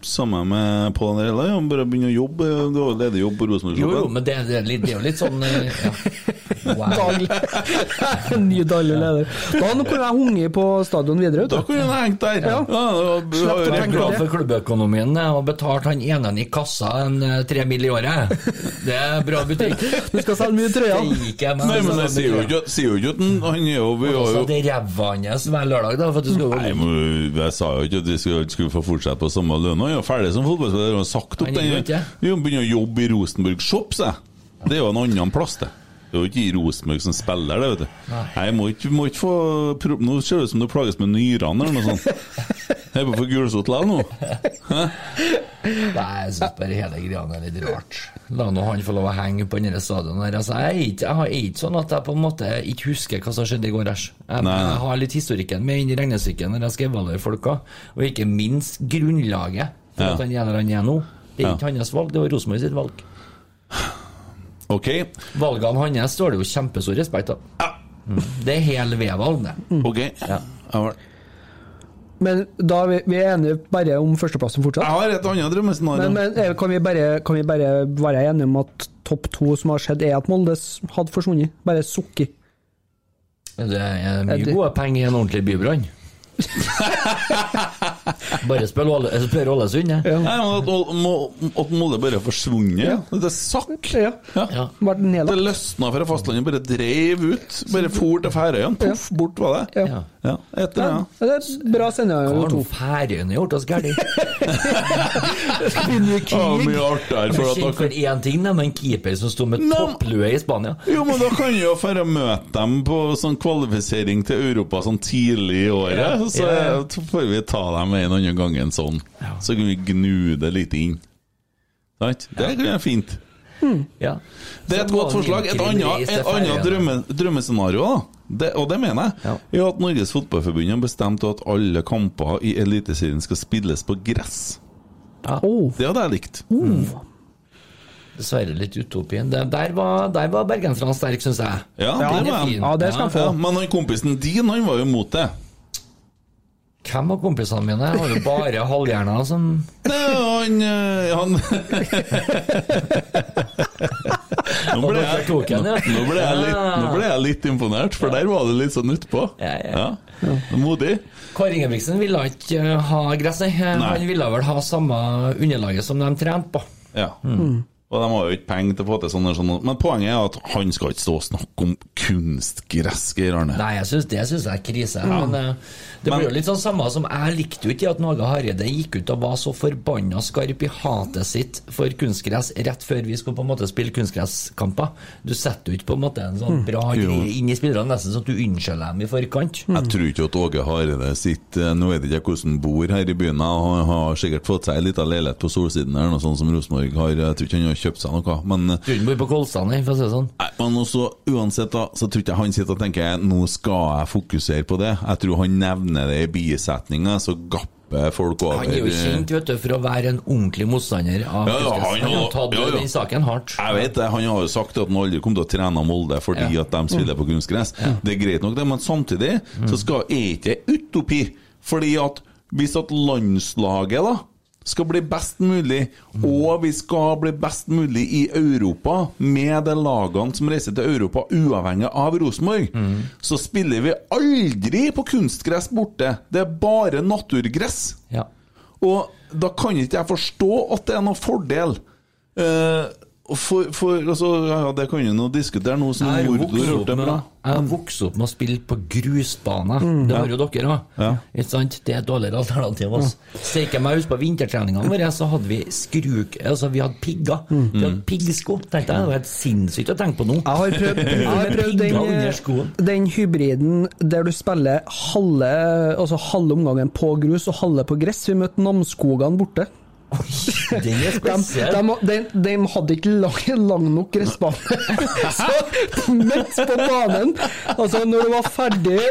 Samme med Pål André Helland. Han bare begynner å jobbe. Det var ledig jobb på
Jo, jo,
Rosenborg-klubben.
men det, det, er litt- det er jo litt sånn eh, ja.
Ny daglig leder. Da nå kunne jeg hunget på stadion videre. vet du.
Da kunne han hengt der.
Ja. Slapp å
Jeg er
tenke
glad
på
for
det.
klubbøkonomien eh, og betalt han ene i kassa en eh, tre mil i året. Det er bra butikk.
Du skal selge mye trøyer.
Det gikk jeg med.
Nei, men jeg sier jo ikke sier jo ikke at han Han er jo Vi har
Også
jo
det ræva hans hver lørdag, da. For at du skal
Nei,
jo
men jeg sa jo ikke at vi skulle, skulle få fortsette på samme lønn. Han er jo ferdig som fotballspiller. Han har sagt opp
Han er jo
den.
ikke.
Han begynner å jobbe i Rosenborg Shop, sa jeg. Det er jo en annen plass, det. Det er jo ikke i Rosenborg som spiller, det, vet du.
Nei.
Nei, jeg må ikke, må ikke få pro- Nå ser det ut som du plages med nyrene eller noe sånt. Jeg er på for gulsott likevel nå.
Nei, jeg syns bare hele greia er litt rart. La nå han få lov å henge på denne stadionet her. Altså, jeg er ikke, jeg har- jeg er ikke sånn at jeg på en måte ikke husker hva som skjedde i går æsj. Jeg,
Nei, nei.
jeg har litt historikken med inn i regnestykket når jeg skal evaluere folka, og ikke minst grunnlaget for
Ja.
at han er der han er nå. Det er
Ja.
ikke hans valg, det var Rosenborg sitt valg.
Ok,
Valgene hans står det jo kjempestor respekt av. Mm. Det er hel vedvalg, det.
ok. Ja. Jeg har-
Men da er vi, vi er enige bare om førsteplassen
jeg
fortsatt?
har et annet drømmescenario.
Men, men eh, kan, vi bare, kan vi bare være enige om at topp to som har skjedd, er at Molde s- hadde forsvunnet? Bare sukker.
Det er
Er
mye
det-
gode penger i en ordentlig bybrann. Bare spør, Åle, spør Ålesund, jeg.
Nei, men at, Ål- Må- at Molde bare har forsvunnet. Det sakk.
Ja.
Ja. Det løsna fra fastlandet, bare dreiv ut. Bare for til Færøyene. Poff, bort var det.
Ja.
Ja. Etter, det, ja.
Ja, det er bra scenario.
Hva har
to.
nå Færøyene gjort oss gærent? Skal vi nå i
Ja,
krig?
mye artigere for at
Kjent for én ting, nemlig en keeper som sto med topplue i Spania.
Jo, men da kan jo dere møte dem på sånn kvalifisering til Europa sånn tidlig i året.
Ja,
så
ja, ja.
får vi ta dem en annen gang enn sånn. Så kan vi gnu det litt inn. Sant? Det kan være fint.
Ja.
Det er et godt forslag. Et annet, et annet drømme, drømmescenario, da. Det, og det mener jeg, er at Norges Fotballforbund har bestemt at alle kamper i Eliteserien skal spilles på gress.
Oh.
Det hadde jeg likt.
Dessverre litt utopien. Der, der var, der var bergenserne sterke, syns jeg.
Ja, det var jeg. Ja, Men han kompisen din, han var jo imot det.
Hvem av kompisene mine? Jeg har jo bare halvhjerna som
Nei, han, eh, han nå, ble
dere
jeg, nå,
tok han, ja.
nå, ble jeg litt, nå ble jeg litt imponert, for der var det litt sånn utpå. Ja. Modig.
Kåre Ingebrigtsen ville ikke eh, ha gress, nei. Eh,
Nei.
Han ville vel ha samme underlaget som de trente på.
Ja.
Mm.
Og de har jo ikke penger til å få til sånne, sånne Men poenget er at han skal ikke stå og snakke om kunstgress, Geir Arne.
Nei, jeg synes, det syns jeg er krise.
Ja.
Men eh, det
Men-
blir jo litt sånn samme som jeg likte jo ikke at Naga Hareide gikk ut og var så forbanna skarp i hatet sitt for kunstgress rett før vi skulle på en måte spille kunstgresskamper. Du setter jo ikke på en måte en sånn
Mm.
bra
Jo.
greie inn i spillerne, nesten sånn at du unnskylder dem i forkant.
Jeg tror ikke at Åge Hareide sitter eh, Nå vet jeg ikke hvordan han bor her i byen. og Han har sikkert fått seg en liten leilighet på Solsiden her, noe sånt som Rosenborg har. Jeg tror ikke han har kjøpt seg noe. Men eh,
Du bor på Kolstad, nei, for å si det sånn.
Nei, men også, uansett da, så tror jeg ikke han sitter og tenker "Eh, Nå skal jeg fokusere på det Jeg tror han nevner det i bisetninga Så gapper folk over eh,
Han er jo kjent vet du, for å være en ordentlig motstander av
Ja, ja,
kunstgress.
han
Han har
har-
tatt
ja, ja.
den saken hardt.
Jeg vet det, han har jo sagt at han aldri kommer til å trene Molde Fordi
Ja.
at de spiller på kunstgress Det er greit nok det, men samtidig Så skal er ikke det utopi Fordi at hvis at landslaget da skal bli best mulig Og vi skal bli best mulig i Europa Med de lagene som reiser til Europa Uavhengig av Rosenborg Så spiller vi aldri på kunstgress borte Det er bare naturgress Og da kan ikke jeg forstå at det er noen fordel Eh, for, for, altså, ja, ja, det kan jo nå diskutere nå som
Jeg har
Mordor
vokst
har
opp
gjort det
med-
bra.
jeg har vokst opp med å spille på grusbane.
Mm,
det har jo dere òg. Ikke sant? Det er et dårligere alternativ. altså. Også.
Mm.
Steike meg husk på vintertreningene våre, så hadde vi skruk... Altså, vi hadde pigger. Vi hadde piggsko. Tenkte jeg, Det var helt sinnssykt å tenke på nå.
Mm. Jeg har prøvd, jeg har prøvd den, den hybriden der du spiller halve, altså halve omgangen på grus og halve på gress. Vi møtte Namsskogan borte.
Den er
De,
spesiell.
de, de, de hadde ikke lang, lang nok gressbane. Så midt på banen Altså, når du var ferdig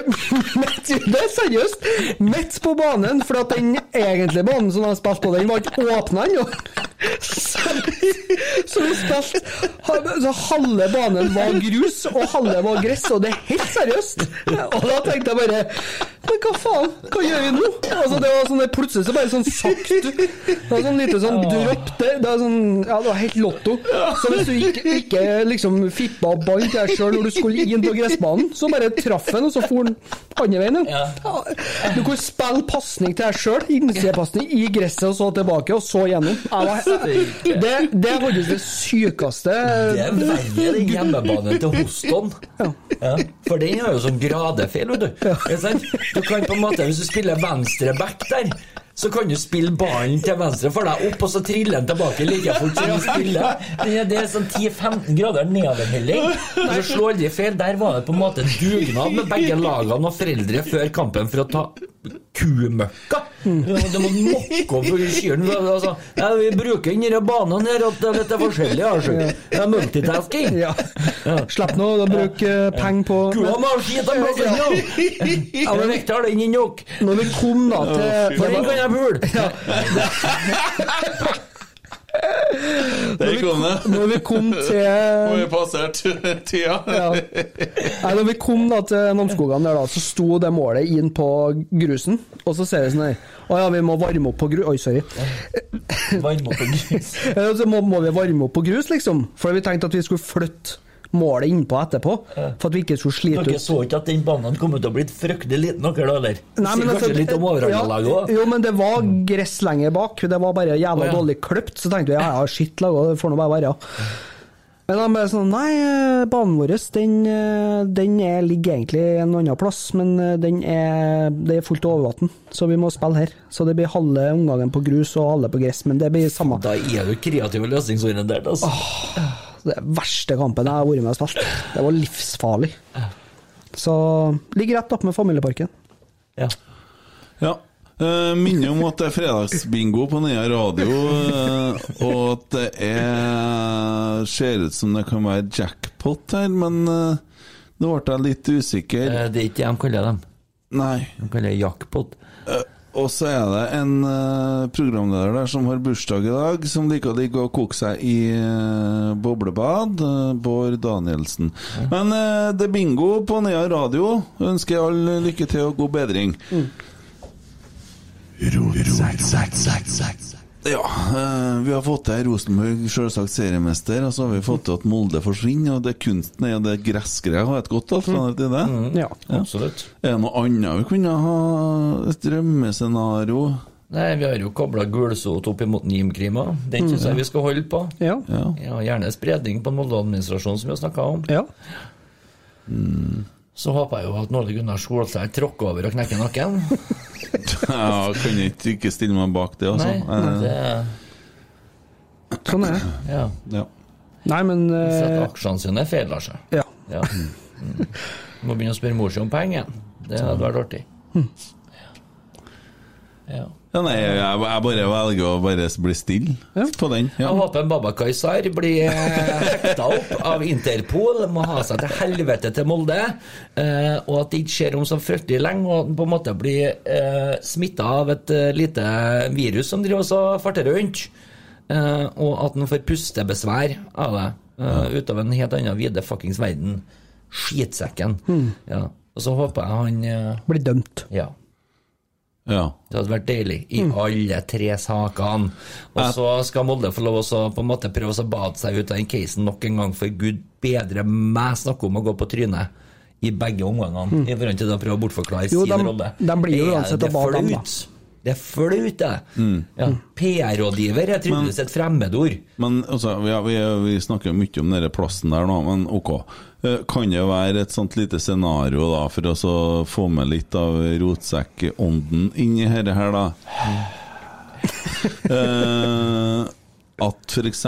midt, i- Det er seriøst! Midt på banen, for at den egentlige banen som de spilte på, den var ikke åpna ennå. Så, så vi spilte ha- Så halve banen var grus, og halve var gress, og det er helt seriøst! Og da tenkte jeg bare Men hva faen? Hva gjør vi nå? Altså, det var sånn det plutselig så bare sånn sakte Det var sånn lite sånn dropp der. Det var sånn Ja, det var helt lotto. Så hvis du ikke, ikke liksom fippa og bandt deg sjøl når du skulle inn på gressbanen, så bare traff den, og så for den andre veien. den. Ja. Du kunne spille pasning til deg sjøl, innsidepasning i gresset, og så tilbake, og så gjennom. Jeg var- Det, det er faktisk det sykeste
Det er verre den hjemmebanen til Hoston. Ja, for den har jo sånn gradefeil, vet du. Ikke sant? Du kan på en måte, Hvis du spiller venstre back der, så kan du spille ballen til venstre for deg opp, og så triller den tilbake like fort som du spiller. Det er- Det er sånn 10-15 grader nedoverhelling. Og så slår de feil. Der var det på en måte dugnad med begge lagene og foreldre før kampen for å ta kumøkka. Du må mokke opp kyren. Altså, ja, vi bruker den denne banen her, at det er litt forskjellig. Altså. Det er multitasking.
Ja. Slipp nå å bruke eh, penger på
Kua må ha skit av blokken, ja. Ja, men Victor, har den inn nok.
Når vi kom da
Å,
til
fy. For den kan jeg pule.
Ja.
Der kom det!
Når vi kom
Nå har
til
vi passert tida.
Ja. Nei, når vi kom da til Namsskogan, der da, så sto det målet inn på grusen. Og så ser vi sånn her Å ja, vi må varme opp på grus Oi, sorry. Eh,
Varm opp en grus.
Ja, Så må, må vi varme opp på grus, liksom. For vi tenkte at vi skulle flytte målet innpå etterpå, for at vi ikke skulle slite
Dere
ut.
så ikke at den banen kom ut og blitt fryktelig liten, dere da, eller?
Nei, men
Sier
altså-
kanskje litt om Vålerenga-laget
Ja,
òg?
Jo, men det var gress lenger bak. Det var bare jævla
Mm. Å, ja.
dårlig kløpt. Så tenkte vi ja, ja, shit, laget, det får nå bare være. Men de bare sånn Nei, eh, banen vår den, eh, den er, ligger egentlig en annen plass, men eh, den er, det er fullt av overvann, så vi må spille her. Så det blir halve omgangen på grus og halve på gress, men det blir samme.
Da er du kreativ og løsningsorientert, altså.
Det er verste kampen jeg har vært med og spilt. Det var livsfarlig. Så ligger rett opp med familieparken.
Ja. Eh, minner om at det er fredagsbingo på Nea radio, eh, og at det er ser ut som det kan være jackpot her, men eh, nå ble jeg litt usikker.
Eh, det er ikke det de kaller dem.
Nei.
De kaller det jackpot.
og så er det en eh, programleder der som har bursdag i dag, som liker å ligge og koke seg i eh, boblebad. eh, Bård Danielsen. Men eh, det er bingo på Nea radio. Ønsker alle lykke til og god bedring. Ja, eh, vi har fått til Rosenborg, selvsagt seriemester, og så har vi fått til at Molde forsvinner, og det kunsten er det gressgreia har et godt alternativ til det.
Ja,
absolutt.
Er det noe annet vi kunne ha? Et drømmescenario?
Nei, vi har jo kabla gulsot opp imot Nimkrima. Den syns jeg sånn vi skal holde på.
Mm. Ja.
Ja, gjerne spredning på Molde-administrasjonen, som vi har snakka om.
Ja.
Så håper jeg jo at Nåle Gunnar Solskjær tråkker over og knekker nakken.
Ja, kan jeg ikke, ikke stille meg bak det, altså.
Nei,
Eh,
det,
Sånn er det.
ja.
ja.
Nei, men
Sett
eh,
aksjene sine feil, Lars.
Ja.
Ja. Mm. Må begynne å spørre mor si om penger. Det hadde vært artig. Ja. Ja.
ja, nei, jeg, jeg bare velger å bare bli stille på den. Ja.
Jeg håper Babakar Sar blir eh, hekta opp av Interpol, må ha seg til helvete til Molde, eh, og at det ikke skjer om så fryktelig lenge, og at han på en måte blir eh, smitta av et eh, lite virus som driver oss og farter rundt, eh, og at han får pustebesvær av det, eh, ut av en helt annen vide fuckings verden. Skitsekken. Ja. Og så håper jeg han eh,
blir dømt.
Ja.
Ja.
Det hadde vært deilig i
Mm.
alle tre sakene. Og så skal Molde få lov å på en måte prøve å bade seg ut av den casen nok en gang, for gud bedre meg snakke om å gå på trynet i begge omgangene, i forhold til å prøve å bortforklare
Mm. Jo,
sin
dem-
rolle.
dem blir jo
Er-
uansett
det er
å bade dem, da. Mm.
flaut. Det er flaut, det. Ja. PR-rådgiver er tydeligvis et fremmedord.
Men altså, vi, vi, vi snakker jo mye om denne plassen der nå, men ok. Eh, Kan det være et sånt lite scenario da, for å så få med litt av rotsekkånden inn i dette her, da? Eh, at f.eks.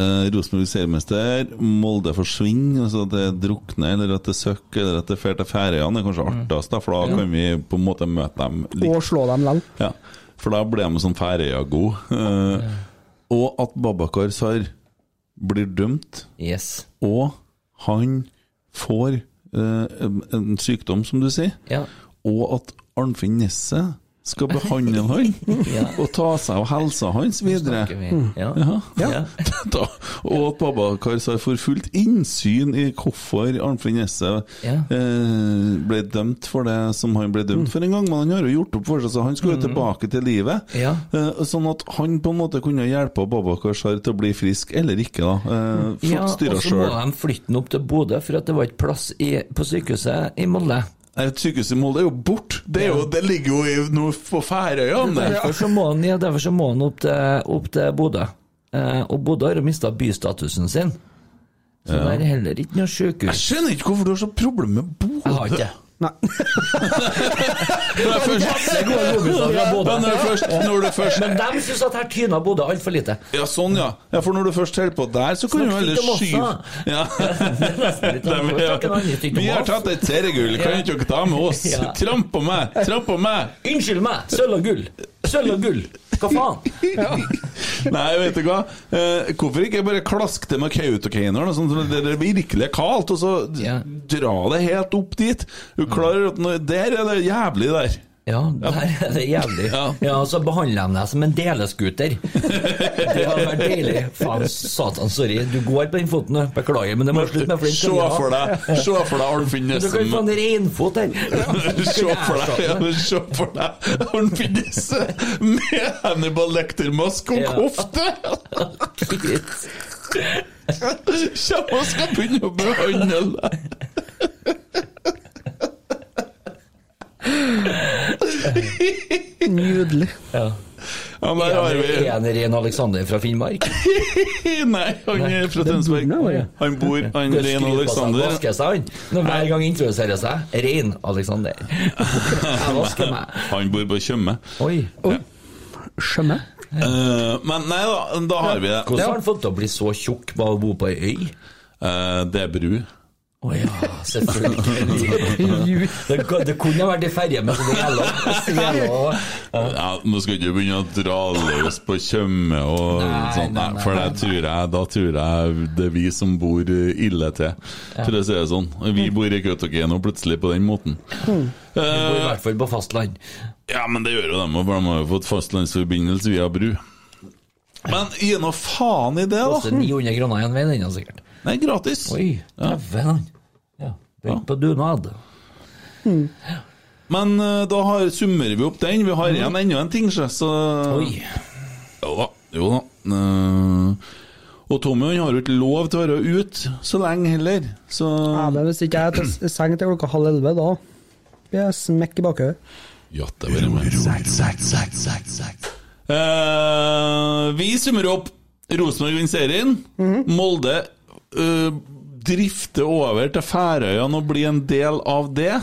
Eh, Rosenborg blir seriemester, Molde forsvinner, altså at det drukner, eller at det søkker, eller at det drar til Færøyene, er kanskje artigst, da, for da kan vi på en måte møte dem litt
Og slå dem likevel.
ja, for da ble de sånn Færøya-god. Eh, og at Babakar Sar blir dømt,
Yes.
og han får eh, en- en sykdom, som du sier,
Ja.
og at Arnfinn Nesse skal behandle han og ta seg av helsa hans videre.
Snakker vi.
Mm.
Ja.
Ja.
Ja.
da, og at Babakar Sar får fullt innsyn i hvorfor Arnfinn Nesse
Ja. Mm.
eh, ble dømt for det som han ble dømt for en gang, men han har jo gjort opp for seg, så han skal jo tilbake til livet.
Ja.
Eh, sånn at han på en måte kunne hjelpe Babakar Sar til å bli frisk, eller ikke, da. Eh, folk
Ja, og
styrer
så må
sjøl.
de flytte den opp til Bodø, for at det var ikke plass i, på sykehuset i Molde.
Sykehuset Eh, i Molde er jo borte! Det, er jo- det ligger jo i, nå på Færøyene! det.
Derfor så må han, ja, derfor så må han opp til, opp til Bodø. Eh, og Bodø har jo mista bystatusen sin. Så det er heller ikke noe
Jeg
sjukehus.
skjønner ikke hvorfor du har så problemer med
Jeg har
Bodø!
ikke det.
Nei.
Når jeg først-
Det er gode logiser fra Bodø.
Men eh, når du først, når du først
Men de syns at her tyna Bodø altfor lite.
Ja, sånn, ja. ja. For når du først holder på der, så kan
Snakk
du heller
litt om oss,
skyve
da.
ja.
Det er nesten litt
Dem,
annerledes.
ja.
Takk, en annen ting om
Vi har
oss.
tatt et seriegull, kan
Ja.
ikke dere ta med oss?
Ja.
Tramp på meg! Tramp på meg!
Unnskyld meg! Sølv og gull! Sølv og gull! Hva faen?
Nei, vet du hva? Eh, hvorfor ikke bare klaske det med Kautokeinoen, og sånn, så det er virkelig kaldt, og så d-
Ja.
dra det helt opp dit? Du klarer at når, Der er det jævlig, der.
Ja, der er det jævlig. Ja,
Ja.
og så behandler de deg som en deleskuter. Det hadde vært deilig. Faen, satan, sorry. Du går på den foten, du. Beklager, men det må slutte med flint.
Se for deg Se for deg Arnfinn
Du kan
Nesen
få en reinfot her.
Se for deg ja, Se for deg Han finnes med Hannibal Lecter-mask og
Ja.
kofte
Shit.
Kjem og skal begynne å behandle deg.
Nydelig.
Ja.
Ja, men der har vi
Er han ren Alexander fra Finnmark?
Nei, han er fra Tønsberg. Han bor
Skal
han Rein
skryte på seg,
Alexander.
vaske seg, han. Når hver gang introduserer seg. Rein Alexander. Jeg vasker meg.
Han bor på Tjøme.
Oi.
Skjønne.
Eh, men nei da, da har vi det.
Hvordan har han fått til å bli så tjukk med å bo på ei øy?
Eh, det er bru.
Å ja, selvfølgelig. Det, det kunne vært i ferje, men så det gjelder å
Ja, nå skal du ikke begynne å dra løs på Tjøme og
Nei,
sånn, nei,
nei, nei.
for det tror jeg, da tror jeg det er vi som bor eh, ille til, for å si det sånn. Vi
Mm.
bor i Kautokeino plutselig på den måten. Eh,
Bor i hvert fall på fastland.
Ja, men det gjør jo dem, og de har jo fått fastlandsforbindelse via bru. Men gi nå faen i det,
Koster
da!
900 kroner en vei, den da, sikkert.
Nei, gratis.
Oi, dæven han. Ja, Begynt på dunad.
Men eh, da har, summerer vi opp den. Vi har igjen enda en ting, sjø, så
Mm. Oi.
Jo da. Jo da. Eh, og Tommy han har jo ikke lov til å være ute så lenge heller, så
Ja, men hvis ikke jeg er til s- seng til klokka halv elleve, da blir jeg smekk i bakhodet.
Ja, det var det. Eh, vi summer opp. Rosenborg vinner serien. Molde eh, drifter over til Færøyene og blir en del av det.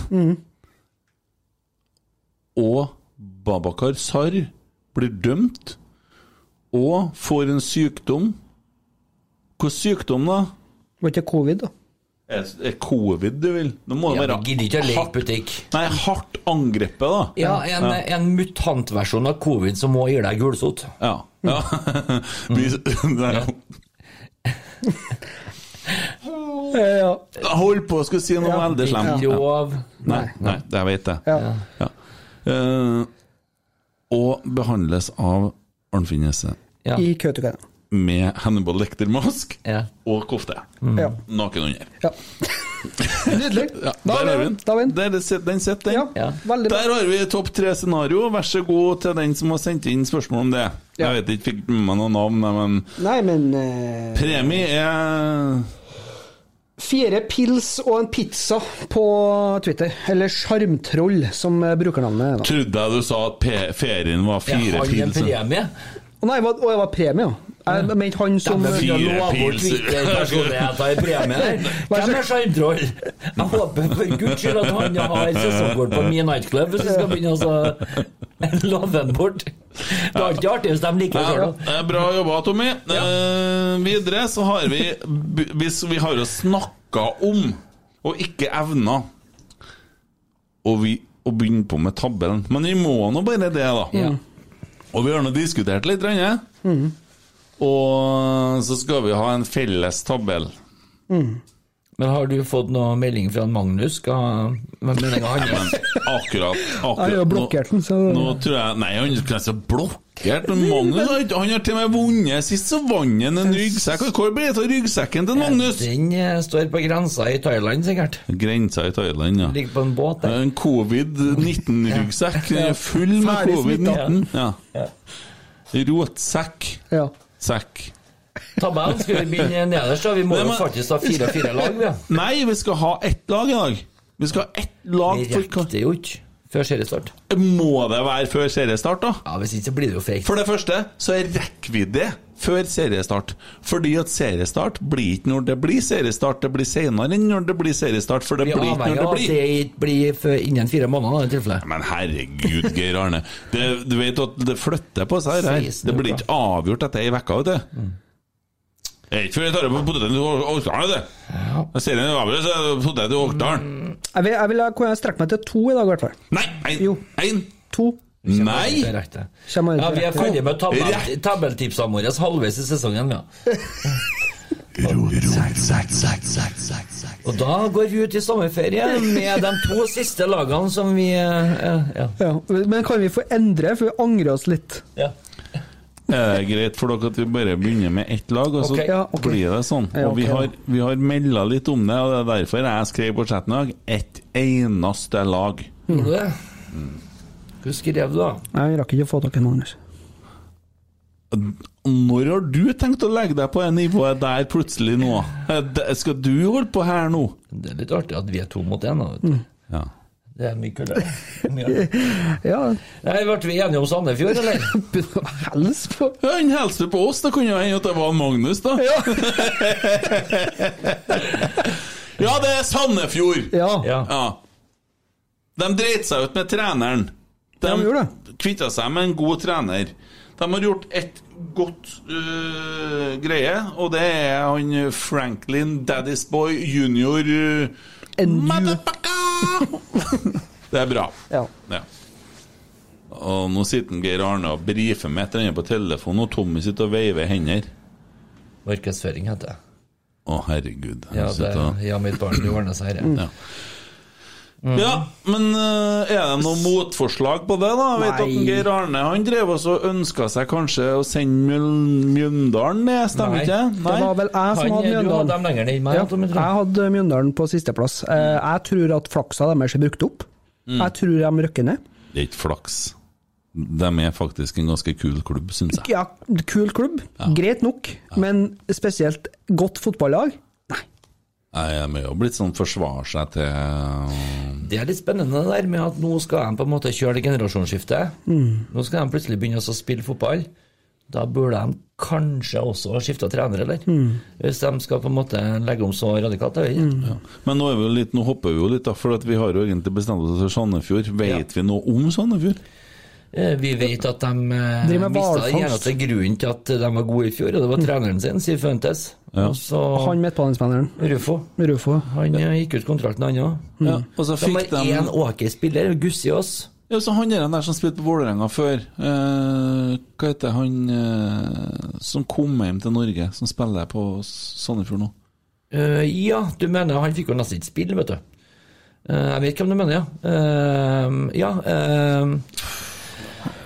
Og Babakar Sarr blir dømt og får en sykdom. Hva sykdom, da?
Var ikke covid, da?
Er er Eh, covid du vil? Det må
Ja,
det
vi gidder ikke å
være
leke
hardt,
butikk.
nei, hardt angrepet, da.
Ja, en, en mutantversjon av covid som må gi deg gulsott.
Ja. ja.
Mm.
Vi, nei,
Eh, Ja.
Jeg holdt på å skulle si noe
Ja,
veldig slemt. Ja.
Grov
Nei, nei, det jeg vet jeg.
ja.
Ja. Eh, og behandles av Arnfinn Gjesse
Ja.
I Kautokeino.
med Hannibal Lecter-mask
Ja.
og kofte.
Ja.
Naken under.
ja. Nydelig.
Ja, der
Da er
har
vi
vi den.
Da er vi den.
Der er det set- Den sitter, den.
Ja, veldig bra.
Der har vi topp tre scenario. Vær så god til den som har sendt inn spørsmål om det.
Ja.
Jeg vet ikke, fikk med meg noen navn, nei, men
Nei, men eh,
premie er
Fire pils og en pizza på Twitter. Eller Sjarmtroll, som eh, brukernavnet er. da.
Trodde jeg du sa at pe- ferien var
Jeg
fire
har en
pilser.
premie.
Å nei, hva- å, det var premie, ja. Jeg mente han som
Dæven,
Fire
jeg lover bort
pilser.
Twitter-personlighet av en premie der.
Vær så-
Hvem er sjarmtroll? Jeg håper for guds skyld at han har sesongkort på min nightclub, hvis vi skal begynne å så love han bort. Det er alltid artig hvis de liker det
Ja,
sjøl.
det er bra jobba, Tommy. Eh, videre så har vi b- Hvis vi har jo snakka om, og ikke evna, og vi å begynne på med tabellen Men vi må nå bare det, da. Og vi har nå diskutert litt. Rønne.
Mm.
Og så skal vi ha en felles tabell.
Men har du fått noe melding fra Magnus? Skal med meldinga
Men
hans?
akkurat, akkurat
Jeg har blokkert den, så-
nå, nå tror jeg Nei, han kan ikke blokkert men Magnus har ikke Han har til og med vunnet. Sist så vant han en ryggsekk. Og Hvor ble det av ryggsekken til Magnus?
Den eh, står på grensa i Thailand, sikkert.
Grensa i Thailand, ja.
Ligger på en båt der.
En covid-19-ryggsekk. Den er full med
Ferdig
covid-19. Ja. Rotsekk.
Ja.
Sekk.
Tabellen skal vi begynne nederst, da. Vi må
Nei,
jo
men-
faktisk ha fire-fire lag, vi.
Nei, vi skal ha ett lag i dag! Vi skal ha ett lag
Vi
for
rekker jo ikke før seriestart.
Må det være før seriestart, da?
Ja, Hvis ikke så blir det jo fake.
For det første så rekker vi det før seriestart. Fordi at seriestart blir ikke når det blir seriestart, det blir seinere enn når det blir seriestart. For det
Vi er
blir ikke
avhengig
når det
av at
blir.
det ikke blir før innen fire måneder. da, i tilfelle.
Men herregud, Geir Arne. Det, du vet at det flytter på seg her. her.
16
Det blir ikke avgjort etter ei uke, vet
Mm.
du. Det er ikke før jeg tar opp poteten til Orkdalen, vet du. Jeg ser en avgjørelse, så er det poteten til Orkdalen.
Mm.
Jeg vil, jeg vil kunne jeg strekke meg til to i dag, i hvert fall.
Nei!
Jo.
Én!
To.
Nei!
Det er rett, det.
Kommer jeg
Ja,
til
Vi er
rett.
ferdig med tabell,
Rett.
tabelltipsene våre halvveis i sesongen. Ja. Og da går vi ut i sommerferie med de to siste lagene som vi eh, Ja.
Ja. Men kan vi få endre, for vi angrer oss litt.
ja.
Er det Eh, greit for dere at vi bare begynner med ett lag, og så
Ok.
Ja, ok.
blir det sånn?
Ja,
Og vi
ok,
har,
da.
vi har melda litt om det, og det er derfor jeg skrev på chatten i dag ett eneste lag.
Gjorde du det? Hva skrev du, da?
Nei, vi rakk ikke å få tak i noen, Anders.
Når har du tenkt å legge deg på det nivået der plutselig nå? Eh, det- Skal du holde på her nå?
Det er litt artig at vi er to mot én, da. vet du.
Ja.
Det er mye kulere. Mye.
ja.
Nei, Ble vi enige om Sandefjord, eller?
Hels på
Han hilste på oss, det kunne jo hende at det var en Magnus, da. Ja, det er Sandefjord!
Ja.
De dreit seg ut med treneren. De, kvitta seg med en god trener. De har gjort et godt øh, greie, og det er han Franklin Daddy's Boy junior øh, Motherfucker! Det er bra.
Ja.
Ja. Og nå sitter en Geir Arne og brifer med etter på telefonen, og Tommy sitter og veiver hender.
Markedsføring heter det.
Å, herregud. Han
Ja, det,
sitter og-
ja, mitt barn, det ordner seg her.
Ja.
ja.
Mm. ja, men eh, er det noe motforslag på det, da? Jeg vet at
Nei.
en Geir Arne han drev også og ønska seg kanskje å sende Mjøl- Mjøndalen ned, stemmer ikke det?
Det var vel jeg som hadde Mjøndalen. Ja, jeg hadde Mjøndalen på sisteplass. Eh, Jeg tror at flaksa deres er brukt opp.
Mm.
Jeg tror de rykker ned.
Det er ikke flaks. De er faktisk en ganske kul klubb, syns jeg.
Ja, kul klubb, greit nok, men spesielt godt fotballag.
Jeg er med og blitt sånn forsvare seg til
Det er litt spennende det der med at nå skal de på en måte kjøre det generasjonsskiftet.
Mm.
Nå skal de plutselig begynne å spille fotball. Da burde de kanskje også ha skifta trener, eller?
Mm.
Hvis de skal på en måte legge om så radikalt. Jeg vet ikke.
Ja. Men nå, er vi jo litt, nå hopper vi jo litt, da, for at vi har jo egentlig bestemt oss for Sandefjord. Vet vi noe om Sandefjord?
Eh, Vi vet at de eh,
Driver
mistet
med
den
hvalfangst. Mm.
eneste grunnen til at de var gode i fjor, og det var treneren sin, Siv Fuentes.
Ja.
Og så
Han midtbanespilleren.
Rufo.
Rufo.
Han eh, gikk ut kontrakten, han òg.
Ja, og så
de
fikk
har
de-
én Åker-spiller, Gussi Aas.
Ja, så Han er den der som spilte på Vålerenga før. Eh, hva heter han eh, som kom hjem til Norge, som spiller på Sandefjord nå?
Eh, ja, du mener han fikk jo nesten ikke spille, vet du. Eh, jeg vet ikke om du mener, ja. Eh, ja,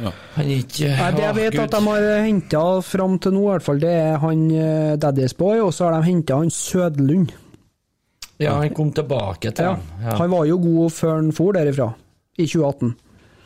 eh, Han er ikke
Nei, det jeg
Åh,
vet
Gud.
at de har henta fram til nå, i hvert fall, det er han eh, Daddy's Boy, og så har de henta han Sødlund.
Ja, han kom tilbake til
Ja.
dem. Ja.
Han var jo god før han for derifra, i 2018.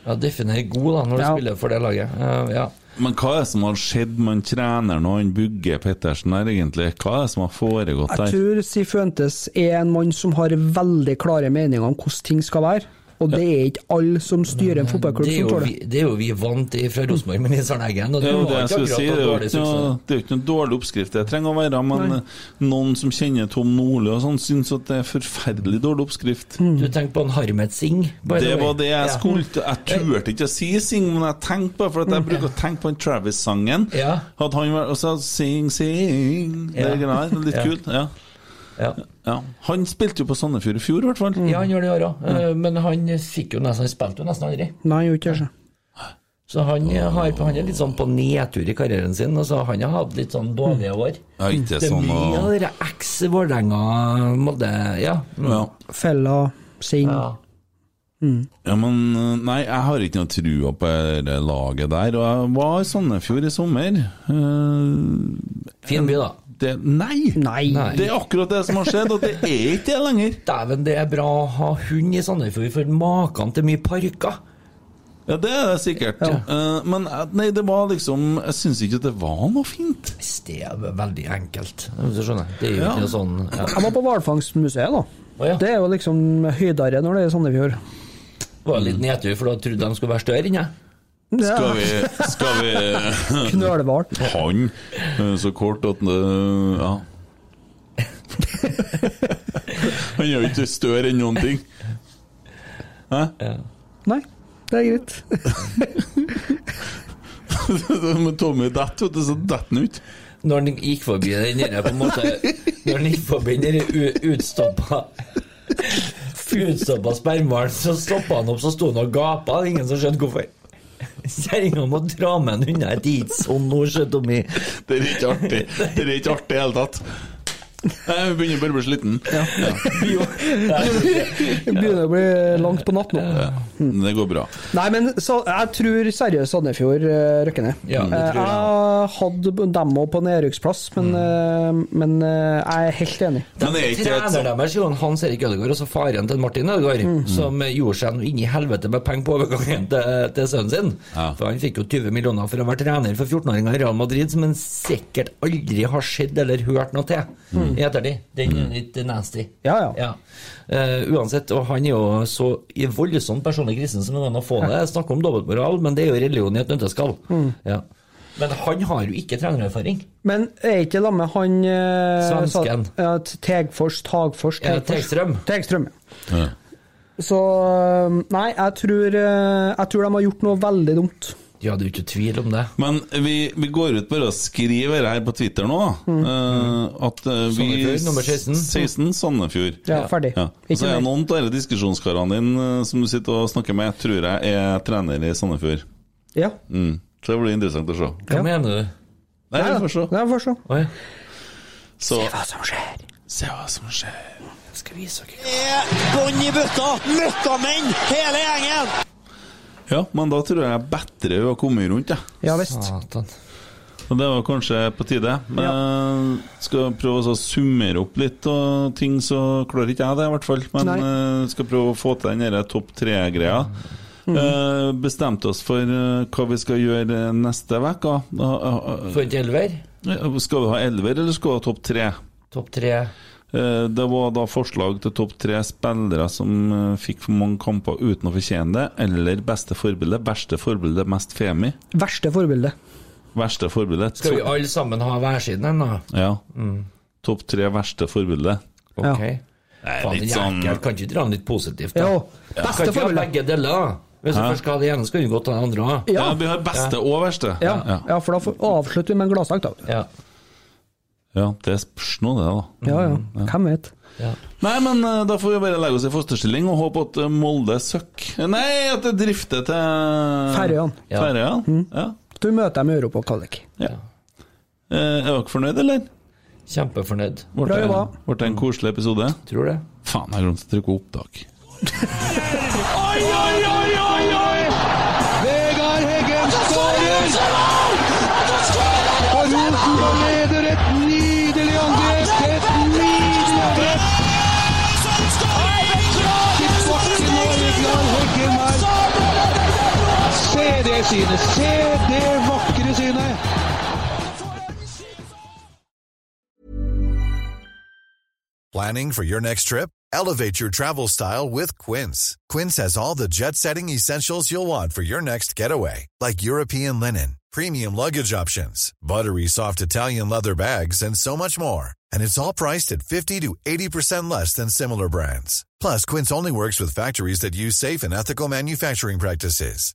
ja, definer god, da, når du spiller for det laget. Eh, ja.
Men hva er det som har skjedd med han treneren og han Bugge Pettersen der, egentlig? Hva er det som har foregått
Jeg
der?
tror Sifuentes er en mann som har veldig klare meninger om hvordan ting skal være, og det er ikke alle som styrer en fotballklubb
Det er,
som
jo
tåler
vi,
det.
det er jo vi vant til fra Rosenborg med Nils Arne Eggen. Og
Det
det
er jo det
var
jeg
ikke
skulle
akkurat
si, det er jo
noe dårlig suksess.
ikke noe, det er jo ikke noe dårlig oppskrift det trenger å være, men
Nei.
eh, noen som kjenner Tom Nordli og sånn, syns at det er forferdelig dårlig oppskrift.
Du tenker på en Harmet Singh? by the
Det
way.
var det jeg
Ja.
skulle til. Jeg turte ikke å si Sing, men jeg tenkte på det, for at jeg bruker å tenke på den Travis-sangen.
Mm. Ja.
At han var Og så Sing, sing Det
Ja.
er greit, det er
Ja.
litt kult. Ja. Ja. Han spilte jo på Sandefjord i fjor, i hvert fall.
Mm. Ja, han gjør det i år òg, men han fikk jo nesten Han spilte jo nesten aldri.
Nei, han gjorde ikke altså. det.
Så han, har, han er litt sånn på nedtur i karrieren sin. Altså, han har hatt litt sånn dårlige år.
Ja, ikke
det er
sånn
mye
å-
av dere eks Vålerenga Molde ja.
Fella, Sing. Mm.
Ja, men eh, nei, jeg har ikke noe trua på det laget der. Og jeg var i Sandefjord i sommer. Eh,
fin by, da.
Det, nei. Det er akkurat det som har skjedd, og det er ikke det lenger.
Dæven, det er bra å ha hund i Sandefjord, for maken til mye parker.
Ja, det er det sikkert. Eh, men eh, nei, det var liksom Jeg syns ikke at det var noe fint.
Det er veldig enkelt. Hvis du skjønner. Det er jo
Ja.
ikke noe sånn
Jeg
ja.
var på hvalfangstmuseet, da. Det er jo liksom høydere når det er Sandefjord.
Det var litt nedtur, for da trodde de skulle være større enn jeg.
Skal vi, skal vi
Knølhval.
Han eh, så kort at eh, Ja. Han er jo ikke større enn noen ting. Hæ?
Nei, det er greit.
Men Tommy detter, vet du, så detter han ut.
Når han gikk forbi den der på en måte Når han gikk forbi den der u- utstoppa Utstoppa spermhvalen, så stoppa han opp, så sto han og gapa. Ingen som skjønte hvorfor. Kjerringa må dra med han unna. Det er ikke sånn nå, sjø, Tommy.
Det er ikke artig. Det er ikke artig i det hele tatt. Nei, vi begynner bare å bli sliten.
Det begynner å bli langt på natt nå.
Det går bra.
Nei, men så, jeg tror seriøst Sandefjord eh, rykker ned.
Ja, det
Eh,
tror jeg.
jeg hadde b- dem òg på nedrykksplass, men,
Mm.
eh, men eh, jeg er helt enig.
Treneren deres er jo en Hans Erik Ødegaard, altså faren til Martin Ødegaard,
Mm.
som gjorde seg noe inn i helvete med penger på overgangen til, til sønnen sin. For Han fikk jo 20 millioner for å være trener for 14-åringer i Real Madrid, som han sikkert aldri har sett eller hørt noe til
Mm.
i ettertid. Den er litt nasty. Ja. Eh, uansett, og han er jo så i voldsomt personlig kristen som noen gang å få det. Jeg snakker om dobbeltmoral, men det er jo religion i et nøtteskall. Ja. Men han har jo ikke trenererfaring.
Men er ikke det med han eh,
Svensken.
sa- ja, T- Tegfors, Tagfors
Ja,
Tegfors.
Tegstrøm.
Tegstrøm, ja. Så eh, Nei, jeg tror, eh, jeg tror de har gjort noe veldig dumt.
Ja, det er jo ikke tvil om det.
Men vi, vi går ut bare og skriver her på Twitter nå, da.
Mm.
eh, at eh, vi
Sandefjord, nummer Mm. 16.
16, Sandefjord.
Ja, ferdig.
Og Så
Ikke
er
mer.
noen av disse diskusjonskarene dine eh, som du sitter og snakker med, tror jeg er trener i Sandefjord.
Ja.
Mm. Så det blir interessant å se.
Hva mener du?
Nei, vi får se.
Nei, vi får se.
Så,
Se hva som skjer.
Se hva som skjer.
Skal vise dere.
Bånn i bøtta! Møkkamenn, hele gjengen!
Ja, men da tror jeg bedre vi har kommet rundt, jeg.
Ja visst.
Og det var kanskje på tide. Men skal prøve å summere opp litt og ting, så klarer ikke jeg det, i hvert fall. Men eh, skal prøve å få til den derre topp tre-greia. Eh, bestemte oss for eh, hva vi skal gjøre neste uke.
Få en elver?
eh, Skal vi ha elver, eller skal vi ha topp tre?
Topp tre.
Eh, Det var da forslag til topp tre spillere som eh, fikk for mange kamper uten å fortjene det, eller beste forbilde. Verste forbilde, mest femi.
Verste forbilde.
Verste forbilde.
Skal vi alle sammen ha hver sin en, da?
Ja.
Mm.
Topp tre verste forbilde.
Ok.
Nei,
Faen,
litt
det er
sånn-
jækla- Kan ikke dra den litt positivt, da?
Jo,
Ja.
beste
Kan ikke ha
forbilde.
begge deler, da. Hvis du
Hæ?
først skal ha det ene, skal du godt ha det andre òg.
Ja, vi har beste og verste.
Ja, ja. for da får- avslutter vi med en gladsak, da.
Ja.
Ja, det spørs nå, det, da.
Ja, Mm, ja. Hvem vet?
Nei, men eh, da får vi bare legge oss i fosterstilling og håpe at eh, Molde søkker Nei, at det drifter til
Færøyene.
Ja. Færøyene.
Mm.
Ja.
Du møter dem i Europa, Kallik.
Eh, Er dere fornøyd, eller?
Kjempefornøyd.
Ble
Bra
det-
jobba.
ble det en koselig episode?
Tror det.
Faen, jeg glemte å trykke opptak.
Oi, oi, oi, oi, oi! Vegard Heggen skårer! Og Rosenborg leder et nydelig angrep! Et nydelig angrep! Tilbake nå, Vegard Heggen her. Se det synet! Se det vakre synet!
Planning for your next trip? Elevate your travel style with Quince. Quince has all the jet setting essentials you'll want for your next getaway, like European linen, premium luggage options, buttery soft Italian leather bags, and so much more. And it's all priced at 50 to 80% less than similar brands. Plus, Quince only works with factories that use safe and ethical manufacturing practices.